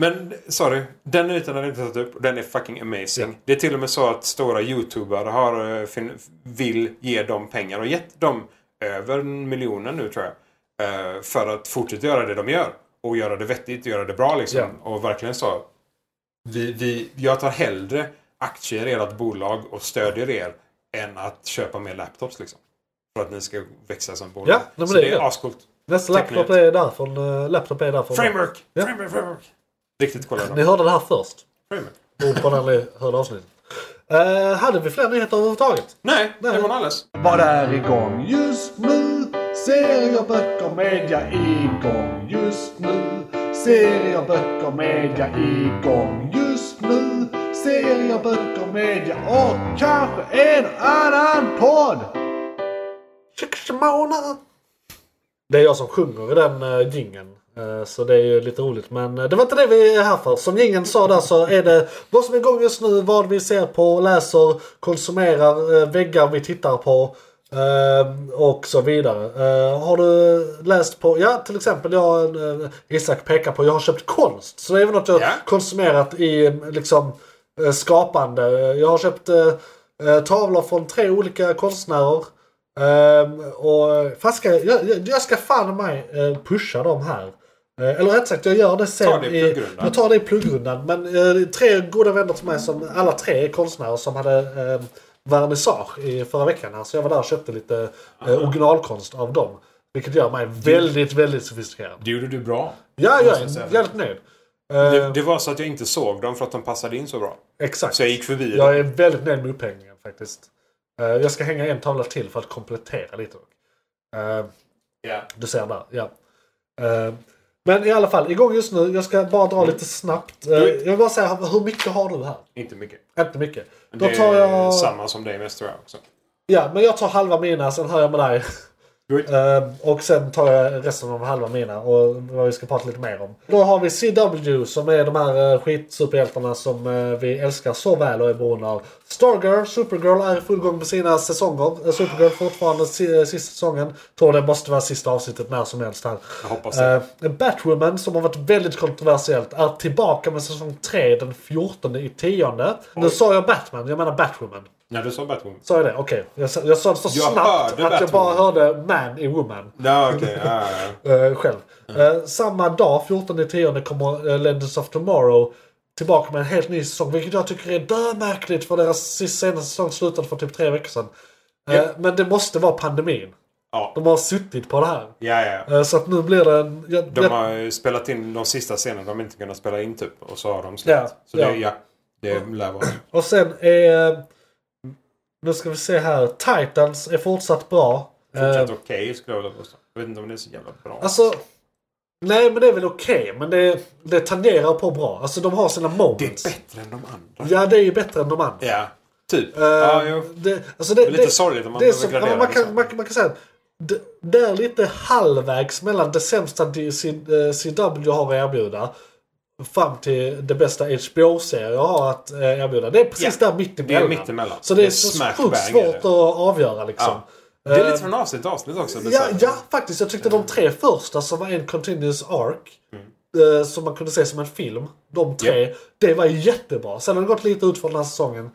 Speaker 4: men sorry, den ytan har jag inte satt upp. och Den är fucking amazing. Det är till och med så att stora youtubare har, eh, fin- vill ge dem pengar och gett dem över en miljon nu tror jag. eh, För att fortsätta göra det de gör. Och göra det vettigt och göra det bra liksom.
Speaker 3: Ja.
Speaker 4: Och verkligen så. Vi, vi, jag tar hellre aktier i ert bolag och stödjer er än att köpa mer laptops liksom. För att ni ska växa som bolag.
Speaker 3: Ja, nej, men
Speaker 4: så
Speaker 3: det är
Speaker 4: det
Speaker 3: gött.
Speaker 4: är ascoolt.
Speaker 3: Nästa
Speaker 4: Teknik.
Speaker 3: laptop är därifrån. eh, Laptop är därifrån.
Speaker 4: Framework!
Speaker 3: Ja.
Speaker 4: Framework, framework! Riktigt kolla
Speaker 3: Ni
Speaker 4: då.
Speaker 3: hörde det här först.
Speaker 4: Framework.
Speaker 3: Beror på när ni hörde avsnittet. Eh, hade vi fler nyheter överhuvudtaget?
Speaker 4: Nej,
Speaker 3: Nej.
Speaker 4: det var nog alldeles.
Speaker 5: Vad är igång just nu? Serier, böcker, media igång just nu. Serier, böcker, media igång just nu. Serier, böcker, media och kanske en annan podd.
Speaker 3: Sex månader. Det är jag som sjunger i den uh, gingen. Så det är ju lite roligt. Men eh, det var inte det vi är här för. Som gingen sa där så är det vad som är igång just nu. Vad vi ser på, läser, konsumerar, eh, väggar vi tittar på. eh, Och så vidare. Eh, Har du läst på, ja till exempel jag, eh, Isak pekar på, jag har köpt konst. Så det är väl något jag
Speaker 4: Ja.
Speaker 3: konsumerat i eh, liksom eh, skapande. Eh, Jag har köpt eh, eh, tavlor från tre olika konstnärer. Ehm, och fan ska, jag, jag, jag ska fan mig eh, pusha dem här. Eh, eller rätt sagt, jag gör det sen.
Speaker 4: Ta det i
Speaker 3: i,
Speaker 4: pluggrundan.
Speaker 3: jag tar det i pluggrundan. Men eh, tre goda vänner till mig, som alla tre är konstnärer, som hade eh, vernissage i förra veckan. Här, så jag var där och köpte lite eh, originalkonst av dem. Vilket gör mig väldigt, väldigt sofistikerad.
Speaker 4: Det gjorde du bra.
Speaker 3: Ja, jag
Speaker 4: jag säga.
Speaker 3: är jävligt nöjd. Eh,
Speaker 4: Det, det var så att jag inte såg dem för att de passade in så bra.
Speaker 3: Exakt.
Speaker 4: Så jag gick förbi dem.
Speaker 3: Jag är väldigt nöjd med upphängningen faktiskt. Eh, jag ska hänga en tavla till för att komplettera lite. Eh,
Speaker 4: Ja.
Speaker 3: Du ser där, ja. Eh, men i alla fall, igång just nu. Jag ska bara
Speaker 4: Mm.
Speaker 3: dra lite snabbt. Eh, jag vill bara säga, hur mycket har du här?
Speaker 4: Inte mycket.
Speaker 3: Inte mycket. Då
Speaker 4: Det
Speaker 3: tar
Speaker 4: är
Speaker 3: jag...
Speaker 4: samma som dig mest tror jag också.
Speaker 3: Ja, men jag tar halva mina, sen hör jag med dig. [laughs]
Speaker 4: Good.
Speaker 3: Eh, och sen tar jag resten av halva mina och vad vi ska prata lite mer om. Då har vi CW som är de här eh, skitsuperhjältarna som eh, vi älskar så väl och är beroende av. Stargirl, Supergirl är i full gång med sina säsonger. Eh, Supergirl fortfarande si- eh, sista säsongen. Tror det måste vara sista avsnittet när som helst här.
Speaker 4: Jag hoppas det.
Speaker 3: Eh, Batwoman som har varit väldigt kontroversiellt är tillbaka med säsong 3 den 14 i 10. Nu sa jag Batman, jag menar Batwoman.
Speaker 4: När du sa Batwoman.
Speaker 3: Sa jag det? Okej. Jag, sa- jag sa det så
Speaker 4: Jag
Speaker 3: snabbt att
Speaker 4: hörde
Speaker 3: jag bara
Speaker 4: Batwoman.
Speaker 3: hörde man i woman.
Speaker 4: Ja,
Speaker 3: [laughs]
Speaker 4: okej. ja, ja, ja.
Speaker 3: eh, själv.
Speaker 4: Mm.
Speaker 3: Eh, samma dag, 14 10 kommer uh, Legends of Tomorrow tillbaka med en helt ny säsong. Vilket jag tycker är dömärkligt för deras sista senaste säsong slutade för typ tre veckor sedan. Eh,
Speaker 4: Ja.
Speaker 3: Men det måste vara pandemin.
Speaker 4: Ja.
Speaker 3: De har suttit på det här.
Speaker 4: Ja, ja, ja.
Speaker 3: Eh, så att nu blir det en... Jag,
Speaker 4: De
Speaker 3: jag,
Speaker 4: har ju spelat in de sista scenerna de inte kunnat spela in typ. Och så har de
Speaker 3: Ja,
Speaker 4: släppt. Så det,
Speaker 3: ja. Eh.
Speaker 4: ja. Det lär vara.
Speaker 3: Och sen är... eh, nu ska vi se här. Titans är fortsatt bra. Eh,
Speaker 4: Fortsatt okej skulle jag vilja påstå. Jag vet inte om det är så jävla bra.
Speaker 3: Alltså, nej men det är väl okej. men det, det tangerar på bra. Alltså de har sina
Speaker 4: det är
Speaker 3: moments.
Speaker 4: bättre än de andra.
Speaker 3: ja, det är ju bättre än de andra.
Speaker 4: Ja, typ.
Speaker 3: Eh,
Speaker 4: ja, jo.
Speaker 3: det, alltså det,
Speaker 4: är lite sorgligt om man liksom.
Speaker 3: det är
Speaker 4: behöver
Speaker 3: som, ja,
Speaker 4: gradera
Speaker 3: men
Speaker 4: det
Speaker 3: man,
Speaker 4: så.
Speaker 3: kan, man, kan- man kan säga att det, det är lite halvvägs mellan det sämsta DC, eh, CW har att erbjuda fram till det bästa HBO-serier jag har att eh, emellan. Det är precis
Speaker 4: Ja,
Speaker 3: där
Speaker 4: det är
Speaker 3: mittemellan.
Speaker 4: mittemellan.
Speaker 3: Så det är,
Speaker 4: Det är
Speaker 3: så
Speaker 4: smack
Speaker 3: sjukt
Speaker 4: bang, är
Speaker 3: svårt
Speaker 4: det.
Speaker 3: att avgöra liksom.
Speaker 4: Det är
Speaker 3: Eh,
Speaker 4: lite från avsnitt till avsnitt också. det är
Speaker 3: Ja,
Speaker 4: så här.
Speaker 3: ja, faktiskt. Jag tyckte de tre första som var en continuous arc. Eh, som man kunde se som en film. De tre. Det var jättebra. Sen har det gått lite ut för den här säsongen.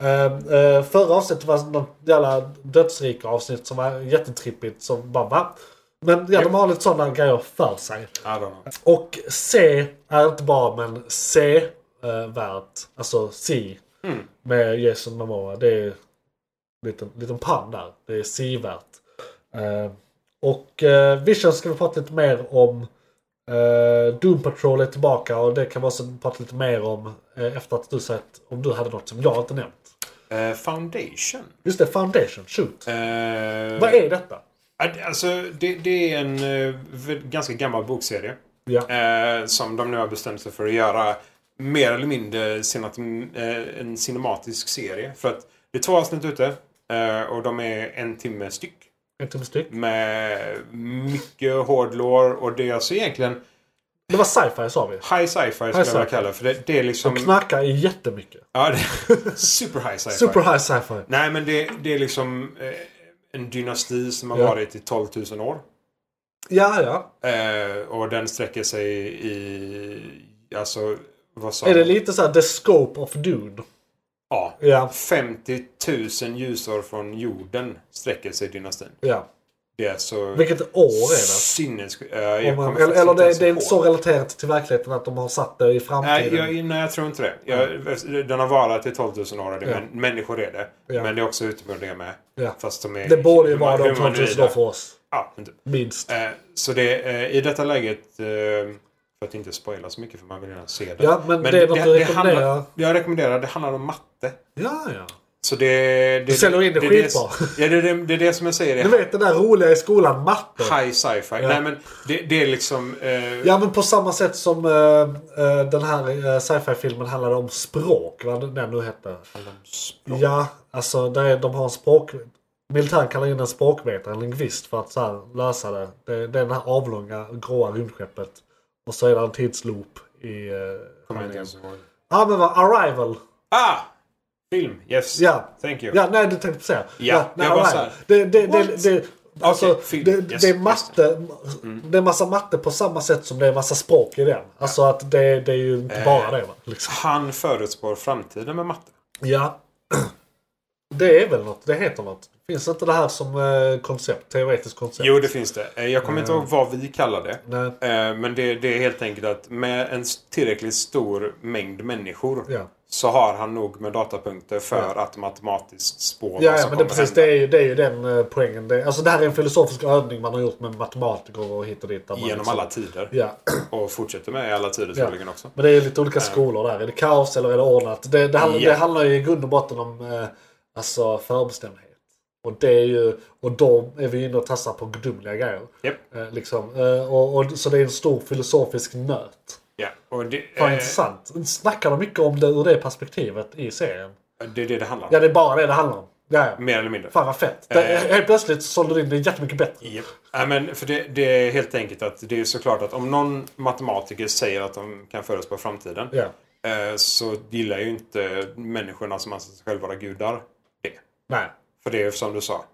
Speaker 3: Eh, eh, förra avsnittet var något jävla dödsrika avsnitt som var jättetrippigt. Som bara va? Men ja, de har lite sådana grejer för sig.
Speaker 4: I don't know.
Speaker 3: Och C är inte bara men C eh, värt. Alltså C. Med Jason Momoa. Det är liten, liten pann där. Det är C-värt. Eh, och eh, Vision ska vi prata lite mer om. Eh, Doom Patrol är tillbaka och det kan vi också prata lite mer om eh, efter att du sett om du hade något som jag inte nämnt.
Speaker 4: Eh, Foundation.
Speaker 3: Just det, Foundation. Shoot.
Speaker 4: Eh,
Speaker 3: Vad är detta?
Speaker 4: det? Alltså, det, det är en eh, v- ganska gammal bokserie.
Speaker 3: Ja.
Speaker 4: Eh, som de nu har bestämt sig för att göra mer eller mindre cinat- eh, en cinematisk serie. För att det är två avsnitt ute eh, och de är en timme styck.
Speaker 3: Ett tum styck.
Speaker 4: Med mycket hård lore och det är alltså egentligen
Speaker 3: Det var sci-fi sa vi.
Speaker 4: high sci-fi skulle jag vilja
Speaker 3: sci-fi.
Speaker 4: kalla det. För det, det är liksom...
Speaker 3: Knackar är jättemycket.
Speaker 4: Ja, det, [laughs] super high sci-fi.
Speaker 3: Super high sci-fi.
Speaker 4: Nej, men det, det är liksom eh, en dynasti som har
Speaker 3: Ja.
Speaker 4: varit i 12 000 år.
Speaker 3: Ja, ja.
Speaker 4: Eh, och den sträcker sig i... Alltså, vad sa
Speaker 3: Är det
Speaker 4: jag?
Speaker 3: lite såhär the scope of dude?
Speaker 4: Ja.
Speaker 3: Ja.
Speaker 4: 50 000 ljusår från jorden sträcker sig dynastin.
Speaker 3: ja.
Speaker 4: Det är så...
Speaker 3: Vilket år är det?
Speaker 4: Sinnessjukt. Eh, jag
Speaker 3: Om man,
Speaker 4: kommer
Speaker 3: eller
Speaker 4: faktiskt
Speaker 3: eller det,
Speaker 4: ens
Speaker 3: det är inte så
Speaker 4: ihåg.
Speaker 3: relaterat till verkligheten att de har satt det i
Speaker 4: Nej
Speaker 3: framtiden.
Speaker 4: jag, nej, jag tror inte det. Jag, den har varit i 12 000 år och det,
Speaker 3: Mm. Ja.
Speaker 4: men, människor är det.
Speaker 3: Ja.
Speaker 4: Men det är också utomjordingar med.
Speaker 3: Ja.
Speaker 4: Fast de är
Speaker 3: det borde ju
Speaker 4: huma-
Speaker 3: vara de
Speaker 4: humanoida.
Speaker 3: 2000 år för oss.
Speaker 4: Ja, men typ.
Speaker 3: Minst.
Speaker 4: Eh, så det, eh, i detta läget, eh, för att inte spoila så mycket för man vill gärna se det.
Speaker 3: Ja, men det är något du rekommenderar.
Speaker 4: handlar, Jag rekommenderar, det handlar om matte.
Speaker 3: Ja, ja.
Speaker 4: Så det, det, du
Speaker 3: säljer in det
Speaker 4: är
Speaker 3: skitbra.
Speaker 4: Det, ja, det, det, det är det som jag
Speaker 3: [laughs]
Speaker 4: säger. Det
Speaker 3: Du
Speaker 4: är
Speaker 3: vet det där roliga i skolan, matte.
Speaker 4: high sci-fi. Nej, men det, det är liksom... Eh,
Speaker 3: Ja men på samma sätt som eh, eh, den här eh, sci-fi filmen handlade om språk. Vad den nu hette. Ja, alltså där är, de har en språk... Militären kallar in en språkvetare, en lingvist för att så här, lösa det. det. Det är det här avlånga gråa rymdskeppet. Och så är det en tidsloop i... Eh,
Speaker 4: kommer jag inte ens ihåg.
Speaker 3: ja men vad, Arrival.
Speaker 4: Ah! Film. Yes.
Speaker 3: Ja.
Speaker 4: Thank you.
Speaker 3: Ja, nej du tänkte säga.
Speaker 4: Ja,
Speaker 3: nej,
Speaker 4: jag bara
Speaker 3: Arrival.
Speaker 4: så här,
Speaker 3: Det, det,
Speaker 4: what?
Speaker 3: det, det, alltså,
Speaker 4: Okej, film.
Speaker 3: det,
Speaker 4: Yes, Mm.
Speaker 3: det är
Speaker 4: just
Speaker 3: matte. Det är massa matte på samma sätt som det är massa språk i den. Alltså att det, det är ju
Speaker 4: Eh.
Speaker 3: inte bara det va. Liksom.
Speaker 4: Han förutspår framtiden med matte.
Speaker 3: Ja. [clears throat] Det är väl något. Det heter något. Finns inte det här som eh, koncept? Teoretiskt koncept?
Speaker 4: Jo, det finns det. Eh, Jag kommer inte ihåg vad vi kallar det.
Speaker 3: Nej.
Speaker 4: Eh, Men det, det är helt enkelt att med en s- tillräckligt stor mängd människor
Speaker 3: Ja.
Speaker 4: så har han nog med datapunkter för att matematiskt spå vad
Speaker 3: Ja, ja
Speaker 4: som
Speaker 3: men det, är
Speaker 4: kommer
Speaker 3: precis,
Speaker 4: hända.
Speaker 3: det, är ju, det är ju den eh, poängen. Det, alltså det här är en filosofisk övning man har gjort med matematiker och hit och dit. där man
Speaker 4: Genom
Speaker 3: liksom-
Speaker 4: alla tider.
Speaker 3: Ja.
Speaker 4: Och fortsätter med i alla tider
Speaker 3: Ja.
Speaker 4: troligen också. Eh.
Speaker 3: Men det är ju lite olika skolor där. Är det kaos eller är det ordnat? Det, det, handlar,
Speaker 4: Ja.
Speaker 3: det handlar ju i grund och botten om eh, alltså förbestämdhet. Och, det är ju, och då är vi inne och tassar på gudomliga grejer.
Speaker 4: Japp.
Speaker 3: Eh, liksom. eh, och, och, så det är en stor filosofisk nöt.
Speaker 4: Ja. Och det,
Speaker 3: Fan
Speaker 4: eh,
Speaker 3: intressant. Snackar de mycket om det ur det perspektivet i serien?
Speaker 4: det är det det handlar om.
Speaker 3: Ja, det är bara det det handlar om. Ja, ja.
Speaker 4: Mer eller mindre.
Speaker 3: Fan vad fett. Det,
Speaker 4: Eh.
Speaker 3: helt plötsligt sålde du in det jättemycket bättre.
Speaker 4: Japp. Ja, men för det, det är helt enkelt att det är såklart att om någon matematiker säger att de kan förutspå framtiden
Speaker 3: Ja.
Speaker 4: eh, så gillar ju inte människorna som anser sig själva vara gudar det.
Speaker 3: Nej,
Speaker 4: För det är ju som du sa.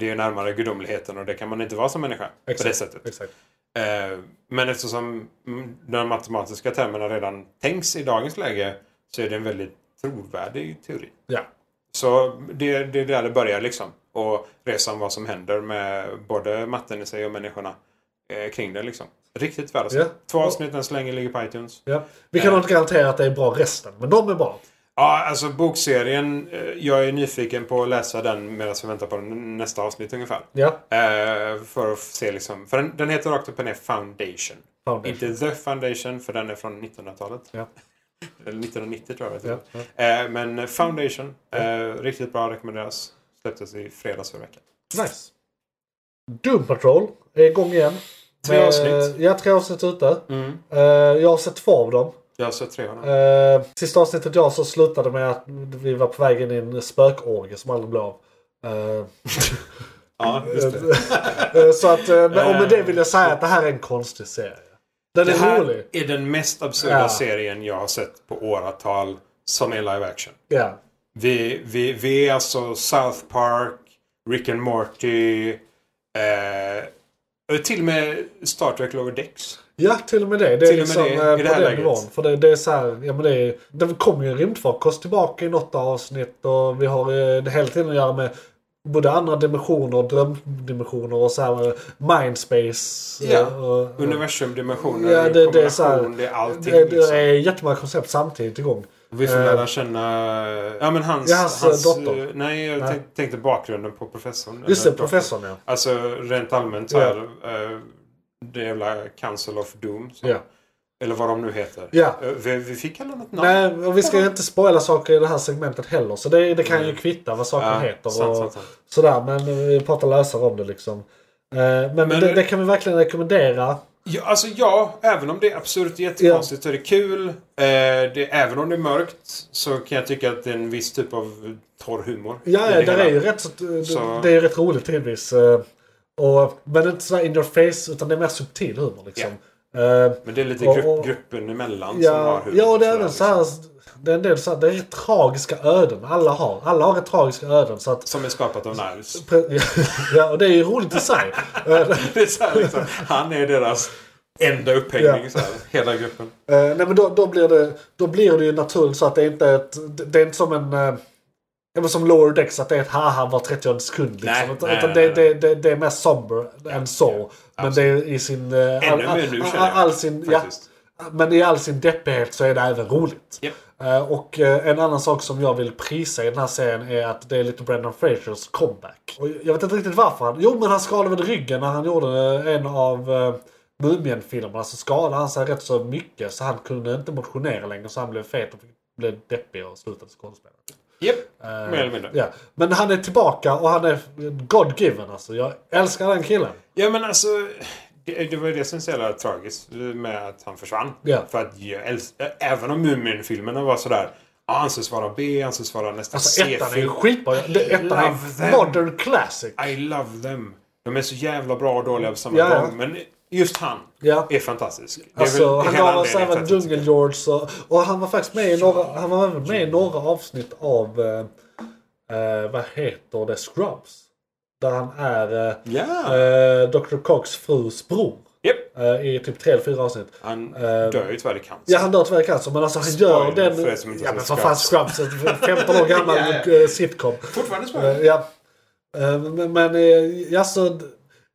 Speaker 4: Det är närmare gudomligheten och det kan man inte vara som människa på det sättet.
Speaker 3: exakt.
Speaker 4: Eh, Men eftersom mm, de matematiska termerna redan tänks i dagens läge så är det en väldigt trovärdig teori.
Speaker 3: Ja.
Speaker 4: Så det, det är där det börjar liksom. Och resan vad som händer med både matten i sig och människorna eh, kring det liksom. Riktigt värdelöst.
Speaker 3: Ja.
Speaker 4: Två avsnitt än så länge ligger på iTunes.
Speaker 3: ja.
Speaker 4: Eh.
Speaker 3: Vi kan nog inte garantera att det är bra resten, men de är bra.
Speaker 4: Ja, alltså bokserien. eh, Jag är nyfiken på att läsa den medan jag väntar på den nästa avsnitt ungefär.
Speaker 3: Ja.
Speaker 4: Eh, för att se liksom. För den, den heter rakt upp och ner Foundation.
Speaker 3: Foundation.
Speaker 4: Inte The Foundation för den är från 1900-talet.
Speaker 3: Ja.
Speaker 4: [laughs] Eller 1990 tror jag.
Speaker 3: Ja,
Speaker 4: det var. Eh, men Foundation. Eh, riktigt bra rekommenderas. Släpptes i fredags förra veckan.
Speaker 3: Nice. Doom Patrol är igång igen.
Speaker 4: Tre
Speaker 3: Med-
Speaker 4: avsnitt. Mm.
Speaker 3: Ja, tre avsnitt ute. Eh, jag har sett två av dem.
Speaker 4: Jag har sett tre av dem.
Speaker 3: Eh, sista avsnittet jag så slutade med att vi var på väg in i en spökorgie som aldrig blev av. Eh,
Speaker 4: Ja, just det.
Speaker 3: eh, så att, eh, men- och med det vill jag säga att det här är en konstig serie. Den
Speaker 4: Det
Speaker 3: är
Speaker 4: här
Speaker 3: rolig.
Speaker 4: är den mest absurda
Speaker 3: Ja.
Speaker 4: serien jag har sett på åratal som är live action.
Speaker 3: Ja.
Speaker 4: Vi, vi, vi är alltså South Park, Rick and Morty, eh, och till och med Star Trek Lower Decks.
Speaker 3: Ja, till och med det. Det
Speaker 4: Till
Speaker 3: är
Speaker 4: och med
Speaker 3: liksom
Speaker 4: det,
Speaker 3: eh,
Speaker 4: i
Speaker 3: på
Speaker 4: det här
Speaker 3: den
Speaker 4: läget.
Speaker 3: nivån. För det, det är så här, ja men det är, det kommer ju en rymdfarkost tillbaka i något avsnitt och vi har eh, det hela tiden att göra med både andra dimensioner, drömdimensioner och så här eh, mindspace. eh,
Speaker 4: Ja.
Speaker 3: och- och-
Speaker 4: Universum, dimensioner,
Speaker 3: Ja, det, det är så här,
Speaker 4: kombination, det är allting.
Speaker 3: det, det
Speaker 4: liksom.
Speaker 3: är jättemånga koncept samtidigt igång.
Speaker 4: Vi får
Speaker 3: eh,
Speaker 4: lära känna... Ja, men hans...
Speaker 3: Ja, hans, eh, dotter.
Speaker 4: eh, Nej, jag
Speaker 3: Nej.
Speaker 4: tänk- tänkte bakgrunden på professorn.
Speaker 3: Just
Speaker 4: Eller
Speaker 3: det,
Speaker 4: doktorn.
Speaker 3: professorn ja.
Speaker 4: Alltså rent allmänt så
Speaker 3: Ja.
Speaker 4: här. eh, det jävla Council of Doom. Så.
Speaker 3: Ja.
Speaker 4: Eller vad de nu heter.
Speaker 3: Ja.
Speaker 4: Eh, Vi, vi fick alla något namn.
Speaker 3: Nej, och vi ska ju inte spoila saker i det här segmentet heller. Så det, det kan ju kvitta vad saker
Speaker 4: Ja,
Speaker 3: heter.
Speaker 4: sant,
Speaker 3: och
Speaker 4: sant, sant.
Speaker 3: Sådär, men vi pratar lösare om det liksom. Eh, Men,
Speaker 4: Men-
Speaker 3: det, det kan vi verkligen rekommendera.
Speaker 4: Ja, alltså ja, även om det är absurt jättekonstigt så är det kul. Eh, det, även om det är mörkt så kan jag tycka att det är en viss typ av torr humor.
Speaker 3: Ja,
Speaker 4: i
Speaker 3: ja
Speaker 4: det
Speaker 3: det
Speaker 4: hela.
Speaker 3: är ju rätt, så, det,
Speaker 4: Så-
Speaker 3: det är ju rätt roligt tidvis. eh, Och, men inte sådär in your face, utan det är mer subtil humor liksom. Eh,
Speaker 4: Men det är lite
Speaker 3: Och-
Speaker 4: grupp,
Speaker 3: och-
Speaker 4: gruppen emellan som har
Speaker 3: Ja,
Speaker 4: humor.
Speaker 3: ja och det är
Speaker 4: sådär, liksom.
Speaker 3: även så här, det är en del så här, det är tragiska öden alla har. Alla har rätt tragiska öden. Så att, [laughs]
Speaker 4: Som är skapat av Niles. [laughs]
Speaker 3: pre- ja, och det är ju roligt i sig. Eh,
Speaker 4: Det är så här, liksom, han är deras enda upphängning.
Speaker 3: Ja.
Speaker 4: Så här, hela gruppen.
Speaker 3: Eh, nej men då, då, blir det, då blir det ju naturligt så att det inte är ett, det, det är inte som en... Eh, ja, men som Lower Decks att det är ett haha var 30 sekund liksom.
Speaker 4: Nej,
Speaker 3: utan
Speaker 4: nej,
Speaker 3: utan
Speaker 4: nej,
Speaker 3: det, det, det, det är mer somber än så. men det är i sin... Eh, all,
Speaker 4: Ännu mer nu,
Speaker 3: all,
Speaker 4: känner jag,
Speaker 3: all sin, ja,
Speaker 4: faktiskt.
Speaker 3: Men i all sin deppighet så är det även roligt.
Speaker 4: Japp.
Speaker 3: Eh, och eh, en annan sak som jag vill prisa i den här serien är att det är lite Brendan Frasers comeback. Och jag vet inte riktigt varför han... Jo men han skalade väl ryggen när han gjorde eh, en av eh, Mumien-filmerna. Så skalade han sig rätt så mycket så han kunde inte motionera längre så han blev fet och blev deppig och slutade skådespela.
Speaker 4: Japp, mer eller mindre.
Speaker 3: Ja. Men han är tillbaka och han är God-given alltså. Jag älskar den killen.
Speaker 4: Ja men alltså. Det, det var ju det som är så jävla tragiskt med att han försvann.
Speaker 3: Ja.
Speaker 4: För att jag älsk, även om Mumin-filmerna var sådär. Ja, anses vara B, anses vara nästan
Speaker 3: Alltså ettan är ju
Speaker 4: C-film.
Speaker 3: skitbra. Det- Ettan är
Speaker 4: Love them.
Speaker 3: en modern classic.
Speaker 4: I love them. De är så jävla bra och dåliga på samma
Speaker 3: Ja, ja.
Speaker 4: gång. Men just han
Speaker 3: Ja.
Speaker 4: är fantastisk. Det är
Speaker 3: Alltså,
Speaker 4: väl
Speaker 3: han
Speaker 4: hela
Speaker 3: gav oss
Speaker 4: anledningen
Speaker 3: även
Speaker 4: till att-
Speaker 3: Jungle George och, och han var faktiskt med i några, han var även med i några avsnitt av, eh, eh, vad heter det, Scrubs. Där han är eh,
Speaker 4: Ja!
Speaker 3: eh, Dr. Cox frus bror.
Speaker 4: Japp.
Speaker 3: Eh, I typ tre eller fyra avsnitt.
Speaker 4: Han
Speaker 3: Eh,
Speaker 4: dör ju tyvärr i cancer.
Speaker 3: Ja han dör tyvärr i cancer men alltså han gör
Speaker 4: Spoiler
Speaker 3: den...
Speaker 4: för er som inte
Speaker 3: Ja
Speaker 4: har
Speaker 3: men
Speaker 4: sett
Speaker 3: för fan Scrubs, en 15 år gammal
Speaker 4: [laughs] Ja.
Speaker 3: eh, sitcom.
Speaker 4: Fortfarande smart.
Speaker 3: Eh, Ja. Eh, Men, men eh, alltså... d-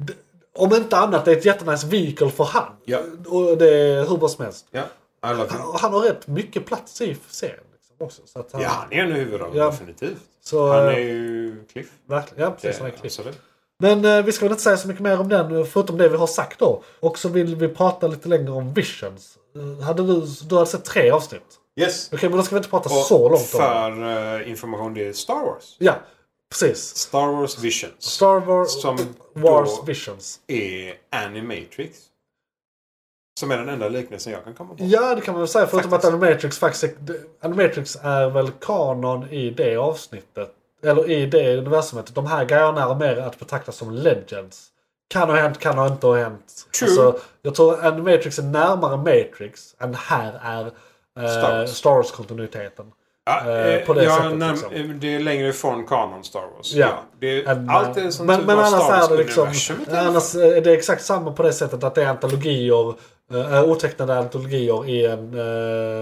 Speaker 3: d- Om inte annat, det är ett jättenice vehicle för han.
Speaker 4: Ja.
Speaker 3: Och det är hur bra som helst.
Speaker 4: Ja, I love him.
Speaker 3: Han, han har rätt mycket plats i serien. Liksom också, så att han,
Speaker 4: Ja, han är en huvudroll.
Speaker 3: Ja.
Speaker 4: Definitivt.
Speaker 3: Så,
Speaker 4: han är
Speaker 3: eh,
Speaker 4: ju Cliff.
Speaker 3: Verkligen, ja, precis. som
Speaker 4: Det-
Speaker 3: en klipp.
Speaker 4: absolut.
Speaker 3: Men eh, vi ska väl inte säga så mycket mer om den, eh, förutom det vi har sagt då. Och så vill vi prata lite längre om Visions. Eh, Hade du, du hade sett tre avsnitt? Okej,
Speaker 4: Yes.
Speaker 3: men då ska vi inte prata
Speaker 4: Och
Speaker 3: så långt om det.
Speaker 4: för eh, information, det är Star Wars.
Speaker 3: Ja, precis.
Speaker 4: Star Wars Visions
Speaker 3: Star Wars,
Speaker 4: Som
Speaker 3: Wars
Speaker 4: då-
Speaker 3: Visions.
Speaker 4: är Animatrix. Som är den enda liknelsen jag kan komma på.
Speaker 3: Ja, det kan man väl säga. Förutom
Speaker 4: Faktiskt.
Speaker 3: att Animatrix faktiskt... Animatrix är väl kanon i det avsnittet. Eller i det universumet. De här grejerna är mer att betrakta som legends. Kan ha hänt, kan ha inte ha hänt. Alltså,
Speaker 4: True.
Speaker 3: jag tror Animatrix är närmare Matrix än här är
Speaker 4: Star
Speaker 3: eh,
Speaker 4: Wars.
Speaker 3: Star Wars-kontinuiteten.
Speaker 4: Ja,
Speaker 3: eh,
Speaker 4: eh,
Speaker 3: på det
Speaker 4: ja,
Speaker 3: sättet,
Speaker 4: när-
Speaker 3: liksom.
Speaker 4: eh, Det är längre ifrån kanon Star Wars.
Speaker 3: Ja.
Speaker 4: Det,
Speaker 3: Än,
Speaker 4: allt
Speaker 3: eh,
Speaker 4: är som typ
Speaker 3: men,
Speaker 4: tur
Speaker 3: men
Speaker 4: var
Speaker 3: annars
Speaker 4: Star
Speaker 3: är det liksom...
Speaker 4: Wars-universumet.
Speaker 3: Annars är det exakt samma på det sättet att det är antologier. eh, otecknade antologier i en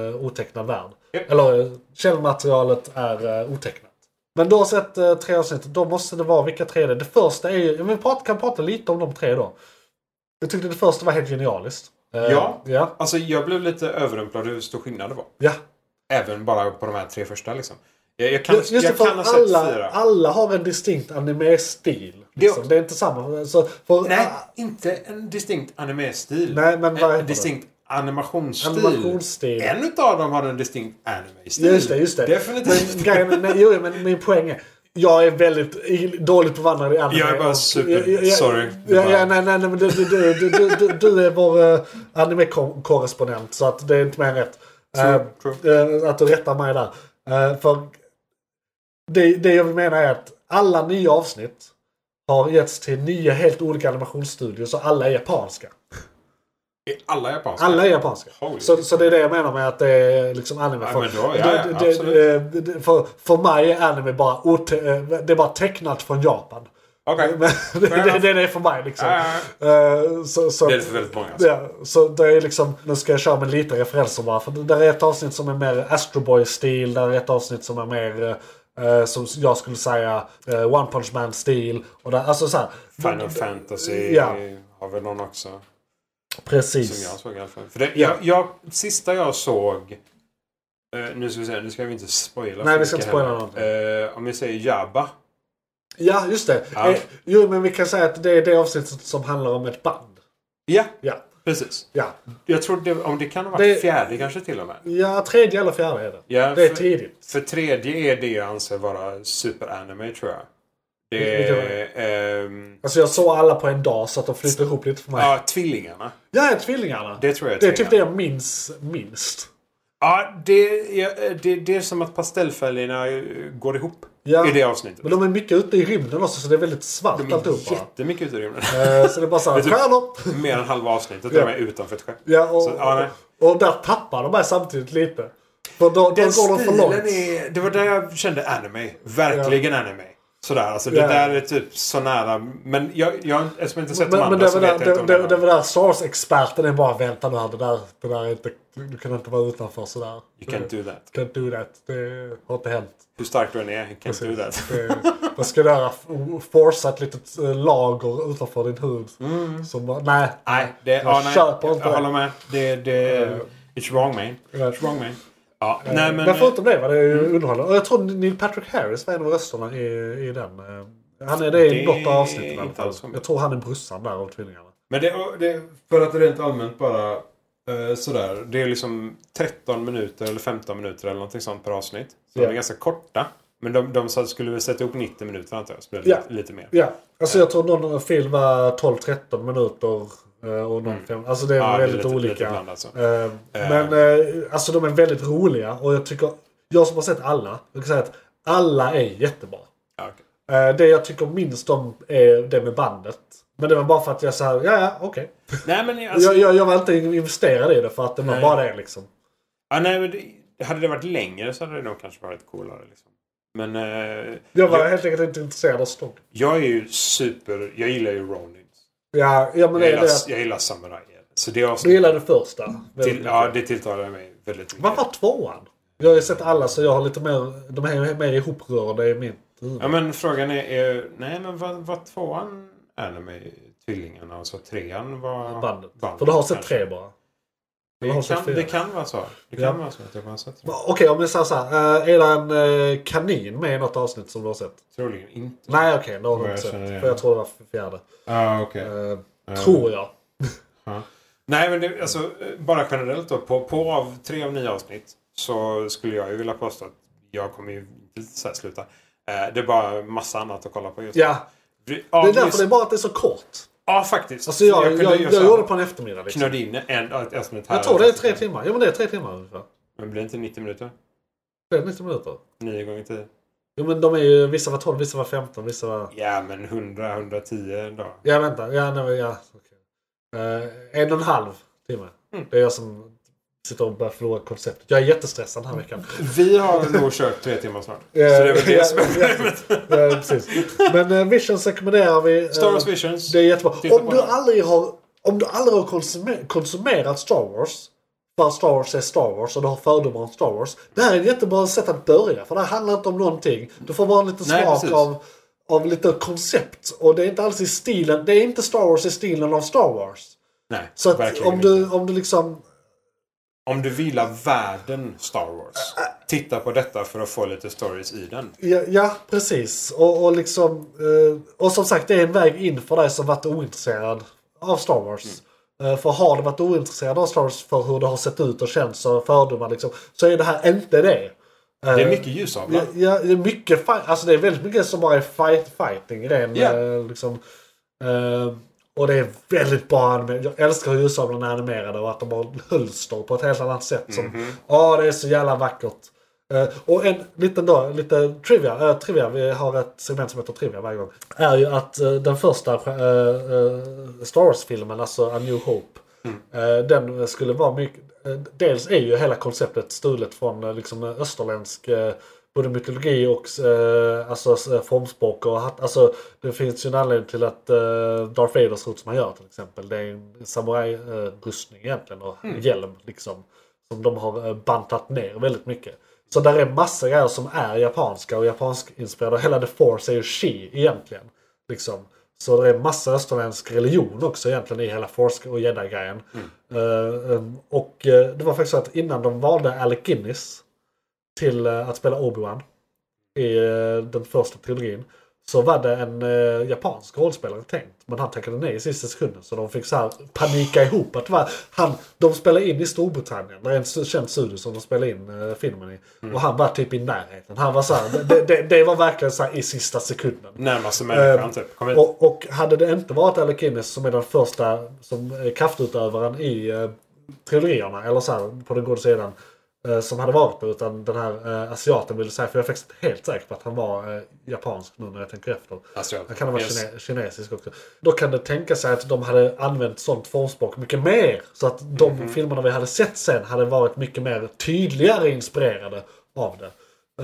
Speaker 3: eh, otecknad värld.
Speaker 4: Japp.
Speaker 3: Eller eh, källmaterialet är eh, otecknat. Men du har sett eh, tre avsnitt. Då måste det vara vilka tre det är. Det första är ju... ja, Vi prat, kan prata lite om de tre då. Jag tyckte det första var helt genialiskt. Eh,
Speaker 4: Ja.
Speaker 3: Ja.
Speaker 4: Alltså jag blev lite överrumplad hur stor skillnad det var.
Speaker 3: ja.
Speaker 4: Även bara på de här tre första liksom. Jag, jag kan,
Speaker 3: Just det,
Speaker 4: jag
Speaker 3: för
Speaker 4: kan ha sett
Speaker 3: alla,
Speaker 4: fyra.
Speaker 3: alla har en distinkt anime-stil. Liksom.
Speaker 4: också.
Speaker 3: Det är inte samma. Så, för,
Speaker 4: Nej, inte en distinkt anime-stil.
Speaker 3: Nej, men vad
Speaker 4: en,
Speaker 3: heter
Speaker 4: en distinkt animationsstil.
Speaker 3: Animationsstil.
Speaker 4: En utav dem har en distinkt anime-stil.
Speaker 3: Just det, just det.
Speaker 4: Definitivt.
Speaker 3: Men, grejen, nej, jo, men min poäng är. Jag är väldigt i- dåligt bevandrad i anime.
Speaker 4: Jag är bara
Speaker 3: och-
Speaker 4: super-
Speaker 3: jag- jag-
Speaker 4: sorry.
Speaker 3: Ja, ja, nej, nej, nej, men du, du, du, du, du, du, du är vår eh, anime-korrespondent. Så att det är inte mer än rätt.
Speaker 4: True,
Speaker 3: Eh, eh, att du rättar mig där. Eh, för det, det jag menar är att alla nya avsnitt har getts till nio helt olika animationsstudior. Så alla är japanska.
Speaker 4: Är Alla japanska.
Speaker 3: Alla är japanska.
Speaker 4: Holy
Speaker 3: Så, så det är det jag menar med att det är liksom anime.
Speaker 4: Ja,
Speaker 3: För-
Speaker 4: men då- ja,
Speaker 3: det-
Speaker 4: ja,
Speaker 3: det-
Speaker 4: absolut.
Speaker 3: det- det- för, för mig är anime bara, ote- eh, det är bara tecknat från Japan.
Speaker 4: Okej.
Speaker 3: [laughs] Men det,
Speaker 4: Fair
Speaker 3: det,
Speaker 4: enough.
Speaker 3: det är det för mig liksom.
Speaker 4: Ja,
Speaker 3: Eh, Så, så,
Speaker 4: Det är det för väldigt många. Alltså.
Speaker 3: Ja, så det är liksom, nu ska jag köra med lite referenser bara. För det där är ett avsnitt som är mer Astroboy-stil, där är ett avsnitt som är mer, eh, som jag skulle säga, eh, One Punch Man-stil. Och där, alltså så här,
Speaker 4: Final Fantasy
Speaker 3: Ja.
Speaker 4: har väl någon också. Som
Speaker 3: precis.
Speaker 4: jag såg i alla fall. För det,
Speaker 3: Ja.
Speaker 4: jag, jag, sista jag såg... eh, nu ska vi se, nu ska vi inte spoila.
Speaker 3: Nej,
Speaker 4: för
Speaker 3: vi ska
Speaker 4: mycket
Speaker 3: inte spoila
Speaker 4: heller. Eh, om vi säger Jabba.
Speaker 3: Ja, just det.
Speaker 4: Ja.
Speaker 3: Eh, jo, men vi kan säga att det är det avsnittet som handlar om ett band.
Speaker 4: Ja,
Speaker 3: Ja,
Speaker 4: precis.
Speaker 3: ja.
Speaker 4: Jag tror det, om det kan vara
Speaker 3: Det-
Speaker 4: fjärde kanske till och med.
Speaker 3: ja tredje eller fjärde är det.
Speaker 4: Ja,
Speaker 3: det är
Speaker 4: för-
Speaker 3: tidigt.
Speaker 4: För tredje är det jag anser vara superanime tror jag. Det är, ehm,
Speaker 3: Alltså jag såg alla på en dag så att de flyter ihop lite för mig.
Speaker 4: ja, Tvillingarna.
Speaker 3: Ja, tvillingarna.
Speaker 4: Det tror jag är
Speaker 3: Det är typ det
Speaker 4: tvillingarna.
Speaker 3: jag minns minst.
Speaker 4: Ja, det, ja, det, det är som att pastellfärgerna eh, går ihop
Speaker 3: Ja.
Speaker 4: i det avsnittet.
Speaker 3: Men de är mycket ute i rymden också så det är väldigt svart
Speaker 4: De är
Speaker 3: alltihopa.
Speaker 4: jättemycket ute i rymden.
Speaker 3: Eh, Så det är bara såhär,
Speaker 4: Vet du- [laughs]
Speaker 3: stjärnor!
Speaker 4: Mer än halva avsnittet
Speaker 3: Ja.
Speaker 4: är de utanför ett skepp.
Speaker 3: Ja, och,
Speaker 4: typ- Så, ja, nej.
Speaker 3: och där tappar de mig samtidigt lite. För då, då
Speaker 4: Den
Speaker 3: går de för
Speaker 4: stilen
Speaker 3: långt.
Speaker 4: är... Det var där jag kände anime. Verkligen anime. Sådär, alltså det
Speaker 3: Ja.
Speaker 4: där är typ så nära. Men jag, jag, eftersom jag inte sett de
Speaker 3: Men,
Speaker 4: andra
Speaker 3: men det
Speaker 4: så
Speaker 3: var
Speaker 4: alltså, vet
Speaker 3: där,
Speaker 4: jag inte
Speaker 3: det,
Speaker 4: om
Speaker 3: det, det
Speaker 4: det,
Speaker 3: var där Sars-experten är bara vänta nu här, det där, det där är inte, du kan inte vara utanför sådär.
Speaker 4: You can't do that.
Speaker 3: Can't do that. Det har inte hänt.
Speaker 4: Hur stark du än är, you can't do that.
Speaker 3: Det, vad ska du göra? F- Forsa ett litet eh, lager utanför din hud. Som bara, nej.
Speaker 4: Nej, det,
Speaker 3: jag
Speaker 4: ja, nej,
Speaker 3: köper
Speaker 4: jag,
Speaker 3: inte det.
Speaker 4: håller med. Det, det, it's wrong man.
Speaker 3: Ja. Eh,
Speaker 4: It's wrong man. Ja, nej men... mm.
Speaker 3: Men förutom det var det ju underhållande. Och jag tror Neil Patrick Harris var en av rösterna i, i den. eh, Han är det
Speaker 4: Det
Speaker 3: i något
Speaker 4: är
Speaker 3: avsnitt i alla
Speaker 4: inte
Speaker 3: fall.
Speaker 4: alls omöjligt.
Speaker 3: Jag tror han är brorsan där av tvillingarna.
Speaker 4: Men det, det, för att rent allmänt bara eh, sådär. Det är liksom 13 minuter eller 15 minuter eller någonting sånt per avsnitt. Så
Speaker 3: Ja.
Speaker 4: de är ganska korta. Men de, de sa- skulle väl sätta ihop 90 minuter antar jag. Så blir det
Speaker 3: Ja.
Speaker 4: lite, lite mer.
Speaker 3: Ja, alltså jag tror någon film var 12-13 minuter. eh, Och någon film. Alltså det är
Speaker 4: Mm. Ja, det är
Speaker 3: väldigt
Speaker 4: lite- lite
Speaker 3: olika.
Speaker 4: blandat alltså. så.
Speaker 3: Eh, Men eh, alltså de är väldigt roliga och jag tycker, jag som har sett alla, jag kan säga att alla är jättebra.
Speaker 4: Ja, okej.
Speaker 3: Eh, Det jag tycker minst om är det med bandet. Men det var bara för att jag sa, ja ja okej.
Speaker 4: Nej men alltså,
Speaker 3: jag, jag, jag var inte investerad i det för att det var
Speaker 4: Nej.
Speaker 3: bara det liksom.
Speaker 4: ja, nej, men det, hade det varit längre så hade det nog kanske varit coolare. Liksom. Men eh,
Speaker 3: Jag var
Speaker 4: jag,
Speaker 3: helt enkelt inte intresserad av story. jag
Speaker 4: jag är ju super... Jag gillar ju Ronins.
Speaker 3: Ja, ja
Speaker 4: Jag
Speaker 3: men det är
Speaker 4: gillar,
Speaker 3: det.
Speaker 4: jag gillar samurajer. Så det
Speaker 3: Du
Speaker 4: avsnittet...
Speaker 3: gillade det första. väldigt
Speaker 4: Till, ja,
Speaker 3: mycket.
Speaker 4: det tilltalar mig väldigt mycket.
Speaker 3: Vad var tvåan? Jag har ju sett alla så jag har lite mer, de är ju mer ihoprörda i mitt huvud.
Speaker 4: Ja men frågan är, är nej men vad, vad tvåan är det med tvillingarna och så trean var
Speaker 3: Bandet. För du har sett
Speaker 4: kanske.
Speaker 3: tre bara. du har
Speaker 4: Det
Speaker 3: sett
Speaker 4: kan,
Speaker 3: fyra.
Speaker 4: det kan vara så. Det kan
Speaker 3: Ja.
Speaker 4: vara så att jag bara har sett tre.
Speaker 3: Va- Okej om jag säger såhär, eh, är det en eh, kanin med i något avsnitt som du har sett?
Speaker 4: Troligen inte.
Speaker 3: Nej okej, det har
Speaker 4: Vad
Speaker 3: du
Speaker 4: jag
Speaker 3: inte sett.
Speaker 4: känner igen.
Speaker 3: För jag tror det var fjärde.
Speaker 4: Ah, okej.
Speaker 3: Eh,
Speaker 4: Ja.
Speaker 3: Tror jag.
Speaker 4: Ja. Nej men det, alltså eh, bara generellt då. På, på av tre av nio avsnitt så skulle jag ju vilja påstå att jag kommer ju inte så här sluta. Eh, Det är bara massa annat att kolla på just nu.
Speaker 3: Ja.
Speaker 4: Vi-
Speaker 3: Det
Speaker 4: Ja,
Speaker 3: är därför
Speaker 4: just-
Speaker 3: det är bara att det är så kort.
Speaker 4: ja faktiskt.
Speaker 3: Alltså jag, jag,
Speaker 4: kunde
Speaker 3: jag,
Speaker 4: ju så här
Speaker 3: gjorde det på en eftermiddag liksom.
Speaker 4: Knöd in en, ett avsnitt här.
Speaker 3: Jag tror det är tre timmar. Ja men det är tre timmar ungefär.
Speaker 4: Men blir det inte 90 minuter?
Speaker 3: Det är 90 minuter.
Speaker 4: 9 gånger 10.
Speaker 3: Jo men de är ju, vissa var 12, vissa var 15, vissa var...
Speaker 4: Ja, men 100-110 då.
Speaker 3: Ja, vänta. Ja, nej, men ja. okej. Eh, en och en halv timme.
Speaker 4: Mm.
Speaker 3: Det är jag som sitter och börjar förlora konceptet. Jag är jättestressad den här veckan.
Speaker 4: Vi har nog kört tre timmar snart. Så
Speaker 3: Eh,
Speaker 4: det är väl
Speaker 3: ja,
Speaker 4: det som är
Speaker 3: ja,
Speaker 4: problemet.
Speaker 3: ja, precis. Men eh, Visions rekommenderar vi. eh,
Speaker 4: Star Wars Visions.
Speaker 3: Det är jättebra.
Speaker 4: Titta
Speaker 3: Om
Speaker 4: på
Speaker 3: du,
Speaker 4: den.
Speaker 3: aldrig har, om du aldrig har konsume- konsumerat Star Wars. För att Star Wars är Star Wars och du har fördomar om Star Wars. Det här är ett jättebra sätt att börja. För det här handlar inte om någonting. Du får bara en liten
Speaker 4: Nej,
Speaker 3: smak
Speaker 4: precis.
Speaker 3: av, av lite koncept. Och det är inte alls i stilen. Det är inte Star Wars i stilen av Star Wars.
Speaker 4: Nej,
Speaker 3: Så att
Speaker 4: verkligen
Speaker 3: om du,
Speaker 4: inte.
Speaker 3: om du liksom...
Speaker 4: Om du vill ha världen Star Wars. Titta på detta för att få lite stories i den.
Speaker 3: Ja, ja precis. Och, och liksom... eh, Och som sagt, det är en väg in för dig som varit ointresserad av Star Wars.
Speaker 4: Mm.
Speaker 3: Eh, För har du varit ointresserad av Star Wars för hur det har sett ut och känts och fördomar liksom, så är det här inte det.
Speaker 4: Det är mycket ljusavlar.
Speaker 3: Ja, ja, det är mycket fight, alltså det är väldigt mycket som bara är fight, fighting i den.
Speaker 4: Ja.
Speaker 3: eh, Liksom, Eh, och det är väldigt bra animerat. Jag älskar hur ljusavlarna är animerade och att de har hölster på ett helt annat sätt. Som, Ja, det är så jävla vackert. Eh, och en liten då, lite trivia, eh, trivia, vi har ett segment som heter trivia varje gång. Är ju att eh, den första eh, eh, Star Wars-filmen, alltså A New Hope. eh, den skulle vara mycket, eh, dels är ju hela konceptet stulet från eh, liksom österländsk eh, både mytologi och eh, alltså, s- formspråk. Och, hat- alltså, det finns ju en anledning till att eh, Darth Vader ser ut som han gör till exempel. Det är en samurajrustning egentligen och hjälm liksom. Som de har eh, bantat ner väldigt mycket. Så där är massa grejer som är japanska och japansk-inspirerade. Hela The Force är ju Shi egentligen. Liksom. Så det är massa österländsk religion också egentligen i hela Force och jedi-grejen. Eh, eh, och eh, det var faktiskt så att innan de valde Alec Guinness till eh, att spela Obi-Wan i eh, den första trilogin. Så var det en eh, japansk rollspelare tänkt. Men han tackade nej i sista sekunden. Så de fick så här panika ihop. Att det var, han, de spelade in i Storbritannien. Det är en s- känd studio som de spelade in eh, filmen i. Och han var typ i närheten. Han var så här, det, det, det var verkligen så här i sista sekunden.
Speaker 4: Närmaste människan
Speaker 3: Ehm,
Speaker 4: typ. Kom hit.
Speaker 3: Och, och hade det inte varit Alec Guinness som är den första som är kraftutövaren i eh, trilogierna, eller så här, på den goda sidan, eh, som hade varit det, utan den här eh, asiaten ville säga, för jag är faktiskt helt säker på att han var eh, japansk nu när jag tänker efter.
Speaker 4: Asiat,
Speaker 3: Han kan ha varit
Speaker 4: yes.
Speaker 3: kine- kinesisk också. Då kan det tänka sig att de hade använt sånt formspråk mycket mer. Så att de
Speaker 4: Mhm.
Speaker 3: filmerna vi hade sett sen hade varit mycket mer tydligare inspirerade av det.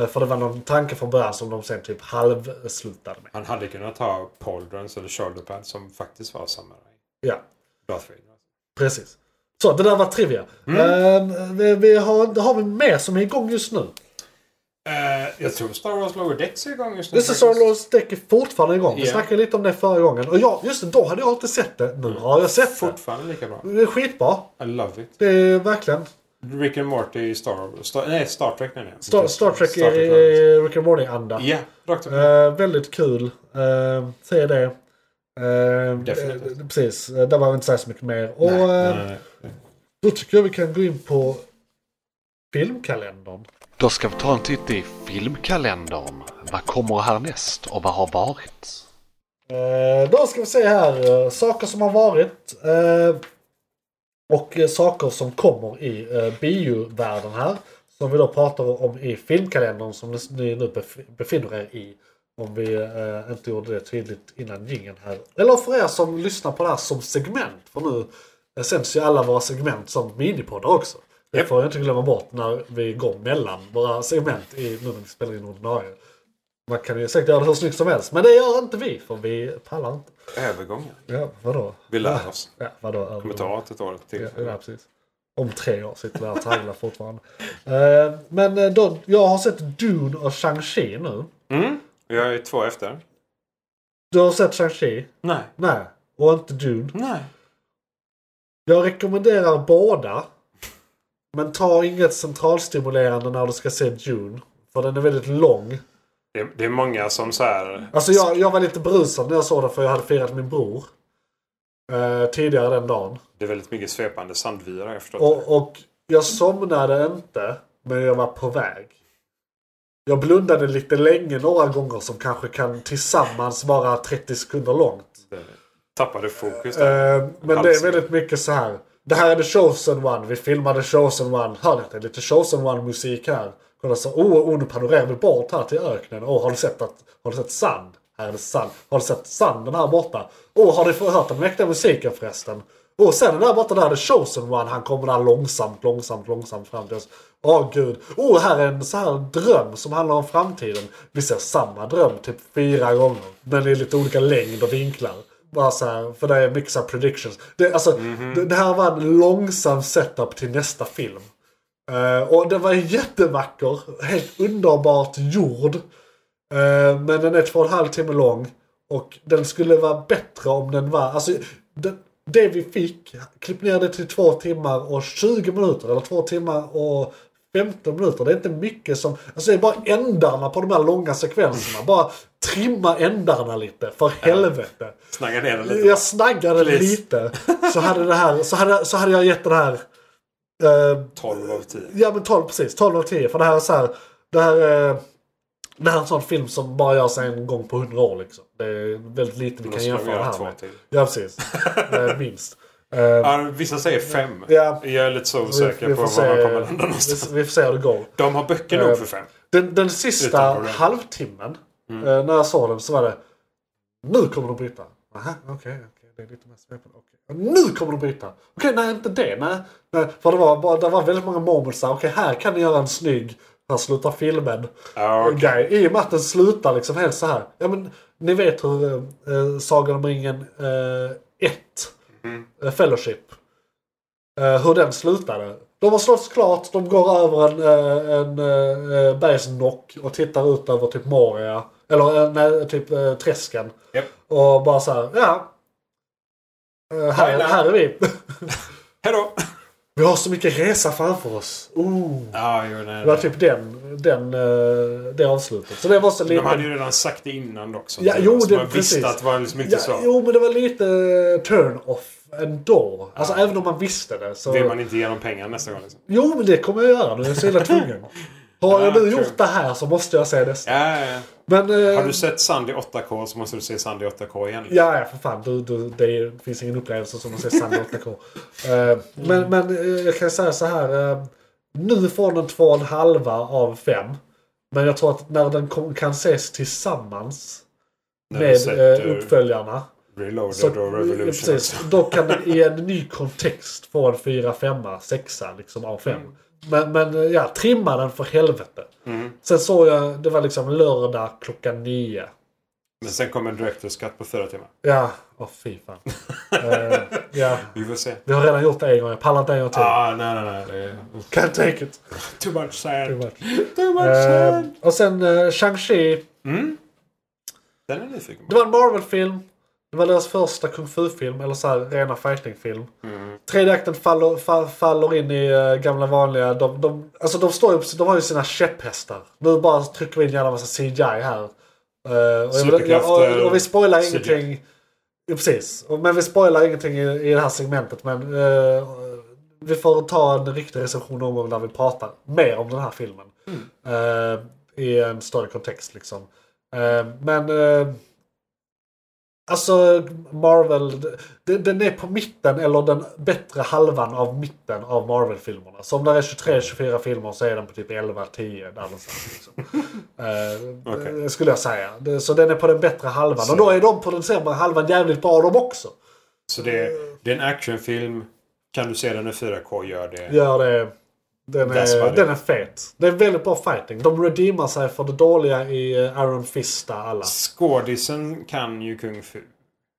Speaker 3: Eh, För det var någon tanke från början som de sen typ halvslutade med.
Speaker 4: Han hade kunnat ha pauldrons eller shoulderpads som faktiskt var samuraj.
Speaker 3: Ja.
Speaker 4: Darth Vader.
Speaker 3: Precis. Så, det där var trivia.
Speaker 4: Mm.
Speaker 3: Eh, vi, vi har, har vi mer som är igång just nu?
Speaker 4: Eh, jag tror Star Wars Lower Decks är igång just nu.
Speaker 3: This is
Speaker 4: faktiskt.
Speaker 3: Star Wars Deck är fortfarande igång. Vi
Speaker 4: Ja.
Speaker 3: snackade lite om det förra gången. Och ja, just det, då hade jag inte sett det. Nu har jag sett det.
Speaker 4: Fortfarande lika bra.
Speaker 3: Det är skitbra.
Speaker 4: I love it.
Speaker 3: Det är verkligen.
Speaker 4: Rick and Morty i Star, Star, nej, Star Trek menar jag.
Speaker 3: Star, Star Trek är
Speaker 4: Lower Decks.
Speaker 3: i Rick and Morty-anda.
Speaker 4: Ja, rakt upp.
Speaker 3: Eh, väldigt kul. Uh, se det. Uh,
Speaker 4: Definitivt.
Speaker 3: precis, Eh, där behöver vi inte säga så mycket mer. Och eh,
Speaker 4: Nej.
Speaker 3: då tycker jag vi kan gå in på filmkalendern.
Speaker 2: Då ska vi ta en titt i filmkalendern. Vad kommer härnäst och vad har varit?
Speaker 3: Eh, då ska vi se här. eh, Saker som har varit. eh, och eh, saker som kommer i eh, biovärlden här. Som vi då pratar om i filmkalendern som ni- ni nu bef- befinner er i. Om vi eh, inte gjorde det tydligt innan jingeln här. Eller för er som lyssnar på det här som segment. För nu eh, sänds ju alla våra segment som minipoddar också. Det får jag inte glömma bort när vi går mellan våra segment i, nu när vi spelar in ordinarie. Man kan ju säkert göra det hur snyggt som helst. Men det gör inte vi för vi pallar inte.
Speaker 4: Övergången.
Speaker 3: Ja, vadå?
Speaker 4: Vi lär oss.
Speaker 3: Ja, vadå?
Speaker 4: kommer ta ett år till.
Speaker 3: Ja, ja, precis. Om tre år sitter vi här och tragglar fortfarande. Eh, men eh, då, jag har sett Dune och Shang-Chi nu.
Speaker 4: Mm. Jag är två efter.
Speaker 3: Du har sett Shang-Chi?
Speaker 4: Nej.
Speaker 3: Nej. Och inte Dune.
Speaker 4: Nej.
Speaker 3: Jag rekommenderar båda. Men ta inget centralstimulerande när du ska se Dune. För den är väldigt lång.
Speaker 4: Det, det är många som så här...
Speaker 3: Alltså jag, jag var lite brusad när jag såg den för jag hade firat min bror. eh, tidigare den dagen.
Speaker 4: Det är väldigt mycket svepande sandvyra har jag förstått.
Speaker 3: Och, och jag somnade inte, men jag var på väg. Jag blundade lite länge några gånger som kanske kan tillsammans vara 30 sekunder långt.
Speaker 4: Det- Tappade fokus där.
Speaker 3: Eh, men det är väldigt mycket så här. Det här är The Chosen One. Vi filmade Chosen One. Hör ni att det är lite Chosen One-musik här? Kolla så. Oh, oh, nu panorerar vi bort här till öknen. Åh, har du sett att... Har du sett sand? Här är det sand. Har du sett sanden här borta? Åh, har du hört den mäktiga musiken förresten? Och sen den där borta där, The Chosen One, han kommer där långsamt, långsamt, långsamt fram till oss. Åh gud. Oh, här är en så här dröm som handlar om framtiden. Vi ser samma dröm typ fyra gånger. Men i lite olika längd och vinklar. Bara så här, för det är mycket så här predictions. Det, alltså, det, det här var en långsam setup till nästa film. Eh, och den var jättevacker. Helt underbart gjord. Eh, men den är två och en halv timme lång. Och den skulle vara bättre om den var... Alltså, det, det vi fick, klipp ner det till två timmar och 20 minuter. Eller två timmar och 15 minuter. Det är inte mycket som... Alltså det är bara ändarna på de här långa sekvenserna. Bara trimma ändarna lite, för helvete.
Speaker 4: Snagga ner den lite.
Speaker 3: Jag snaggade
Speaker 4: Please.
Speaker 3: lite. Så hade, det här, så, hade, så hade jag gett den här... eh,
Speaker 4: 12 av 10.
Speaker 3: ja men 12 precis, 12 av 10. För det här är så här... Det här, eh, det här är en sån film som bara görs en gång på 100 år liksom. Det är väldigt lite vi
Speaker 4: Då
Speaker 3: kan
Speaker 4: ska vi
Speaker 3: jämföra det
Speaker 4: göra
Speaker 3: här
Speaker 4: två
Speaker 3: med.
Speaker 4: till.
Speaker 3: Ja precis.
Speaker 4: [laughs]
Speaker 3: Eh, minst. Eh,
Speaker 4: Ja, vissa säger fem.
Speaker 3: Ja.
Speaker 4: Jag är lite så
Speaker 3: vi- vi
Speaker 4: osäker på var
Speaker 3: får
Speaker 4: man
Speaker 3: se- Eh,
Speaker 4: kommer landa någonstans.
Speaker 3: Vi, vi får se hur det går.
Speaker 4: De har böcker nog för fem.
Speaker 3: Den, den sista
Speaker 4: Utan problem. Mm.
Speaker 3: halvtimmen eh, när jag såg den så var det Nu kommer de bryta. Aha, okej, okej, det är lite mer svepande. Okej. Nu kommer de bryta! Okej, nej inte det. Nej, nej. För det var, bara, det var väldigt många moments där. Okej, här kan ni göra en snygg. Här slutar filmen.
Speaker 4: Ja, okej.
Speaker 3: Grej. I och med att den slutar liksom helt så här. Ja, men, ni vet hur eh, eh, Sagan om ringen 1,
Speaker 4: Mhm.
Speaker 3: eh, Fellowship, eh, hur den slutade. De har slått klart, de går över en, eh, en eh, bergsnock och tittar ut över typ Moria. Eller eh, nej, typ eh, träsken.
Speaker 4: Japp.
Speaker 3: Och bara så här, ja. Eh, här,
Speaker 4: Hej då.
Speaker 3: här är vi.
Speaker 4: Hej då!
Speaker 3: [laughs] Vi har så mycket resa framför oss. Oh.
Speaker 4: Ja, jo, nej,
Speaker 3: Det var
Speaker 4: nej.
Speaker 3: typ den, den, eh, det avslutet. Så det var så
Speaker 4: De hade
Speaker 3: lite...
Speaker 4: ju redan sagt det innan också.
Speaker 3: Ja, jo,
Speaker 4: så
Speaker 3: det-
Speaker 4: man
Speaker 3: precis.
Speaker 4: visste att det var liksom inte
Speaker 3: Ja,
Speaker 4: så.
Speaker 3: jo, men det var lite eh, turn-off ändå. Alltså även om man visste det så...
Speaker 4: Vill man inte ge dem pengar nästa gång liksom.
Speaker 3: Jo, men det kommer jag göra nu. Jag är så jävla tvungen. Har jag
Speaker 4: [laughs] Ja,
Speaker 3: nu
Speaker 4: true.
Speaker 3: gjort det här så måste jag säga nästa.
Speaker 4: Ja, ja,
Speaker 3: Men... eh,
Speaker 4: ja. Har du sett Sand i 8K så måste du se Sand i 8K igen.
Speaker 3: Ja, ja, för fan. Du, du, det är- finns ingen upplevelse som att se Sandra 8K. Eh,
Speaker 4: Mm.
Speaker 3: Men, men eh, jag kan säga så här. eh, Nu får den två och en halva av fem. Men jag tror att när den kom, kan ses tillsammans
Speaker 4: När du
Speaker 3: med
Speaker 4: sett,
Speaker 3: eh,
Speaker 4: eh,
Speaker 3: uppföljarna.
Speaker 4: Reloaded
Speaker 3: Så,
Speaker 4: och
Speaker 3: eh,
Speaker 4: Revolution.
Speaker 3: precis,
Speaker 4: också.
Speaker 3: då kan den i en ny kontext få en 4, 5, 6 liksom av 5. Men, men eh, ja, trimma den för helvete.
Speaker 4: Mm.
Speaker 3: Sen såg jag, det var liksom lördag klockan 9.
Speaker 4: Men sen kommer en director's cut på fyra timmar.
Speaker 3: Ja, åh fy
Speaker 4: [laughs]
Speaker 3: fan. Eh, ja.
Speaker 4: Vi får se.
Speaker 3: Jag har redan gjort det en gång, jag pallar inte en gång till.
Speaker 4: Ah, nej, nej, nej. Det är...
Speaker 3: Can't take it.
Speaker 4: Too much sand.
Speaker 3: Too much sand. och sen uh, Shang-Chi.
Speaker 4: Mm. Den är jag nyfiken
Speaker 3: Det
Speaker 4: på.
Speaker 3: var en Marvel-film. Det var deras första kung fu-film, eller så här, rena fighting-film. Tredje akten faller, fa- faller in i eh, gamla vanliga... De, de, alltså de, står ju, på- de har ju sina käpphästar. Nu bara trycker vi in en jävla massa CGI här. Eh, och, jag, jag,
Speaker 4: Superkrafter,
Speaker 3: och, och vi spoilar
Speaker 4: CGI.
Speaker 3: ingenting. Ja, precis. Och- Men vi spoilar ingenting i, i det här segmentet. Men eh, vi får ta en riktig recension någon gång där vi pratar mer om den här filmen. Eh, I en större kontext liksom. Eh, men... eh, Alltså Marvel, den, den är på mitten eller den bättre halvan av mitten av Marvel-filmerna. Så om det är
Speaker 4: Mm.
Speaker 3: 23-24 filmer så är den på typ 11-10 där någonstans. Liksom.
Speaker 4: [laughs]
Speaker 3: Eh,
Speaker 4: Okej.
Speaker 3: eh, Skulle jag säga. Det- Så den är på den bättre halvan. Och då är de på den sämre halvan jävligt bra de också.
Speaker 4: Så det är, det är en actionfilm. Kan du se den i 4K, gör det.
Speaker 3: Gör det. Den
Speaker 4: That's
Speaker 3: är,
Speaker 4: about
Speaker 3: den
Speaker 4: it.
Speaker 3: är fet. Det är väldigt bra fighting. De redeemar sig för det dåliga i eh, Iron Fist där alla.
Speaker 4: Skådisen kan ju kung fu.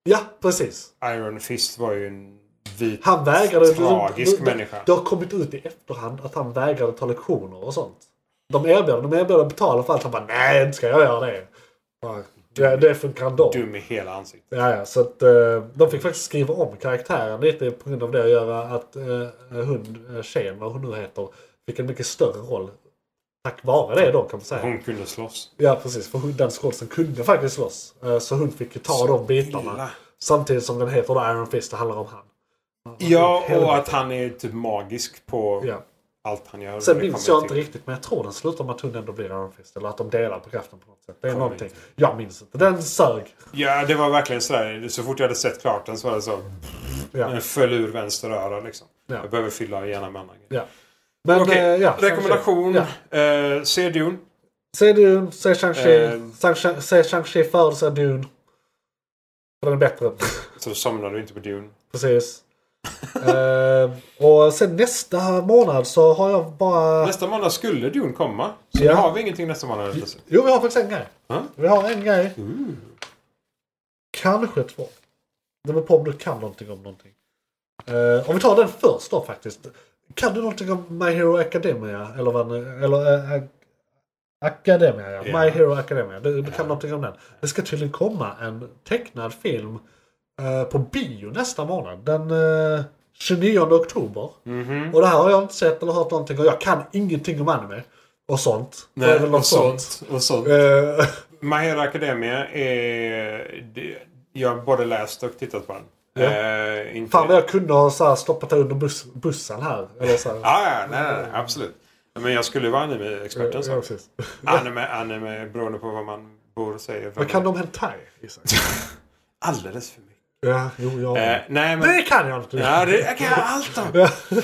Speaker 3: Ja, precis.
Speaker 4: Iron Fist var ju en vit,
Speaker 3: Han vägrade...
Speaker 4: tragisk
Speaker 3: det,
Speaker 4: människa.
Speaker 3: Det har kommit ut i efterhand att han vägrade ta lektioner och sånt. De erbjöd, de erbjöd att betala för allt. Han bara nej, inte ska jag göra det. Ja, det- det funkar ändå.
Speaker 4: Dum i hela ansiktet.
Speaker 3: Ja, ja, så att, eh, de fick faktiskt skriva om karaktären lite på grund av det. Att göra att eh, hon, eh, tjejen, vad hon nu heter, fick en mycket större roll. Tack vare det då kan man säga.
Speaker 4: Hon kunde slåss.
Speaker 3: Ja precis, för hon- den skådisen kunde faktiskt slåss. Eh, Så hon fick ju ta de bitarna.
Speaker 4: illa.
Speaker 3: Samtidigt som den heter då Iron Fist, det handlar om han.
Speaker 4: Ja,
Speaker 3: helvete.
Speaker 4: och att han är typ magisk på
Speaker 3: Ja.
Speaker 4: allt han gör.
Speaker 3: Sen
Speaker 4: Det
Speaker 3: minns
Speaker 4: kommer
Speaker 3: jag inte riktigt, men jag tror den slutar med att hon ändå blir Iron Fist. Eller att de delar på kraften på något sätt. Det är
Speaker 4: Kommer
Speaker 3: någonting. Jag minns inte. Den sög.
Speaker 4: Ja, det var verkligen sådär. Så fort jag hade sett klart den så var det så.
Speaker 3: Ja.
Speaker 4: Den föll ur vänster öra liksom.
Speaker 3: Ja.
Speaker 4: Jag behöver fylla gärna med annan grej.
Speaker 3: ja. Men,
Speaker 4: Okej,
Speaker 3: eh, ja,
Speaker 4: rekommendation.
Speaker 3: Ja.
Speaker 4: Eh, se Dune.
Speaker 3: Se Dune, se Shang-Chi.
Speaker 4: Eh.
Speaker 3: Shang- Se Shang-Chi före se Dune. För den är bättre. [laughs]
Speaker 4: Så somnar du inte på Dune.
Speaker 3: Precis. Eh, och sen nästa månad så har jag bara...
Speaker 4: Nästa måndag skulle Dune komma. Så
Speaker 3: Ja.
Speaker 4: nu har vi ingenting nästa månad. helt plötsligt.
Speaker 3: Jo, vi har faktiskt en grej.
Speaker 4: Ja. Mm.
Speaker 3: Vi har en grej. Kanske två. Det beror på om du kan någonting om någonting. Eh, om vi tar den först då faktiskt. Kan du någonting om My Hero Academia? Eller vad den- Eller eh, Ac- Academia, ja.
Speaker 4: Ja.
Speaker 3: My Hero Academia. Du, du kan någonting om den. Det ska tydligen komma en tecknad film eh, på bio nästa månad. Den eh, 29 oktober.
Speaker 4: Mm.
Speaker 3: Och det här har jag inte sett eller hört någonting och jag kan ingenting om anime. Och sånt. Det är väl något
Speaker 4: Och sånt.
Speaker 3: Eh, [laughs]
Speaker 4: My Hero Academia är... det- Jag har både läst och tittat på den. Eh, inte...
Speaker 3: Fan vad jag kunde ha så här stoppat under bus- bussen här. Eller så här.
Speaker 4: Ja, ja, nej, nej, nej, absolut. Men jag skulle ju vara anime-experten.
Speaker 3: Ja,
Speaker 4: så.
Speaker 3: precis.
Speaker 4: Anime, anime, beroende på vad man bor och säger.
Speaker 3: Men kan de hentai?
Speaker 4: [laughs]
Speaker 3: Isak?
Speaker 4: Alldeles för mycket.
Speaker 3: Ja, jo, jag...
Speaker 4: Eh, nej, men...
Speaker 3: Det kan jag inte!
Speaker 4: Ja, det jag kan jag allt om.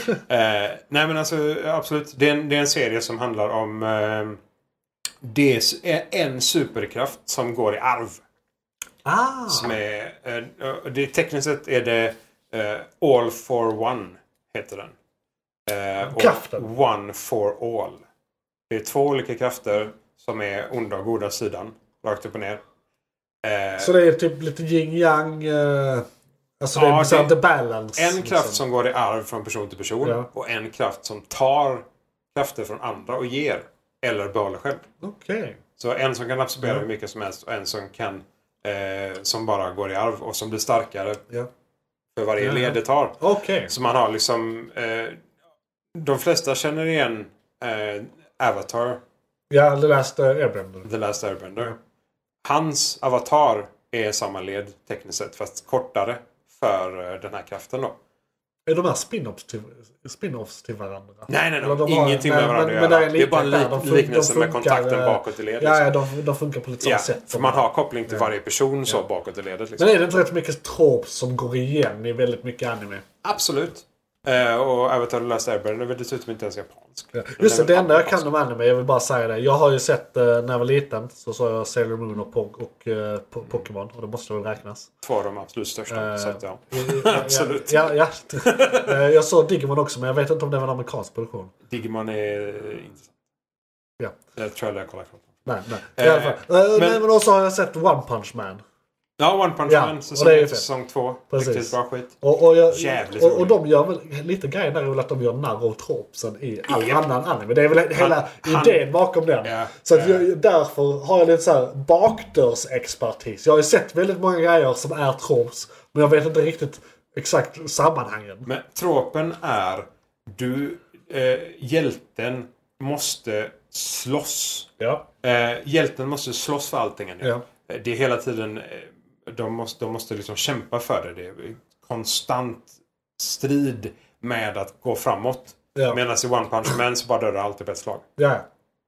Speaker 4: eh, nej, men alltså absolut. Det är en, det är en serie som handlar om... Eh, det är s- eh, en superkraft som går i arv.
Speaker 3: [laughs] Ah!
Speaker 4: Som är, eh, det, tekniskt sett är det eh, All for One heter den. Eh, och
Speaker 3: Kraften.
Speaker 4: One for All. Det är två olika krafter som är onda och goda sidan. Rakt upp och ner. Eh,
Speaker 3: Så det är typ lite yin-yang... Eh, alltså det
Speaker 4: Ja,
Speaker 3: är så här
Speaker 4: det-
Speaker 3: the balance.
Speaker 4: en kraft
Speaker 3: liksom.
Speaker 4: som går i arv från person till person
Speaker 3: Ja.
Speaker 4: och en kraft som tar krafter från andra och ger. Eller behåller själv.
Speaker 3: Okej.
Speaker 4: Så en som kan absorbera hur mycket som helst och en som kan eh, som bara går i arv och som blir starkare
Speaker 3: Ja.
Speaker 4: för varje
Speaker 3: Ja.
Speaker 4: led det tar.
Speaker 3: Okej.
Speaker 4: Så man har liksom... Eh, de flesta känner igen eh, Avatar,
Speaker 3: Ja, The Last eh, Airbender.
Speaker 4: The Last Airbender. Hans avatar är samma led tekniskt sett, fast kortare för eh, den här kraften då.
Speaker 3: Är de här spin-offs till, spin-offs till varandra?
Speaker 4: Nej, nej,
Speaker 3: Eller
Speaker 4: nej.
Speaker 3: de har-
Speaker 4: Ingenting
Speaker 3: nej,
Speaker 4: med varandra
Speaker 3: men-
Speaker 4: att göra.
Speaker 3: men där är
Speaker 4: det är bara
Speaker 3: likhet där. De
Speaker 4: lik,
Speaker 3: fun-
Speaker 4: liknelsen
Speaker 3: de
Speaker 4: med
Speaker 3: funkar,
Speaker 4: kontakten
Speaker 3: eh,
Speaker 4: bakåt i ledet.
Speaker 3: Ja, ja
Speaker 4: liksom.
Speaker 3: de, de funkar på lite samma
Speaker 4: Ja,
Speaker 3: sätt.
Speaker 4: för man har koppling till varje person så bakåt i ledet. Liksom.
Speaker 3: Men är det inte rätt mycket trop som går igen i väldigt mycket anime?
Speaker 4: Absolut. Eh, och Avatar The Last Airbender är väl dessutom inte ens japansk.
Speaker 3: Just det,
Speaker 4: Den
Speaker 3: det
Speaker 4: är väl
Speaker 3: enda jag
Speaker 4: amerikansk.
Speaker 3: kan om anime, jag vill bara säga det. Jag har ju sett, eh, när jag var liten, så såg jag Sailor Moon och, Pog- och eh, Po- Pokémon. Och det måste väl räknas.
Speaker 4: Två av de absolut största.
Speaker 3: Eh,
Speaker 4: så att, ja.
Speaker 3: [laughs]
Speaker 4: [laughs]
Speaker 3: Absolut. Ja, ja. Eh, jag såg Digimon också, men jag vet inte om det var en amerikansk produktion.
Speaker 4: Digimon är eh, inte...
Speaker 3: Ja.
Speaker 4: Det tror jag jag kollar klart.
Speaker 3: Nej, nej. I alla fall. Eh,
Speaker 4: men-
Speaker 3: nej, men också har jag sett One Punch Man.
Speaker 4: Ja, One Punch
Speaker 3: Ja,
Speaker 4: Man.
Speaker 3: och
Speaker 4: Säsong
Speaker 3: det är ju
Speaker 4: 1
Speaker 3: fett.
Speaker 4: säsong 2.
Speaker 3: Precis.
Speaker 4: Riktigt bra skit.
Speaker 3: Och, och, jag,
Speaker 4: Jävligt
Speaker 3: och, och
Speaker 4: roligt.
Speaker 3: de gör väl lite grejen där är väl att de gör narr av tropsen i all
Speaker 4: Japp.
Speaker 3: annan anime. Det är väl hela
Speaker 4: han-
Speaker 3: idén bakom den.
Speaker 4: Ja,
Speaker 3: så att
Speaker 4: ja.
Speaker 3: jag, därför har jag lite så här bakdörrsexpertis. Jag har ju sett väldigt många grejer som är trops. Men jag vet inte riktigt exakt sammanhangen.
Speaker 4: Men tropen är... Du... Eh, hjälten måste slåss.
Speaker 3: Ja.
Speaker 4: Eh, hjälten måste slåss för allting. han gör.
Speaker 3: Ja.
Speaker 4: Eh, Det är hela tiden... eh, De måste, de måste liksom kämpa för det. Det är konstant strid med att gå framåt.
Speaker 3: Ja.
Speaker 4: Medan i One Punch Man så bara dör allt i ett slag.
Speaker 3: Ja.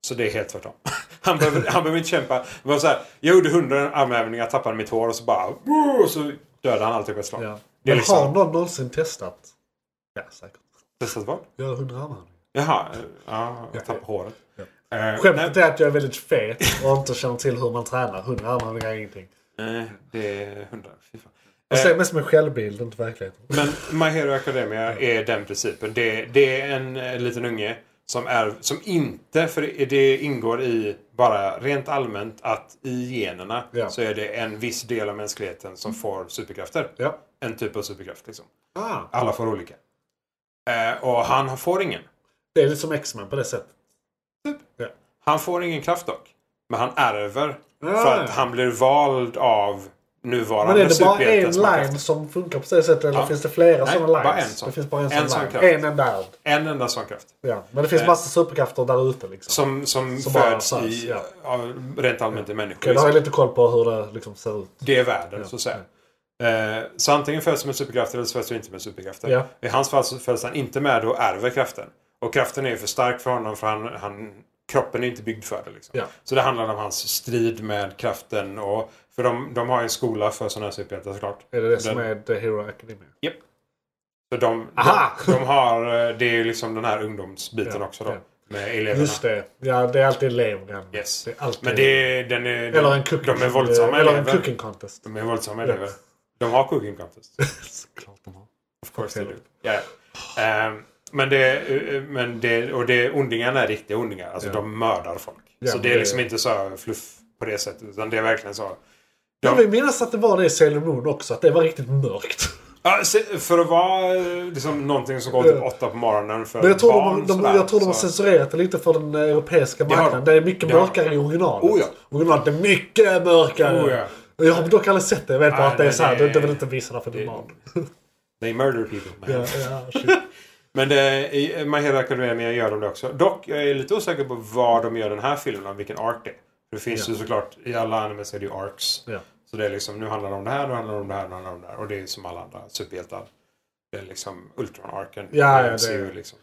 Speaker 4: Så det är helt tvärtom. [laughs] Han behöver, han behöver inte kämpa. Det var så här, jag gjorde hundra armhävningar, tappade mitt hår och så bara... Och så dödade han alltid på ett slag.
Speaker 3: ja.
Speaker 4: Det är
Speaker 3: Men har
Speaker 4: liksom...
Speaker 3: någon någonsin testat? Ja, säkert.
Speaker 4: Testat vad?
Speaker 3: Jag har hundra armar.
Speaker 4: Jaha. eh, Ja, jag tappade håret. Eh,
Speaker 3: Skämtet är att jag är väldigt fet och inte känner till hur man tränar. Hundra armar är ingenting.
Speaker 4: nej, eh, det är hundra. Fy fan.
Speaker 3: Jag ser mest som en självbild, inte verkligheten.
Speaker 4: Men My Hero Academia är den principen. Det, det är en eh, liten unge som, är, som inte, för det- det ingår i bara rent allmänt att i generna
Speaker 3: Ja. Mm.
Speaker 4: så är det en viss del av mänskligheten som får superkrafter.
Speaker 3: Ja.
Speaker 4: En typ av superkraft liksom.
Speaker 3: Ah.
Speaker 4: Alla får olika. Eh, och han får ingen.
Speaker 3: Det är lite som X-Men på det sättet.
Speaker 4: Han får ingen kraft dock. Men han ärver.
Speaker 3: Ja,
Speaker 4: För att
Speaker 3: ja.
Speaker 4: han blir vald av nuvarande
Speaker 3: Ah. Men är det bara
Speaker 4: superhjälten
Speaker 3: en
Speaker 4: som har
Speaker 3: line
Speaker 4: krafter.
Speaker 3: som funkar på det sättet eller
Speaker 4: Ja.
Speaker 3: finns det flera
Speaker 4: Nej,
Speaker 3: sådana
Speaker 4: bara
Speaker 3: lines?
Speaker 4: en sån.
Speaker 3: Det finns bara en,
Speaker 4: En
Speaker 3: sån
Speaker 4: sån
Speaker 3: line.
Speaker 4: kraft.
Speaker 3: En enda eld.
Speaker 4: En enda sån kraft.
Speaker 3: Ja. Men det finns
Speaker 4: Eh.
Speaker 3: massa superkrafter där ute liksom.
Speaker 4: Som, som,
Speaker 3: Som bara
Speaker 4: föds
Speaker 3: föds,
Speaker 4: i,
Speaker 3: ja.
Speaker 4: av rent allmänt i människor.
Speaker 3: Okej, då har
Speaker 4: liksom.
Speaker 3: jag lite koll på hur det liksom ser ut.
Speaker 4: Det är världen, så att säga. Eh, så antingen föds du med superkrafter eller så föds du inte med superkrafter.
Speaker 3: Ja.
Speaker 4: I hans fall så föds han inte med det och ärver kraften. Och kraften är ju för stark för honom för han, han, kroppen är inte byggd för det. Liksom.
Speaker 3: Ja.
Speaker 4: Så det handlar om hans strid med kraften. Och, för de, de har ju en skola för sådana här superhjältar såklart.
Speaker 3: Är det det som
Speaker 4: Den-
Speaker 3: är The Hero Academia?
Speaker 4: Japp. Så de,
Speaker 3: Aha!
Speaker 4: de, de har, eh, det är ju liksom den här ungdomsbiten
Speaker 3: Ja,
Speaker 4: också då.
Speaker 3: ja.
Speaker 4: Med eleverna.
Speaker 3: Just det. Ja, det är alltid eleven.
Speaker 4: Yes.
Speaker 3: Det är alltid...
Speaker 4: Men det är, den är,
Speaker 3: Eller en cooking... eh,
Speaker 4: de är våldsamma
Speaker 3: Eller en
Speaker 4: elever. [laughs]
Speaker 3: cooking contest.
Speaker 4: De är våldsamma elever. De har cooking
Speaker 3: [laughs]
Speaker 4: contest.
Speaker 3: Såklart de har.
Speaker 4: Of course they do. Ja, ja. Ehm, men det, eh, men det, och det, ondingarna är riktiga ondingar. Alltså de mördar folk.
Speaker 3: Ja,
Speaker 4: så
Speaker 3: men
Speaker 4: det är
Speaker 3: det-
Speaker 4: liksom inte så fluff på det sättet. Utan det är verkligen så.
Speaker 3: Jag vill minnas att det var det i Sailor Moon också. Att det var riktigt mörkt.
Speaker 4: Ja, se- för att vara eh, liksom, någonting som går typ åtta på morgonen för
Speaker 3: Men jag tror,
Speaker 4: barn.
Speaker 3: de, de,
Speaker 4: sådär,
Speaker 3: jag tror de har
Speaker 4: så-
Speaker 3: censurerat det lite för den eh, europeiska
Speaker 4: har
Speaker 3: marknaden.
Speaker 4: de.
Speaker 3: Det är mycket
Speaker 4: Det har
Speaker 3: mörkare i originalet.
Speaker 4: Oh ja.
Speaker 3: Originalet är mycket mörkare.
Speaker 4: Oh ja.
Speaker 3: Jag har dock aldrig sett det. Jag vet bara
Speaker 4: Nej,
Speaker 3: att det är
Speaker 4: men
Speaker 3: såhär.
Speaker 4: det-
Speaker 3: Du, du vill inte visa det för din
Speaker 4: det- [laughs]
Speaker 3: barn.
Speaker 4: They murder people. Man.
Speaker 3: Ja, ja, shit.
Speaker 4: Men det, i My Hero Academia gör de det också. Dock, jag är lite osäker på vad de gör den här filmen om, vilken ark det är. För det finns ju såklart, i alla animes är det ju arcs.
Speaker 3: Ja.
Speaker 4: Så det är liksom, nu handlar det om det här, nu handlar det om det här, nu handlar det om det här. Och det är ju som alla andra superhjältar. Det är liksom Ultron-arken.
Speaker 3: Ja, ja,
Speaker 4: MCU,
Speaker 3: det är-
Speaker 4: liksom.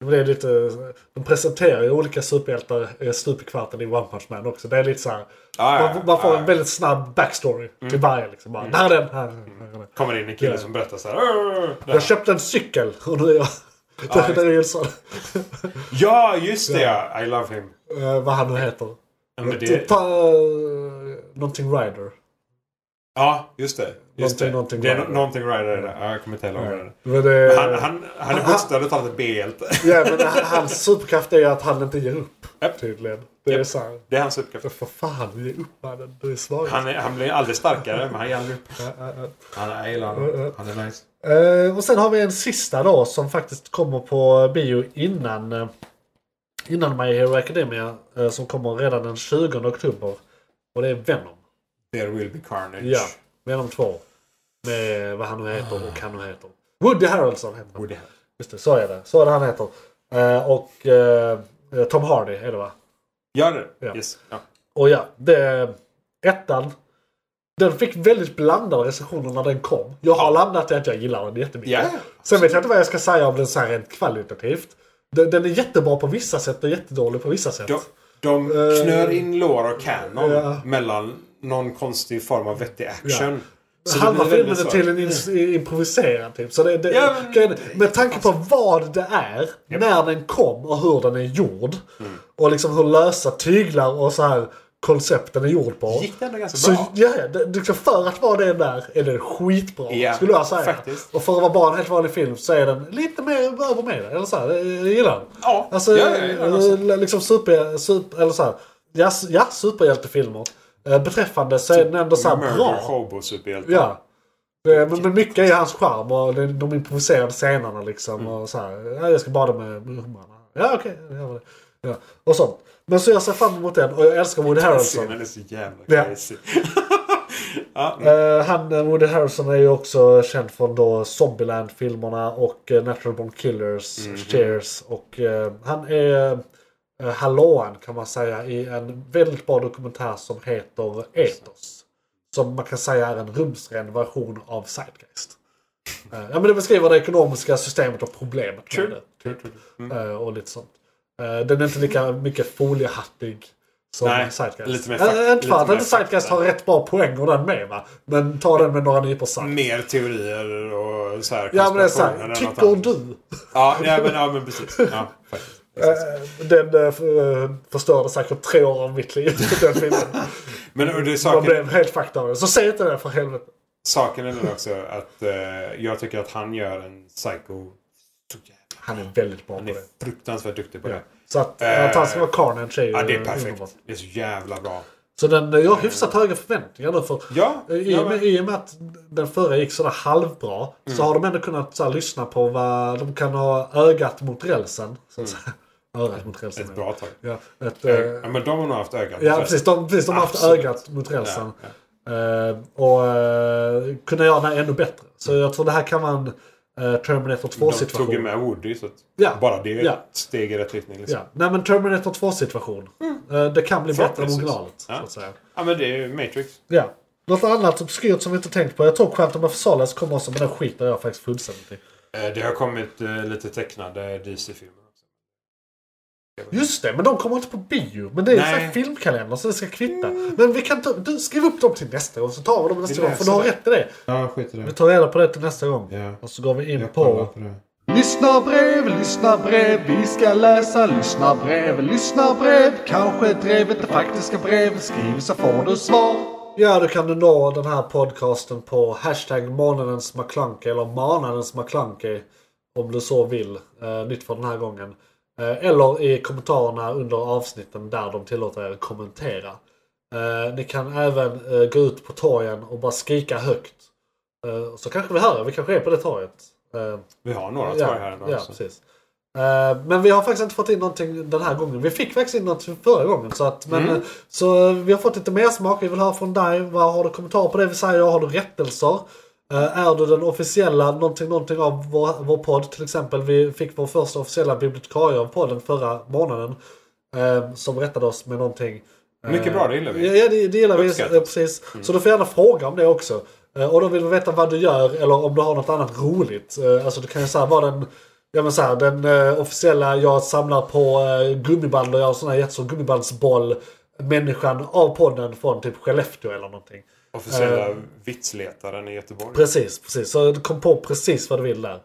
Speaker 3: Men det är lite, de presenterar ju olika superhjältar eh, stup i kvarten i One Punch Man också. Det är lite såhär.
Speaker 4: Ja, ja,
Speaker 3: Man, man får
Speaker 4: ja, Mm.
Speaker 3: en
Speaker 4: ja.
Speaker 3: väldigt snabb backstory till varje. Liksom. Bara, Där är den, här, här är den.
Speaker 4: Kommer in en kille
Speaker 3: Ja.
Speaker 4: som berättar så här. "Åh, det här."
Speaker 3: Jag köpte en cykel [laughs] och [laughs] nu är jag... det, det är ju så.
Speaker 4: Ja, just det ja! I love him.
Speaker 3: Eh, vad han nu heter.
Speaker 4: Ja, men
Speaker 3: Typ,
Speaker 4: det,
Speaker 3: eh, någonting Rider.
Speaker 4: ja just det. Just det.
Speaker 3: Någonting- någonting
Speaker 4: det är
Speaker 3: rider.
Speaker 4: no- någonting rider. där. Ja, jag kommer inte ihåg vad det är.
Speaker 3: Men det,
Speaker 4: Han, han, han är bostad utav ett B-hjälte. [laughs]
Speaker 3: ja, men h- hans superkraft är ju att han inte ger upp.
Speaker 4: Japp.
Speaker 3: Tydligen. Det är
Speaker 4: Japp.
Speaker 3: så här.
Speaker 4: Det är hans uppgift.
Speaker 3: För fan, ge upp mannen. Du är svag.
Speaker 4: Han, är, han blir aldrig starkare, men han ger aldrig upp.
Speaker 3: Ja, ja, ja.
Speaker 4: Han är gillar Han är nice.
Speaker 3: Eh, och sen har vi en sista då som faktiskt kommer på bio innan, eh, innan My Hero Academia. eh, Som kommer redan den 20 oktober. Och det är Venom.
Speaker 4: There will be carnage.
Speaker 3: Ja, Venom 2. Med vad han nu heter och han nu heter. Woody Harrelson heter han.
Speaker 4: Ah. Woody Harrelson.
Speaker 3: Just det, så är det. Så är det han heter. Eh, och eh, Tom Hardy är det va?
Speaker 4: Gör det?
Speaker 3: Ja.
Speaker 4: Yes. Ja.
Speaker 3: Och ja, det, ettan. Den fick väldigt blandade recensioner när den kom. Jag har landat i att jag gillar den jättemycket.
Speaker 4: Ja.
Speaker 3: Sen vet jag inte vad jag ska säga om den så här rent kvalitativt. Den, den är jättebra på vissa sätt och jättedålig på vissa sätt.
Speaker 4: De, de
Speaker 3: Eh,
Speaker 4: knör in lår och canon
Speaker 3: ja.
Speaker 4: mellan någon konstig form av vettig action. Så det
Speaker 3: Halva
Speaker 4: blir väldigt
Speaker 3: filmen är
Speaker 4: svårt.
Speaker 3: till en ins- improviserad typ. Så det, det,
Speaker 4: Ja, men- alltså-
Speaker 3: grejen- med tanke på vad det är, när den kom och hur den är gjord.
Speaker 4: Mm.
Speaker 3: Och liksom hur lösa tyglar och så här koncepten är gjord på.
Speaker 4: Gick det ändå ganska
Speaker 3: Så
Speaker 4: bra?
Speaker 3: ja, ja, det, liksom för att vara det där är den skitbra.
Speaker 4: Ja,
Speaker 3: skulle jag säga.
Speaker 4: faktiskt.
Speaker 3: Och för att vara bara en helt vanlig film så är den lite mer över med Eller så här, jag gillar den.
Speaker 4: Ja,
Speaker 3: alltså,
Speaker 4: ja, jag gillar den också.
Speaker 3: eh, liksom super, super, eller så här, ja, s- ja, superhjältefilmer. Eh, Beträffande så är den ändå så här
Speaker 4: Typ Murder
Speaker 3: bra.
Speaker 4: Hobo superhjälte.
Speaker 3: Ja. Det, men, men mycket är hans charm och de, de improviserade scenerna liksom. Och så här, ja, jag ska bada med med humrarna. Ja okej, det gör vi det. ja, Och sånt. Men så jag ser fram emot den och jag älskar Woody Harrelson.
Speaker 4: Scenen är så jävla
Speaker 3: alltså. Ja.
Speaker 4: crazy. ja,
Speaker 3: Eh, han, eh, Woody Harrelson är ju också känd från då Zombieland-filmerna och eh, Natural Born Killers,
Speaker 4: Mhm.
Speaker 3: Cheers. Och eh, han är eh, hallåan kan man säga i en väldigt bra dokumentär som heter Ethos. Som man kan säga är en rumsren version av Zeitgeist. Eh, ja men det beskriver det ekonomiska systemet och problemet med det.
Speaker 4: True, true, true. Mm.
Speaker 3: Eh, och lite sånt. Eh, den är inte lika mycket foliehattig som
Speaker 4: Nej,
Speaker 3: Zeitgeist.
Speaker 4: lite mer
Speaker 3: Eh,
Speaker 4: fak-
Speaker 3: inte för
Speaker 4: lite
Speaker 3: att
Speaker 4: mer
Speaker 3: inte Zeitgeist
Speaker 4: fakta.
Speaker 3: har rätt bra poänger den med va. Men ta den med några nypor salt.
Speaker 4: Mer teorier och så här
Speaker 3: Ja men det är
Speaker 4: konspirationer
Speaker 3: såhär,
Speaker 4: än något
Speaker 3: tycker
Speaker 4: annat.
Speaker 3: du?
Speaker 4: Ja, ja, men, ja men precis. Ja, faktiskt.
Speaker 3: Eh, Den eh, f- eh, förstörde säkert tre år av mitt liv. [laughs] Den filmen.
Speaker 4: Men och det är
Speaker 3: Man
Speaker 4: saken,
Speaker 3: blev helt fucked av den. Så säg inte det för helvete.
Speaker 4: saken är den också att eh, jag tycker att han gör en psycho... Så jävla-
Speaker 3: Han är väldigt bra på
Speaker 4: Han är
Speaker 3: det.
Speaker 4: fruktansvärt duktig på
Speaker 3: Ja.
Speaker 4: det.
Speaker 3: Så att,
Speaker 4: Eh,
Speaker 3: att han ska vara Carnage är ju
Speaker 4: Ja, det är
Speaker 3: eh,
Speaker 4: perfekt.
Speaker 3: underbart.
Speaker 4: Det är så jävla bra.
Speaker 3: Så den, jag har hyfsat höga förväntningar nu för
Speaker 4: Ja,
Speaker 3: I, och
Speaker 4: ja,
Speaker 3: med,
Speaker 4: men, Mm.
Speaker 3: I och med att den förra gick sådär halvbra så har de ändå kunnat så här, lyssna på vad de kan ha ögat mot rälsen. Så att säga. Örat mot rälsen.
Speaker 4: Mm. ett bra tag.
Speaker 3: Ja, ett, eh,
Speaker 4: Ja, men de har nog haft ögat.
Speaker 3: ja precis. De, precis, de har haft
Speaker 4: Alltså, Absolut.
Speaker 3: ögat mot rälsen.
Speaker 4: Ja, ja.
Speaker 3: Eh, och eh, kunna göra det ännu bättre. Så jag tror det här kan vara en eh, Terminator
Speaker 4: De tog ju
Speaker 3: 2-situation.
Speaker 4: med Woody så att
Speaker 3: Ja.
Speaker 4: bara det är
Speaker 3: Ja.
Speaker 4: ett steg i rätt riktning. Liksom.
Speaker 3: Ja.
Speaker 4: Ja.
Speaker 3: Nej men Terminator 2-situation. Eh, det kan bli bättre än
Speaker 4: Förhoppningsvis.
Speaker 3: originalet.
Speaker 4: Ja.
Speaker 3: Så att säga.
Speaker 4: men det är ju Matrix.
Speaker 3: Ja. Något annat obskyrt som vi inte tänkt på. Jag tror Quantum of Solace kommer också men den skiter jag faktiskt fullständigt i.
Speaker 4: Eh, Det har kommit eh, lite tecknade DC-filmer också.
Speaker 3: Just det, men de kommer inte på bio. Men det är ju
Speaker 4: Nej.
Speaker 3: så här filmkalender så det ska kvitta. Men vi kan ta, du, skriv upp dem till nästa gång så tar vi dem nästa
Speaker 4: Vi
Speaker 3: gång. För du
Speaker 4: läser
Speaker 3: har
Speaker 4: det.
Speaker 3: rätt i det.
Speaker 4: Ja, skit i
Speaker 3: Vi tar reda på det till nästa gång. Och så går vi in på...
Speaker 4: det.
Speaker 5: Lyssna brev, lyssna brev, vi ska läsa lyssna brev, lyssna brev. Kanske drevet det faktiska brev, skriv så får du svar.
Speaker 3: Ja, då kan du nå den här podcasten på hashtag månadens McKlunky eller manadens McKlunky. Om du så vill. Eh, nytt för den här gången. Eh, eller i kommentarerna under avsnitten där de tillåter er att kommentera. Eh, ni kan även eh, gå ut på torgen och bara skrika högt. Eh, så kanske vi hör er. Vi kanske är på det torget. Eh,
Speaker 4: Vi har några torg här ändå.
Speaker 3: ja,
Speaker 4: också.
Speaker 3: precis. Eh, men vi har faktiskt inte fått in någonting den här gången. Vi fick faktiskt in något förra gången. Så, att, men,
Speaker 4: Mm.
Speaker 3: eh, så eh, vi har fått lite mer smak. Vi vill höra från dig. Vad har du kommentarer på det vi säger? Har du rättelser? Eh, är du den officiella någonting, någonting av vår, vår podd? Till exempel vi fick vår första officiella bibliotekarie av podden förra månaden. eh, som rättade oss med någonting.
Speaker 4: Mycket bra, det gillar vi.
Speaker 3: Ja, ja det, det gillar vi.
Speaker 4: Uppskattat. Mm.
Speaker 3: eh, Precis. Så du får gärna fråga om det också. Eh, Och då vill vi veta vad du gör eller om du har något annat roligt. Eh, Alltså du kan ju säga vara den, ja, men så här, den eh, officiella, jag samlar på eh, gummiband och jag har en sån här jättestor gummibandsboll. Människan av podden från typ Skellefteå eller någonting.
Speaker 4: Officiella
Speaker 3: eh,
Speaker 4: vitsletaren i Göteborg.
Speaker 3: Precis, precis. Så du kom på precis vad du vill där.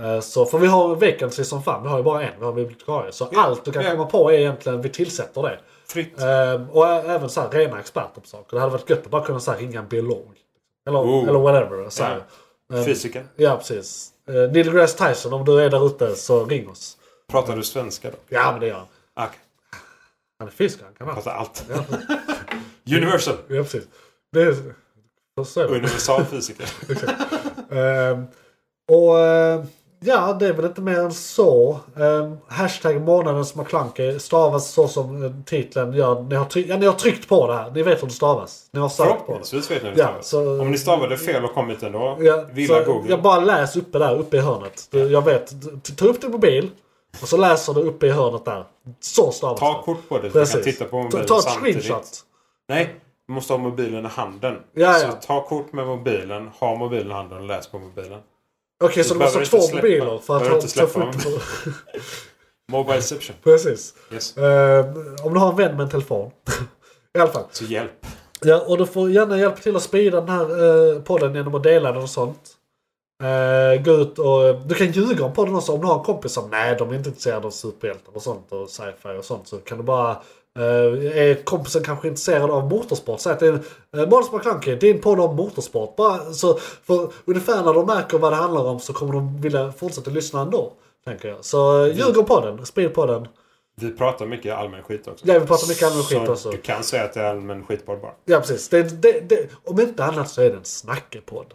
Speaker 3: Eh, Så, för vi har vacancy som fan, vi har ju bara en, vi har en bibliotekarie. Så allt du kan
Speaker 4: ja.
Speaker 3: komma på är egentligen, vi tillsätter det.
Speaker 4: Fritt.
Speaker 3: Ehm, och ä- även så här, rena experter på saker. Det hade varit gött att bara kunna så här, ringa en biolog. Eller,
Speaker 4: Oh.
Speaker 3: eller whatever. Så här. Ehm,
Speaker 4: Fysiker.
Speaker 3: ja, precis. Uh, Neil deGrasse Tyson, om du är där ute så ring oss.
Speaker 4: Pratar du svenska då?
Speaker 3: Ja, men det gör han.
Speaker 4: Ah, Okej.
Speaker 3: Han är fisk, han kan allt.
Speaker 4: Pratar Alltså, allt. [laughs] Universal.
Speaker 3: Ja, precis. Det är... Så är det.
Speaker 4: Universal fysiker.
Speaker 3: Ehm, och eh, ja, det är väl inte mer än så. Um, hashtag månadens McKlunky stavas så som eh, titeln gör. Ni har, try- ja, ni har tryckt på det här. Ni vet hur det stavas. Ni har sökt på det.
Speaker 4: Förhoppningsvis vet ni hur
Speaker 3: [laughs] Ja,
Speaker 4: det
Speaker 3: så-
Speaker 4: stavas. Om ni stavade fel och kommit ändå,
Speaker 3: Ja,
Speaker 4: villa
Speaker 3: så
Speaker 4: Google.
Speaker 3: Jag bara läs uppe där, uppe i hörnet. Du, Jag vet, t- ta upp din mobil. Och så läser du uppe i hörnet där. Så stavas
Speaker 4: Ta
Speaker 3: det.
Speaker 4: kort på det så
Speaker 3: Precis.
Speaker 4: du kan titta på
Speaker 3: Ta,
Speaker 4: mobilen
Speaker 3: ta ett
Speaker 4: samtidigt.
Speaker 3: screenshot.
Speaker 4: Nej, du måste ha mobilen i handen.
Speaker 3: Ja,
Speaker 4: så
Speaker 3: ja.
Speaker 4: ta kort med mobilen, ha mobilen i handen och läs på mobilen.
Speaker 3: Okej, så du
Speaker 4: behöver
Speaker 3: måste ha
Speaker 4: inte
Speaker 3: två
Speaker 4: släppa-
Speaker 3: mobiler för att
Speaker 4: behöver
Speaker 3: ha
Speaker 4: inte
Speaker 3: så
Speaker 4: släppa
Speaker 3: fort [laughs] på...
Speaker 4: Mobileception.
Speaker 3: Precis.
Speaker 4: Yes.
Speaker 3: Eh, om du har en vän med en telefon. [laughs] I alla fall.
Speaker 4: Så hjälp.
Speaker 3: Ja, och du får gärna hjälpa till att sprida den här eh, podden genom att dela den och sånt. Eh, gå ut och... Du kan ljuga om podden också. Om du har en kompis som nej, de är inte intresserade av superhjältar och sånt och sci-fi och sånt. Så kan du bara... Eh, är kompisen kanske intresserad av motorsport? Säg att det är eh, Måns McClunky, din podd om motorsport. Bara, så, för ungefär när de märker vad det handlar om så kommer de vilja fortsätta lyssna ändå. Tänker jag. Så eh, ljug om podden, sprid podden.
Speaker 4: Vi pratar mycket allmän skit också.
Speaker 3: Ja, vi pratar mycket allmän
Speaker 4: Så
Speaker 3: skit också.
Speaker 4: Du kan säga att det är allmän skitpodd bara.
Speaker 3: Ja precis. Det, det, det, om inte annat så är det en snackepodd.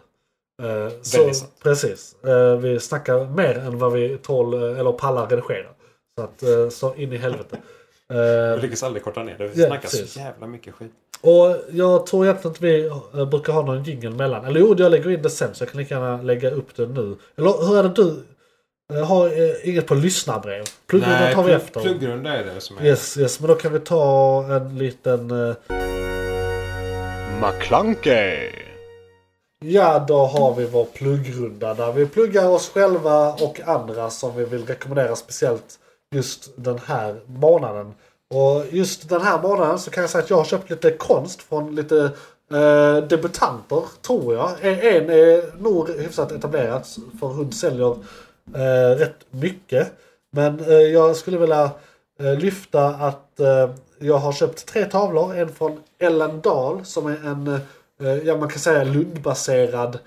Speaker 3: Eh, så,
Speaker 4: Väldigt sant.
Speaker 3: precis. Eh, vi snackar mer än vad vi tål eh, eller pallar redigera. Så, att, eh, så in i helvete. Eh,
Speaker 4: Vi lyckas aldrig korta ner det. Vi
Speaker 3: Ja,
Speaker 4: snackar
Speaker 3: precis.
Speaker 4: så jävla mycket skit.
Speaker 3: och jag tror egentligen inte vi eh, brukar ha någon jingel mellan. Eller jo, jag lägger in det sen så jag kan lika gärna lägga upp det nu. Eller hur är det du eh, har eh, inget på lyssnarbrev? Pluggrundan tar vi
Speaker 4: plugg-
Speaker 3: efter.
Speaker 4: pluggrunda är det som är.
Speaker 3: Yes, yes, men då kan vi ta en liten... eh,
Speaker 2: McClunkey!
Speaker 3: Ja, då har vi vår pluggrunda där vi pluggar oss själva och andra som vi vill rekommendera speciellt just den här månaden. Och just den här månaden så kan jag säga att jag har köpt lite konst från lite eh, debutanter, tror jag. En- En är nog hyfsat etablerad för hon säljer eh, rätt mycket. Men eh, jag skulle vilja eh, lyfta att eh, jag har köpt tre tavlor. En från Ellen Dahl som är en, eh, ja man kan säga Lundbaserad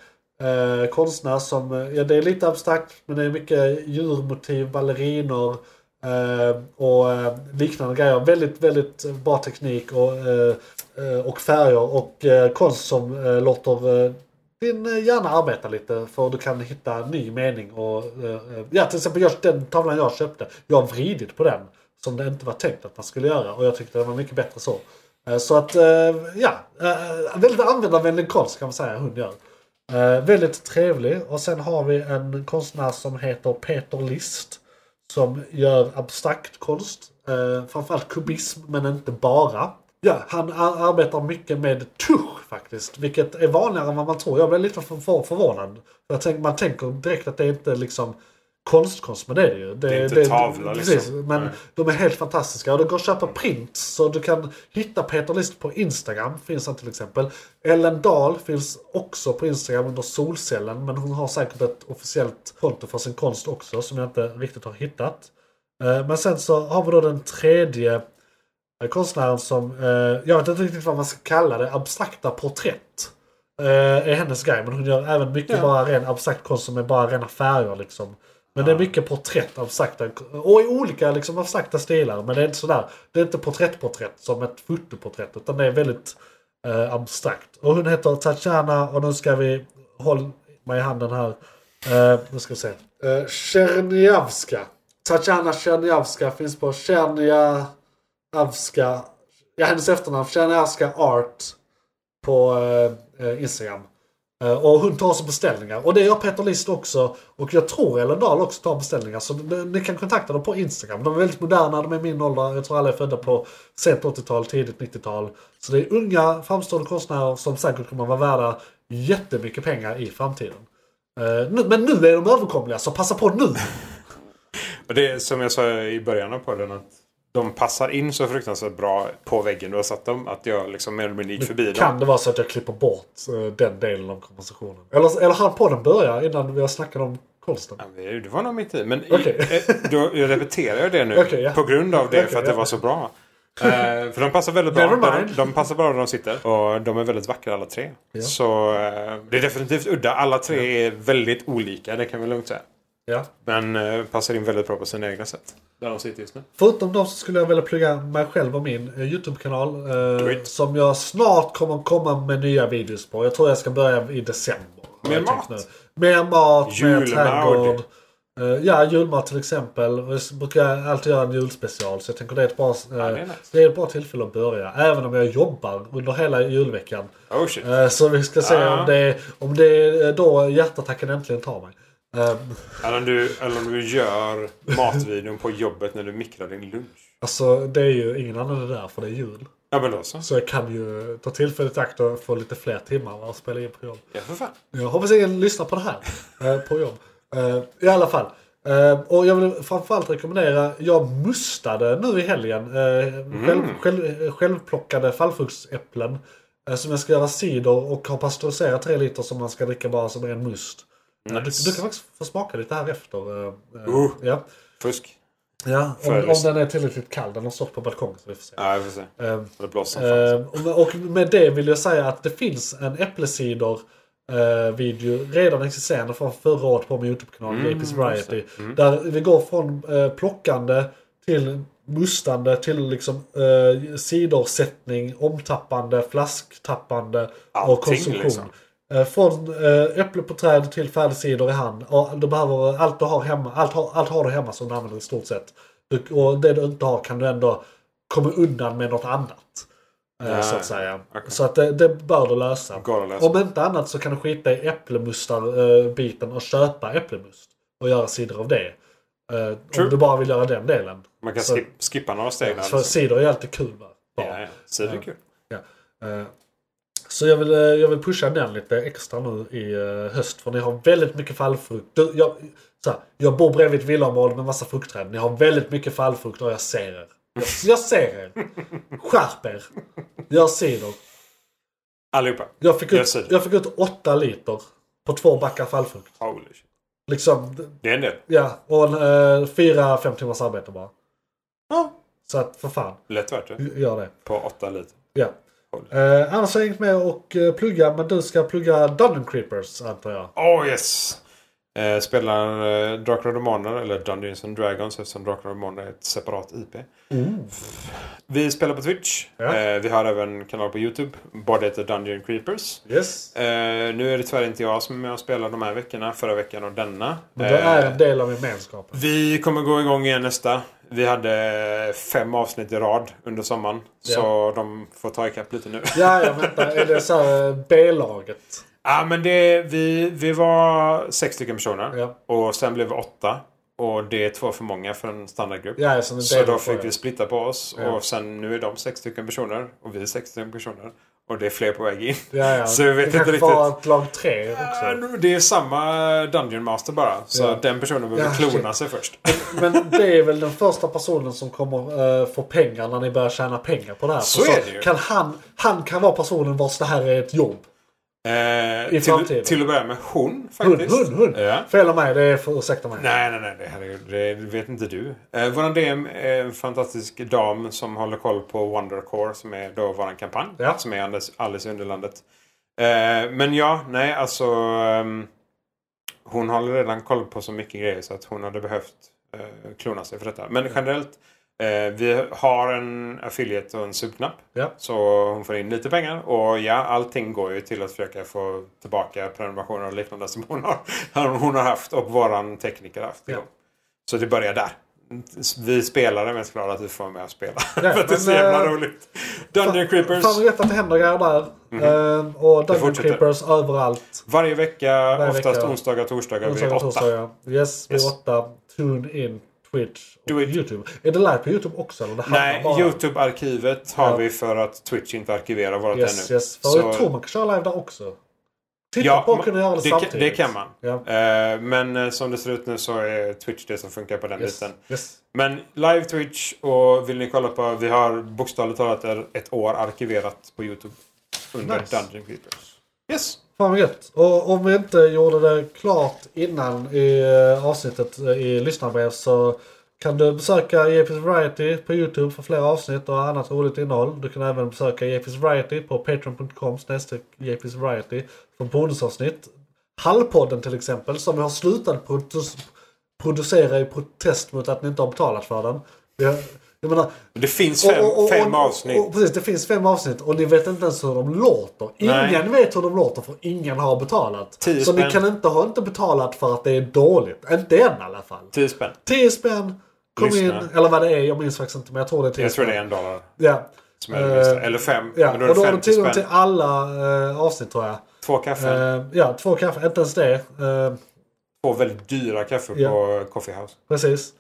Speaker 3: eh, konstnär som, eh, ja det är lite abstrakt men det är mycket djurmotiv, balerinor eh, och eh, liknande grejer. Väldigt, väldigt bra teknik och, eh, eh, och färger och eh, konst som eh, låter eh, din eh, hjärna arbeta lite för du kan hitta ny mening. Och, eh, eh, ja, till exempel just den tavlan jag köpte, jag har vridit på den som det inte var tänkt att man skulle göra och jag tyckte den var mycket bättre så. Eh, Så att, eh, ja, eh, väldigt användarvänlig konst kan man säga hon gör. Eh, Väldigt trevlig och sen har vi en konstnär som heter Peter List som gör abstrakt konst. Eh, framförallt kubism, men inte bara. Ja, han ar- arbetar mycket med tusch faktiskt, vilket är vanligare än vad man tror. Jag blev lite för- för- förvånad. Jag tänk, man tänker direkt att det är inte liksom konstkonst, men det är det ju.
Speaker 4: Det är inte tavla, liksom.
Speaker 3: Precis, men
Speaker 4: Nej.
Speaker 3: de är helt fantastiska. Och det går att köpa prints, så du kan hitta Peter List på Instagram, finns han till exempel. Ellen Dahl finns också på Instagram under Solcellen, men hon har säkert ett officiellt konto för sin konst också, som jag inte riktigt har hittat. Eh, Men sen så har vi då den tredje eh, konstnären som, eh, jag vet inte riktigt vad man ska kalla det, abstrakta porträtt. eh, Är hennes grej, men hon gör även mycket bara ren abstrakt konst som är bara rena färger liksom. Men det är mycket porträtt, abstrakta, och i olika liksom, abstrakta stilar. Men det är inte sådär, det är inte porträttporträtt som ett fotoporträtt, utan det är väldigt eh, abstrakt. Och hon heter Tatjana och nu ska vi, håll mig i handen här. Eh, nu ska vi se. Eh, Tjernjavska. Tatjana Tjernjavska finns på Tjernjavska. Ja, hennes efternamn. Tjernjavska Art. På eh, eh, Instagram. Eh, och hon tar också beställningar. Och det gör Peter List också. Och jag tror Ellen Dahl också tar beställningar. Så ni, ni kan kontakta dem på Instagram. De är väldigt moderna, de är min ålder. Jag tror alla är födda på sent 80-tal, tidigt 90-tal. Så det är unga framstående konstnärer som säkert kommer vara värda jättemycket pengar i framtiden. Eh, nu, men nu är de överkomliga, så passa på nu!
Speaker 4: Och det är som jag sa i början av podden att de passar in så fruktansvärt bra på väggen du har satt dem. Att jag liksom mer eller mindre gick förbi
Speaker 3: Kan
Speaker 4: dem.
Speaker 3: det vara så att jag klipper bort eh, den delen av konversationen? Eller, eller han podden börjar innan vi har snackat om konsten?
Speaker 4: Ja, men Det var nog mitt i. Men i-
Speaker 3: Okej.
Speaker 4: eh, då, jag repeterar jag det nu.
Speaker 3: Okej, ja.
Speaker 4: På grund av det
Speaker 3: Okej,
Speaker 4: för att
Speaker 3: ja.
Speaker 4: det var så bra. Eh, för de passar väldigt bra.
Speaker 3: Never
Speaker 4: De,
Speaker 3: mind.
Speaker 4: de passar bra där de sitter. Och de är väldigt vackra alla tre. Så eh, det är definitivt udda. Alla tre är väldigt olika, det kan vi lugnt säga.
Speaker 3: Ja.
Speaker 4: Men eh, passar in väldigt bra på sina egna sätt. Där de sitter just nu.
Speaker 3: Förutom dem så skulle jag vilja plugga mig själv och min eh, YouTube-kanal.
Speaker 4: Do
Speaker 3: Eh,
Speaker 4: it.
Speaker 3: som jag snart kommer komma med nya videos på. Jag tror jag ska börja i december. har
Speaker 4: Mer
Speaker 3: jag tänkt
Speaker 4: mat.
Speaker 3: nu. Mer mat, mer
Speaker 4: Julmord.
Speaker 3: trädgård. Eh, ja, julmat till exempel. Och Jag brukar alltid göra en julspecial. Så jag tänker det är ett bra, eh,
Speaker 4: det är nice.
Speaker 3: det är ett bra tillfälle att börja. Även om jag jobbar under hela julveckan.
Speaker 4: Oh shit.
Speaker 3: Eh, Så vi ska se
Speaker 4: Ja.
Speaker 3: om, det, om det är då hjärtattacken eh, äntligen tar mig. Eh,
Speaker 4: Eller om du, eller om du gör matvideon på jobbet när du mikrar din lunch.
Speaker 3: alltså det är ju ingen annan än det där för det är jul.
Speaker 4: Ja men då så.
Speaker 3: Så jag kan ju ta tillfället i akt och få lite fler timmar och spela in på jobb.
Speaker 4: Ja för fan.
Speaker 3: Jag hoppas ingen lyssnar på det här [laughs] eh, på jobb. Eh, I alla fall. Eh, och jag vill framförallt rekommendera, jag mustade nu i helgen eh, själv, själv, självplockade fallfruktsäpplen eh, som jag ska göra cider och har pasteuriserat tre liter som man ska dricka bara som en must. Eh, Du, du kan faktiskt få smaka lite här efter. eh, eh,
Speaker 4: Uh.
Speaker 3: Ja,
Speaker 4: Fusk.
Speaker 3: ja om,
Speaker 4: Före-
Speaker 3: om den är tillräckligt kall. Den har stått på balkongen så vi får se.
Speaker 4: Ja jag får se.
Speaker 3: Eh,
Speaker 4: Det blåser som fan.
Speaker 3: Eh, och med- och med det vill jag säga att det finns en äpplesidor eh, video redan existerande från förra året på min YouTube-kanal
Speaker 4: Mm,
Speaker 3: JP's Variety. Där vi går från eh, plockande till mustande till liksom eh, sidorsättning, omtappande, flasktappande och
Speaker 4: Allting,
Speaker 3: konsumtion.
Speaker 4: liksom.
Speaker 3: Eh, Från eh, äpple på träd till färdigsidor i hand. Och du behöver allt du har hemma. Allt, har- allt har du hemma som du använder i stort sett. Du, och det du inte har kan du ändå komma undan med något annat. eh,
Speaker 4: Ja,
Speaker 3: så att säga.
Speaker 4: Ah, okej.
Speaker 3: Så att det, det bör du lösa.
Speaker 4: Går att lösa.
Speaker 3: Om inte annat så kan du skita i äpplemustar-biten och köpa äpplemust. Och göra sidor av det. Eh,
Speaker 4: True.
Speaker 3: om du bara vill göra den delen.
Speaker 4: Man kan
Speaker 3: så-
Speaker 4: skip, skippa några steg där.
Speaker 3: För
Speaker 4: liksom.
Speaker 3: sidor är alltid kul va? Bara.
Speaker 4: Ja, ja. Så det är kul.
Speaker 3: Ja. Eh, Så jag vill, eh, jag vill pusha den lite extra nu i eh, höst. För ni har väldigt mycket fallfrukt. Du, jag, så här, jag bor bredvid ett villaområde med massa fruktträd. Ni har väldigt mycket fallfrukt och jag ser er. Jag, jag ser er. Skärp er. Gör cider.
Speaker 4: Allihopa.
Speaker 3: Jag fick,
Speaker 4: Gör
Speaker 3: ut,
Speaker 4: cider.
Speaker 3: jag fick ut åtta liter på två backar fallfrukt.
Speaker 4: Holy shit.
Speaker 3: Liksom,
Speaker 4: Det är en del.
Speaker 3: ja. Och en, eh, fyra, fem timmars arbete bara.
Speaker 4: Ja.
Speaker 3: Så att för fan,
Speaker 4: Lätt värt det.
Speaker 3: gör det.
Speaker 4: På åtta liter.
Speaker 3: Ja. Eh, annars har jag inget med och eh, plugga, men du ska plugga Dungeon Creepers antar jag.
Speaker 4: Oh yes! Eh, spelar eh, Drakar och Demoner, eller Dungeons and Dragons eftersom Drakar och Demoner är ett separat IP. Vi spelar på Twitch.
Speaker 3: Mm. Ja.
Speaker 4: Eh, vi har även en kanal på YouTube. Bara heter Dungeon Creepers.
Speaker 3: Yes.
Speaker 4: Eh, nu är det tyvärr inte jag som är med och spelar de här veckorna, förra veckan och denna.
Speaker 3: Men det är
Speaker 4: Eh,
Speaker 3: en del av gemenskapen.
Speaker 4: Vi kommer gå igång igen nästa. Vi hade fem avsnitt i rad under sommaren. Så de får ta ikapp lite nu. [laughs]
Speaker 3: Ja, ja, vänta. Är det så här eh, B-laget?
Speaker 4: Ja, Ah, men det, vi, vi var sex stycken personer.
Speaker 3: Ja.
Speaker 4: Och sen blev vi åtta. Och det är två för många för en standardgrupp.
Speaker 3: Ja, som en del
Speaker 4: så då
Speaker 3: av
Speaker 4: fick vi
Speaker 3: det.
Speaker 4: splitta på oss.
Speaker 3: Ja.
Speaker 4: Och sen nu är de sex stycken personer. Och vi är sex stycken personer. Och det är fler på väg in.
Speaker 3: Ja,
Speaker 4: [laughs]
Speaker 3: ja.
Speaker 4: Så vi vet
Speaker 3: det
Speaker 4: inte
Speaker 3: kanske
Speaker 4: riktigt.
Speaker 3: var ett lag tre också.
Speaker 4: Ja, Det är samma Dungeon Master bara. Så
Speaker 3: Ja.
Speaker 4: den personen behöver
Speaker 3: Ja,
Speaker 4: klona sig först.
Speaker 3: Men det är väl den första personen som kommer eh, få pengar när ni börjar tjäna pengar på det här.
Speaker 4: Så
Speaker 3: För
Speaker 4: är det ju.
Speaker 3: Kan han, han kan vara personen vars det här är ett jobb.
Speaker 4: Eh, till,
Speaker 3: framtiden.
Speaker 4: till att börja med hon
Speaker 3: Hund,
Speaker 4: faktiskt.
Speaker 3: hund, hund.
Speaker 4: Ja.
Speaker 3: Fel av mig, det är för, ursäkta mig.
Speaker 4: Nej, nej, nej. Det, herregud, det vet inte du. Eh, våran DM är en fantastisk dam som håller koll på Wondercore som är då våran kampanj.
Speaker 3: Ja.
Speaker 4: Som är Alice, Alice i Underlandet. Eh, men ja, nej alltså. ehm, hon håller redan koll på så mycket grejer så att hon hade behövt eh, klona sig för detta. Men generellt. Eh, vi har en affiliate och en subknapp.
Speaker 3: Ja.
Speaker 4: Så hon får in lite pengar. Och ja, allting går ju till att försöka få tillbaka prenumerationer och liknande som hon har, [laughs] hon har haft och våran tekniker har haft.
Speaker 3: Ja.
Speaker 4: Så det börjar där. Vi spelare är mest glada att vi får vara med och spela. [laughs] för att det är
Speaker 3: men,
Speaker 4: så jävla
Speaker 3: eh,
Speaker 4: roligt. Dungeon Creepers. Mhm.
Speaker 3: Fan vad gött att det händer grejer där. Eh, och Dungeon
Speaker 4: fortsätter.
Speaker 3: Creepers överallt.
Speaker 4: Varje vecka, oftast
Speaker 3: vecka.
Speaker 4: onsdagar och torsdagar vid
Speaker 3: Onsdagar,
Speaker 4: åtta.
Speaker 3: torsdagar. Yes, vid
Speaker 4: Yes.
Speaker 3: åtta. Tune in, Twitch
Speaker 4: Do
Speaker 3: och
Speaker 4: it.
Speaker 3: YouTube. Är det live på YouTube också? Eller det handlar
Speaker 4: Nej,
Speaker 3: bara...
Speaker 4: YouTube-arkivet har
Speaker 3: Ja.
Speaker 4: vi för att Twitch inte arkiverar vårat
Speaker 3: Yes,
Speaker 4: ännu.
Speaker 3: yes. För
Speaker 4: Så-
Speaker 3: Jag tror man kan köra live där också. Titta på
Speaker 4: ma-
Speaker 3: och kunna göra det,
Speaker 4: det, kan-
Speaker 3: samtidigt.
Speaker 4: det kan man.
Speaker 3: Ja.
Speaker 4: Eh, men eh, som det ser ut nu så är Twitch det som funkar på den
Speaker 3: Yes,
Speaker 4: biten.
Speaker 3: yes.
Speaker 4: Men live Twitch och vill ni kolla på, vi har bokstavligt talat ett år arkiverat på YouTube. Under
Speaker 3: Nice.
Speaker 4: Dungeon Creepers. Yes!
Speaker 3: Fan vad gött. Och om vi inte gjorde det klart innan i eh, avsnittet eh, i lyssnarbrev så kan du besöka JP's Variety på YouTube för fler avsnitt och annat roligt innehåll. Du kan även besöka JP's Variety på patreon.com snedstreck JP's Variety för bonusavsnitt. Hallpodden till exempel som vi har slutat produ- producera i protest mot att ni inte har betalat för den. Vi har- Jag menar,
Speaker 4: Det finns fem,
Speaker 3: och- och-
Speaker 4: fem
Speaker 3: och-
Speaker 4: avsnitt.
Speaker 3: Och, precis, det finns fem avsnitt och ni vet inte ens hur de låter.
Speaker 4: Nej.
Speaker 3: Ingen vet hur de låter för ingen har betalat.
Speaker 4: Tio
Speaker 3: så
Speaker 4: spänn.
Speaker 3: ni kan inte ha inte betalat för att det är dåligt. Inte än i alla fall.
Speaker 4: Tio spänn.
Speaker 3: 10 spänn, kom
Speaker 4: Lyssna.
Speaker 3: in, eller vad det är, jag minns faktiskt inte men jag tror det är 10
Speaker 4: Jag tror
Speaker 3: spänn.
Speaker 4: det är en dollar.
Speaker 3: Ja.
Speaker 4: Som är det minsta.
Speaker 3: Eh,
Speaker 4: Eller fem.
Speaker 3: Ja,
Speaker 4: Men då är
Speaker 3: och då
Speaker 4: det
Speaker 3: har du
Speaker 4: 50
Speaker 3: tillgång
Speaker 4: spänn.
Speaker 3: till alla eh, avsnitt tror jag.
Speaker 4: Två kaffe.
Speaker 3: Eh, ja, två kaffe, inte ens det. Eh,
Speaker 4: Två väldigt dyra kaffe
Speaker 3: Ja.
Speaker 4: på Coffee House.
Speaker 3: Precis.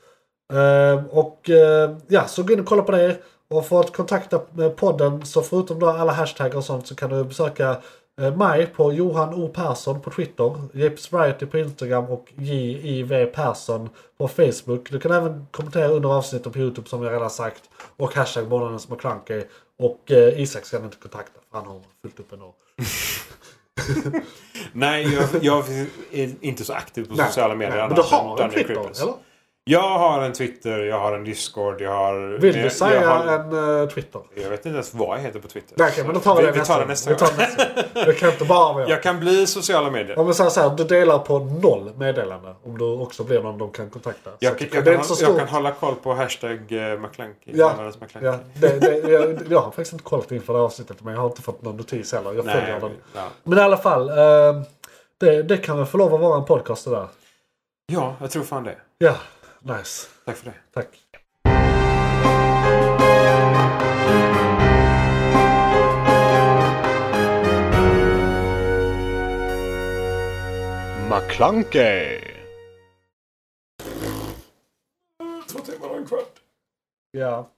Speaker 3: Ehm, och eh, ja, så gå in och kolla på det. Och för att kontakta eh, podden, så förutom då alla hashtaggar och sånt, så kan du besöka eh, mig på Johan O Persson på Twitter, Jeps Variety på Instagram och JIV Persson på Facebook. Du kan även kommentera under avsnitten på Youtube som jag redan sagt. Och hashtag månadens McKlunky. Och eh, Isak ska ni inte kontakta för han har fullt upp ändå.
Speaker 4: Nej, jag, jag är inte så aktiv på sociala medier.
Speaker 3: Men
Speaker 4: annat
Speaker 3: du
Speaker 4: än
Speaker 3: har en
Speaker 4: Dungeon
Speaker 3: Twitter,
Speaker 4: Creepers.
Speaker 3: eller?
Speaker 4: Jag har en Twitter, jag har en Discord, jag har...
Speaker 3: Vill du
Speaker 4: jag,
Speaker 3: säga
Speaker 4: jag har-
Speaker 3: en eh, Twitter?
Speaker 4: Jag vet inte ens vad jag heter på Twitter.
Speaker 3: Nej, okej, men då tar vi,
Speaker 4: vi,
Speaker 3: det
Speaker 4: vi tar det nästa
Speaker 3: Vi tar
Speaker 4: gång.
Speaker 3: det nästa gång. Det kan inte bara vara jag.
Speaker 4: Jag kan bli sociala medier.
Speaker 3: Om vi säger så här, du delar på noll meddelanden. Om du också blir någon de kan kontakta. Så
Speaker 4: Jag,
Speaker 3: att
Speaker 4: kan-
Speaker 3: det
Speaker 4: jag,
Speaker 3: är
Speaker 4: kan,
Speaker 3: inte så
Speaker 4: hå- jag
Speaker 3: stort.
Speaker 4: kan hålla koll på hashtag eh, McClunky.
Speaker 3: Ja,
Speaker 4: Månadens McClunky.
Speaker 3: ja det, det, jag, jag har faktiskt inte kollat inför det här avsnittet. Men jag har inte fått någon notis heller. Jag
Speaker 4: Nej,
Speaker 3: följer den.
Speaker 4: ja.
Speaker 3: Men i alla fall. eh, Det, det kan väl få lov att vara en podcast det där.
Speaker 4: ja, jag tror fan det.
Speaker 3: Ja, nice.
Speaker 4: Tack för det.
Speaker 3: Tack.
Speaker 2: McClunkey!
Speaker 4: Två timmar och en kvart.
Speaker 3: Ja.